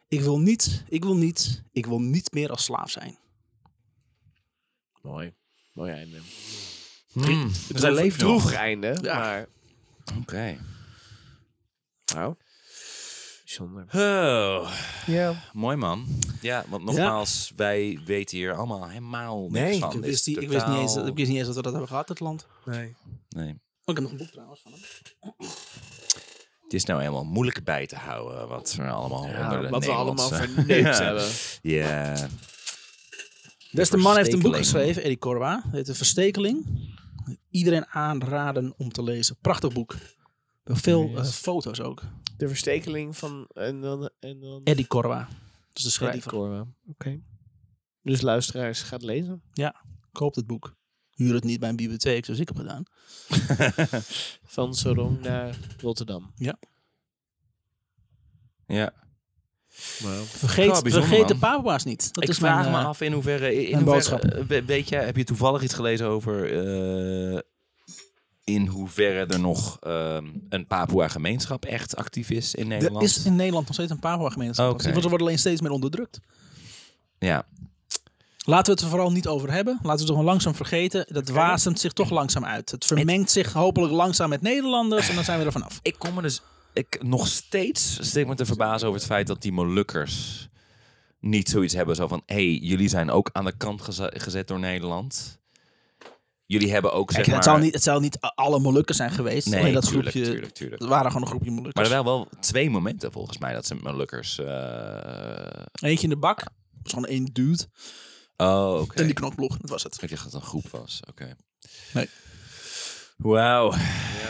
[SPEAKER 1] Ik wil niet, ik wil niet, ik wil niet meer als slaaf zijn.
[SPEAKER 3] Mooi. Mooi einde.
[SPEAKER 2] Mm.
[SPEAKER 3] Het
[SPEAKER 2] Zij
[SPEAKER 3] een
[SPEAKER 2] leeft nog.
[SPEAKER 3] droevig einde,
[SPEAKER 1] Ja.
[SPEAKER 3] maar...
[SPEAKER 2] Oké.
[SPEAKER 3] Nou. Bijzonder.
[SPEAKER 2] Oh,
[SPEAKER 3] Ja.
[SPEAKER 2] mooi man. Ja, want nogmaals, wij weten hier allemaal helemaal niks
[SPEAKER 3] Nee,
[SPEAKER 2] van.
[SPEAKER 1] Ik
[SPEAKER 2] Dit is
[SPEAKER 1] wist, die- ik, wist
[SPEAKER 2] totaal-
[SPEAKER 1] niet eens, dat- ik wist niet eens dat we dat hebben gehad, het land. Oh,
[SPEAKER 3] Nee.
[SPEAKER 2] Nee.
[SPEAKER 1] ik heb nog een boek trouwens van hem.
[SPEAKER 2] Het is nou helemaal moeilijk bij te houden wat we allemaal onder de
[SPEAKER 3] wat we allemaal
[SPEAKER 2] Nederlandse-
[SPEAKER 3] verneukt
[SPEAKER 2] Ja.
[SPEAKER 3] hebben.
[SPEAKER 2] Ja.
[SPEAKER 1] Beste man heeft een boek
[SPEAKER 2] Verstekeling.
[SPEAKER 1] geschreven, Eddie Corba. Het heet De Verstekeling. iedereen aanraden om te lezen. Prachtig boek. Veel eh, foto's ook.
[SPEAKER 3] De verstekeling van... En dan, en dan
[SPEAKER 1] Eddie Corva. Dat is de
[SPEAKER 3] Freddy
[SPEAKER 1] schrijver.
[SPEAKER 3] Corwa. Oké. Dus luisteraars, gaat lezen.
[SPEAKER 1] Koop het boek. Huur het niet bij een bibliotheek zoals ik heb gedaan.
[SPEAKER 3] Van Sorong naar Rotterdam.
[SPEAKER 2] Ja.
[SPEAKER 1] Vergeet,
[SPEAKER 2] Ja, bijzonder,
[SPEAKER 1] vergeet de
[SPEAKER 2] man.
[SPEAKER 1] papa's niet. Dat
[SPEAKER 2] ik
[SPEAKER 1] is
[SPEAKER 2] vraag
[SPEAKER 1] mijn,
[SPEAKER 2] me
[SPEAKER 1] eh,
[SPEAKER 2] af in hoeverre...
[SPEAKER 1] mijn
[SPEAKER 2] In hoeverre-
[SPEAKER 1] boodschap.
[SPEAKER 2] eh, we- weet je, heb je toevallig iets gelezen over... eh, in hoeverre er nog ehm, een Papua-gemeenschap echt actief is in
[SPEAKER 1] Er
[SPEAKER 2] Nederland?
[SPEAKER 1] is in Nederland nog steeds een Papua-gemeenschap.
[SPEAKER 2] Oké.
[SPEAKER 1] Die worden worden alleen steeds meer onderdrukt.
[SPEAKER 2] Ja.
[SPEAKER 1] Laten we het er vooral niet over hebben. Laten we het gewoon langzaam vergeten. Dat wasemt zich toch langzaam uit. Het vermengt zich hopelijk langzaam met Nederlanders en dan zijn we er vanaf.
[SPEAKER 2] Ik kom me dus ik, nog steeds steek me te verbazen over het feit dat die Molukkers niet zoiets hebben. Zo van, hé, hey, jullie zijn ook aan de kant geze- gezet door Nederland. Jullie hebben ook, zeg
[SPEAKER 1] Kijk, het,
[SPEAKER 2] maar...
[SPEAKER 1] zal niet, het zal niet alle Molukkers zijn geweest.
[SPEAKER 2] Nee,
[SPEAKER 1] Alleen dat
[SPEAKER 2] tuurlijk,
[SPEAKER 1] groepje.
[SPEAKER 2] tuurlijk, tuurlijk.
[SPEAKER 1] Het waren gewoon een groepje
[SPEAKER 2] Maar
[SPEAKER 1] Molukkers.
[SPEAKER 2] er waren wel twee momenten volgens mij dat ze met Molukkers... eh,
[SPEAKER 1] Eentje in de bak. Dat was gewoon één dude.
[SPEAKER 2] Oh, oké.
[SPEAKER 1] En die knokploeg. Dat was het.
[SPEAKER 2] Ik dacht dat het een groep was. Oké.
[SPEAKER 1] Nee.
[SPEAKER 2] Wauw.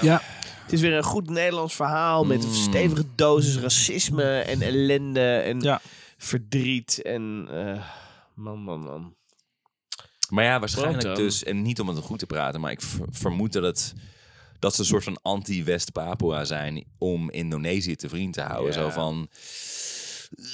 [SPEAKER 1] Ja.
[SPEAKER 3] Het is weer een goed Nederlands verhaal met een
[SPEAKER 2] Mm.
[SPEAKER 3] stevige dosis racisme en ellende en
[SPEAKER 1] Ja.
[SPEAKER 3] verdriet en... eh, man, man, man.
[SPEAKER 2] Maar ja, waarschijnlijk
[SPEAKER 3] Wat dan?
[SPEAKER 2] dus, en niet om het goed te praten, maar ik ver- vermoed dat het dat ze een soort van anti-West-Papua zijn om Indonesië te vriend te houden.
[SPEAKER 3] Ja.
[SPEAKER 2] Zo van. "Eh,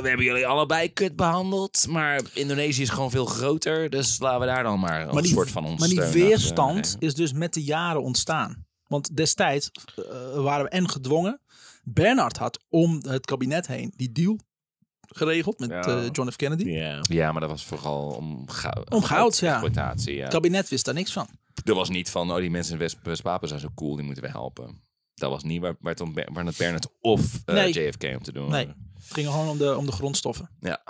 [SPEAKER 2] We hebben jullie allebei kut behandeld, maar Indonesië is gewoon veel groter, dus laten we daar dan maar een
[SPEAKER 1] Maar die,
[SPEAKER 2] soort van ons.
[SPEAKER 1] maar die weerstand is dus met de jaren ontstaan. Want destijds eh, waren we en gedwongen. Bernard had om het kabinet heen die deal geregeld met
[SPEAKER 3] Ja.
[SPEAKER 1] eh, John F. Kennedy.
[SPEAKER 2] Ja, maar dat was vooral om goud.
[SPEAKER 1] Om goud, ja.
[SPEAKER 2] Exploitatie, ja.
[SPEAKER 1] Het kabinet wist daar niks van.
[SPEAKER 2] Er was niet van, oh, die mensen in West- West-Papua zijn zo cool, die moeten we helpen. Dat was niet waar, waar, het, om, waar het Bernard of eh,
[SPEAKER 1] Nee.
[SPEAKER 2] JFK om te doen.
[SPEAKER 1] Nee. Het ging gewoon om de, om de grondstoffen.
[SPEAKER 2] Ja.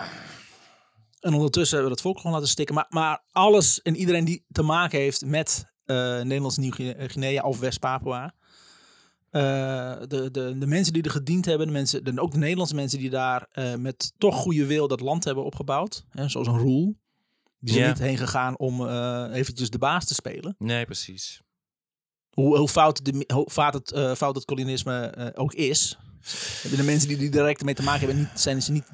[SPEAKER 1] En ondertussen hebben we dat volk gewoon laten stikken. Maar, maar alles en iedereen die te maken heeft met eh, Nederlands Nieuw-Guinea of West-Papua. eh, de, de, de mensen die er gediend hebben, de mensen, de, ook de Nederlandse mensen die daar eh, met toch goede wil dat land hebben opgebouwd. Hè, zoals een Roel. Die zijn
[SPEAKER 2] Ja.
[SPEAKER 1] niet heen gegaan om eh, eventjes de baas te spelen.
[SPEAKER 2] Nee, precies.
[SPEAKER 1] Hoe, hoe, fout, de, hoe fout, het, eh, fout het kolonisme eh, ook is. hebben De mensen die er direct mee te maken hebben, niet, zijn ze niet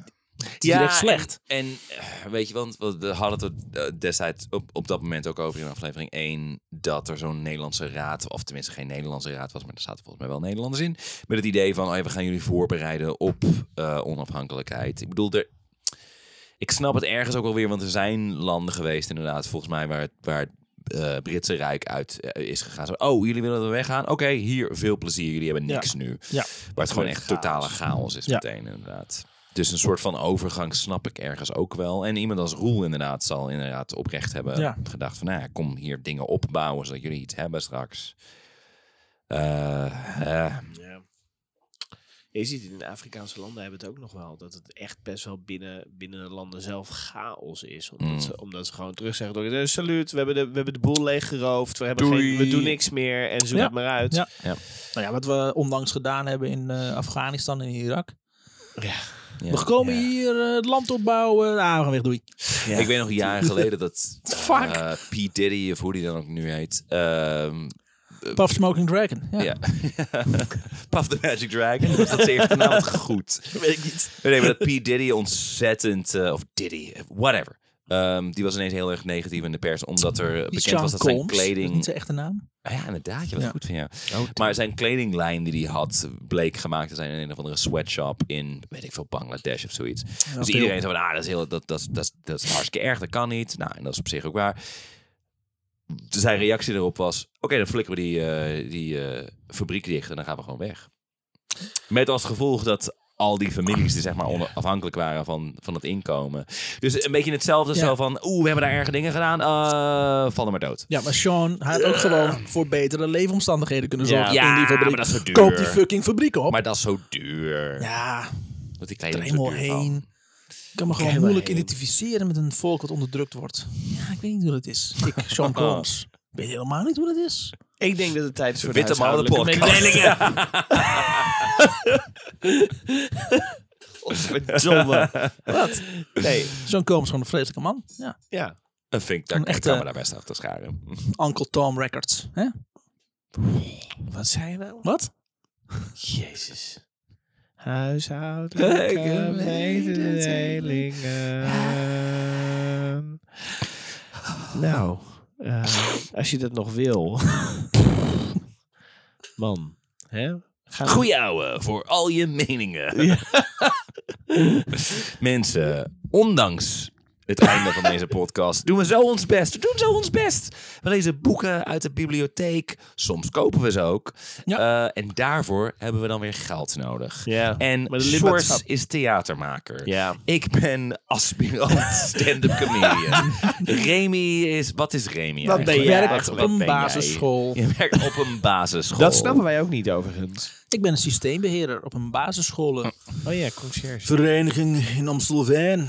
[SPEAKER 1] direct slecht.
[SPEAKER 2] En, eh, weet je, want we we hadden het eh, destijds op, op dat moment ook over in aflevering 1. Dat er zo'n Nederlandse raad, of tenminste geen Nederlandse raad was, maar er zaten volgens mij wel Nederlanders in. Met het idee van, oh ja, we gaan jullie voorbereiden op eh, onafhankelijkheid. Ik bedoel, er, ik snap het ergens ook alweer, want er zijn landen geweest inderdaad, volgens mij, waar het... Waar het eh, Britse Rijk uit eh, is gegaan. Zo, oh, jullie willen er weggaan? Oké, hier, veel plezier. Jullie hebben
[SPEAKER 1] Ja.
[SPEAKER 2] niks nu.
[SPEAKER 1] Ja.
[SPEAKER 2] Waar het gewoon echt totale chaos is
[SPEAKER 1] Ja.
[SPEAKER 2] meteen, inderdaad. Dus een soort van overgang snap ik ergens ook wel. En iemand als Roel inderdaad zal inderdaad oprecht hebben
[SPEAKER 1] Ja.
[SPEAKER 2] gedacht van... Nou ja, kom hier dingen opbouwen zodat jullie iets hebben straks. Eh, eh,
[SPEAKER 3] Ja. Je ziet het in de Afrikaanse landen hebben het ook nog wel. Dat het echt best wel binnen, binnen de landen zelf chaos is. Omdat,
[SPEAKER 2] Mm.
[SPEAKER 3] ze, omdat ze gewoon terug zeggen. door, eh, Salut, we hebben, de, we hebben de boel leeggeroofd. We, hebben
[SPEAKER 2] Doei.
[SPEAKER 3] geen, we doen niks meer en zoek
[SPEAKER 1] Ja.
[SPEAKER 3] het maar uit.
[SPEAKER 1] Ja. Nou ja, wat we onlangs gedaan hebben in eh, Afghanistan en Irak.
[SPEAKER 2] ja,
[SPEAKER 1] we komen
[SPEAKER 2] ja. Eh,
[SPEAKER 1] hier eh, het land opbouwen. Ah, we gaan weg, doei.
[SPEAKER 2] Ik weet nog jaren geleden dat
[SPEAKER 1] Fuck.
[SPEAKER 2] eh, P. Diddy, of hoe die dan ook nu heet... ehm,
[SPEAKER 1] Puff Smoking Dragon. Ja.
[SPEAKER 2] Ja. Puff the Magic Dragon. Was dat zeer vanavond goed? Weet ik niet. Nee, maar dat P. Diddy ontzettend... eh, of Diddy, eh, whatever. Ehm, die was ineens heel erg negatief in de pers. Omdat er eh,
[SPEAKER 1] Die
[SPEAKER 2] bekend
[SPEAKER 1] Sean
[SPEAKER 2] was dat zijn
[SPEAKER 1] Combs, dat is
[SPEAKER 2] kleding...
[SPEAKER 1] Niet zijn echte naam.
[SPEAKER 2] Ah ja, inderdaad. Je was
[SPEAKER 1] Ja.
[SPEAKER 2] goed van jou. maar zijn kledinglijn die hij had... bleek gemaakt te zijn in een of andere sweatshop in... weet ik veel, Bangladesh of zoiets. dus
[SPEAKER 1] veel.
[SPEAKER 2] iedereen zo van... Ah, dat, is heel, dat, dat, dat, dat is hartstikke erg. Dat kan niet. Nou, en dat is op zich ook waar. Zijn reactie erop was... Oké, dan flikkeren we die, eh, die eh, fabriek dicht... en dan gaan we gewoon weg. Met als gevolg dat al die families die zeg maar onder- afhankelijk waren van, van het inkomen. Dus een beetje hetzelfde
[SPEAKER 1] Ja.
[SPEAKER 2] zo van... Oeh, we hebben daar erge dingen gedaan. eh vallen maar dood.
[SPEAKER 1] Ja, maar Sean hij had ook gewoon voor betere leefomstandigheden kunnen zorgen
[SPEAKER 2] Ja,
[SPEAKER 1] in die fabriek.
[SPEAKER 2] maar dat is zo duur.
[SPEAKER 1] Koop die fucking fabriek op.
[SPEAKER 2] Maar dat is zo duur.
[SPEAKER 1] ja,
[SPEAKER 2] Want die
[SPEAKER 1] er
[SPEAKER 2] kleding is zo
[SPEAKER 1] helemaal
[SPEAKER 2] duur van.
[SPEAKER 1] heen. Ik kan me
[SPEAKER 3] Krijg
[SPEAKER 1] gewoon
[SPEAKER 3] je
[SPEAKER 1] moeilijk
[SPEAKER 3] wel heen.
[SPEAKER 1] identificeren met een volk dat onderdrukt wordt. Ja, ik weet niet hoe dat is. Ik,
[SPEAKER 2] Oh.
[SPEAKER 1] Sean Combs. Ik weet helemaal niet hoe dat is.
[SPEAKER 3] Ik denk dat het tijd is voor de
[SPEAKER 2] Witte mannen de
[SPEAKER 3] huishoudelijke
[SPEAKER 2] podcast.
[SPEAKER 3] mededelingen. Godverdomme. Wat? Nee,
[SPEAKER 1] Sean Combs is gewoon een vreselijke man. Ja.
[SPEAKER 3] ja.
[SPEAKER 2] Een vink, daar
[SPEAKER 1] Een
[SPEAKER 2] ik
[SPEAKER 1] echte-
[SPEAKER 2] kan me daar best achter scharen.
[SPEAKER 1] Uncle Tom Records. Hè?
[SPEAKER 3] Wat zei je nou?
[SPEAKER 1] Wat?
[SPEAKER 3] Jezus. Huishoudelijke mededelingen. Nou, eh, als je dat nog wil. Man, hè? Gaan we-
[SPEAKER 2] Goeie ouwe, voor al je meningen.
[SPEAKER 3] Ja.
[SPEAKER 2] Mensen, ondanks het einde van deze podcast, doen we zo ons best. We doen zo ons best. We lezen boeken uit de bibliotheek. Soms kopen we ze ook. Eh, en daarvoor hebben we dan weer geld nodig.
[SPEAKER 3] Ja.
[SPEAKER 2] En
[SPEAKER 3] Maar de lidmaatschap-
[SPEAKER 2] Sjors is theatermaker.
[SPEAKER 3] Ja.
[SPEAKER 2] Ik ben aspirant stand-up comedian. Remy is... Wat is Remy
[SPEAKER 3] Wat ben
[SPEAKER 2] eigenlijk?
[SPEAKER 3] jij?
[SPEAKER 1] Werk
[SPEAKER 3] wat-
[SPEAKER 1] op
[SPEAKER 3] wat
[SPEAKER 1] een
[SPEAKER 3] ben jij?
[SPEAKER 1] basisschool.
[SPEAKER 2] Je werkt op een basisschool.
[SPEAKER 3] Dat snappen wij ook niet overigens.
[SPEAKER 1] Ik ben een systeembeheerder op een basisschool.
[SPEAKER 3] Oh ja, conciërge.
[SPEAKER 1] Vereniging in Amstelveen.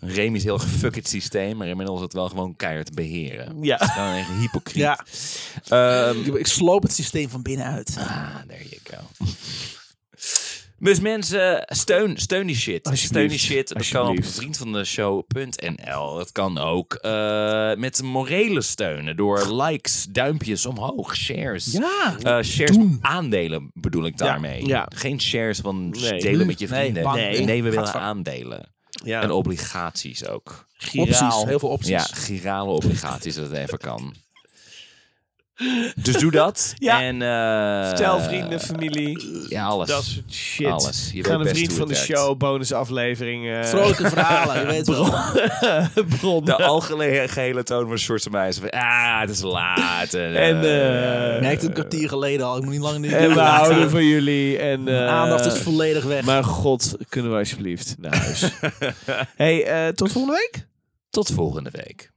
[SPEAKER 2] Remy is heel gefuck het systeem, maar inmiddels is het wel gewoon keihard beheren.
[SPEAKER 3] Ja.
[SPEAKER 2] Dan echt hypocriet.
[SPEAKER 1] Ja,
[SPEAKER 2] Ehm,
[SPEAKER 1] ik, ik sloop het systeem van binnenuit.
[SPEAKER 2] ah, there you go. Dus mensen, steun, steun die shit. Steun die shit. Dat kan op
[SPEAKER 3] Alsjeblieft.
[SPEAKER 2] vriendvandeshow.nl. Dat kan ook eh, met morele steunen. Door likes, duimpjes omhoog, shares.
[SPEAKER 3] Ja.
[SPEAKER 2] Eh, shares aandelen bedoel ik daarmee.
[SPEAKER 3] Ja.
[SPEAKER 2] Geen shares van
[SPEAKER 3] Nee.
[SPEAKER 2] delen met je vrienden.
[SPEAKER 1] bank.
[SPEAKER 2] nee.
[SPEAKER 1] Nee.
[SPEAKER 2] we willen aandelen.
[SPEAKER 3] ja.
[SPEAKER 2] En obligaties ook.
[SPEAKER 1] Opties, heel veel opties.
[SPEAKER 2] Ja, girale obligaties, dat het even kan. Dus doe dat.
[SPEAKER 3] Ja.
[SPEAKER 2] En, eh,
[SPEAKER 3] Vertel vrienden, familie,
[SPEAKER 2] Ja, alles.
[SPEAKER 3] dat soort shit.
[SPEAKER 2] Alles. Je
[SPEAKER 3] Gaan
[SPEAKER 2] weet
[SPEAKER 3] een
[SPEAKER 2] best
[SPEAKER 3] vriend
[SPEAKER 2] hoe
[SPEAKER 3] van de
[SPEAKER 2] het werkt.
[SPEAKER 3] show, bonusaflevering. eh,
[SPEAKER 1] Vrolijke verhalen, je weet wel.
[SPEAKER 3] bron.
[SPEAKER 2] De algehele toon van Shorts en mij is van, ah, het is laat. En,
[SPEAKER 3] En,
[SPEAKER 2] eh,
[SPEAKER 3] eh,
[SPEAKER 1] Ik merkte het een kwartier geleden al. Ik moet niet lang in de
[SPEAKER 3] En we houden van jullie. En, eh,
[SPEAKER 1] Aandacht is volledig weg.
[SPEAKER 3] Maar god, kunnen we alsjeblieft naar huis. hey, eh, tot volgende week?
[SPEAKER 2] Tot volgende week.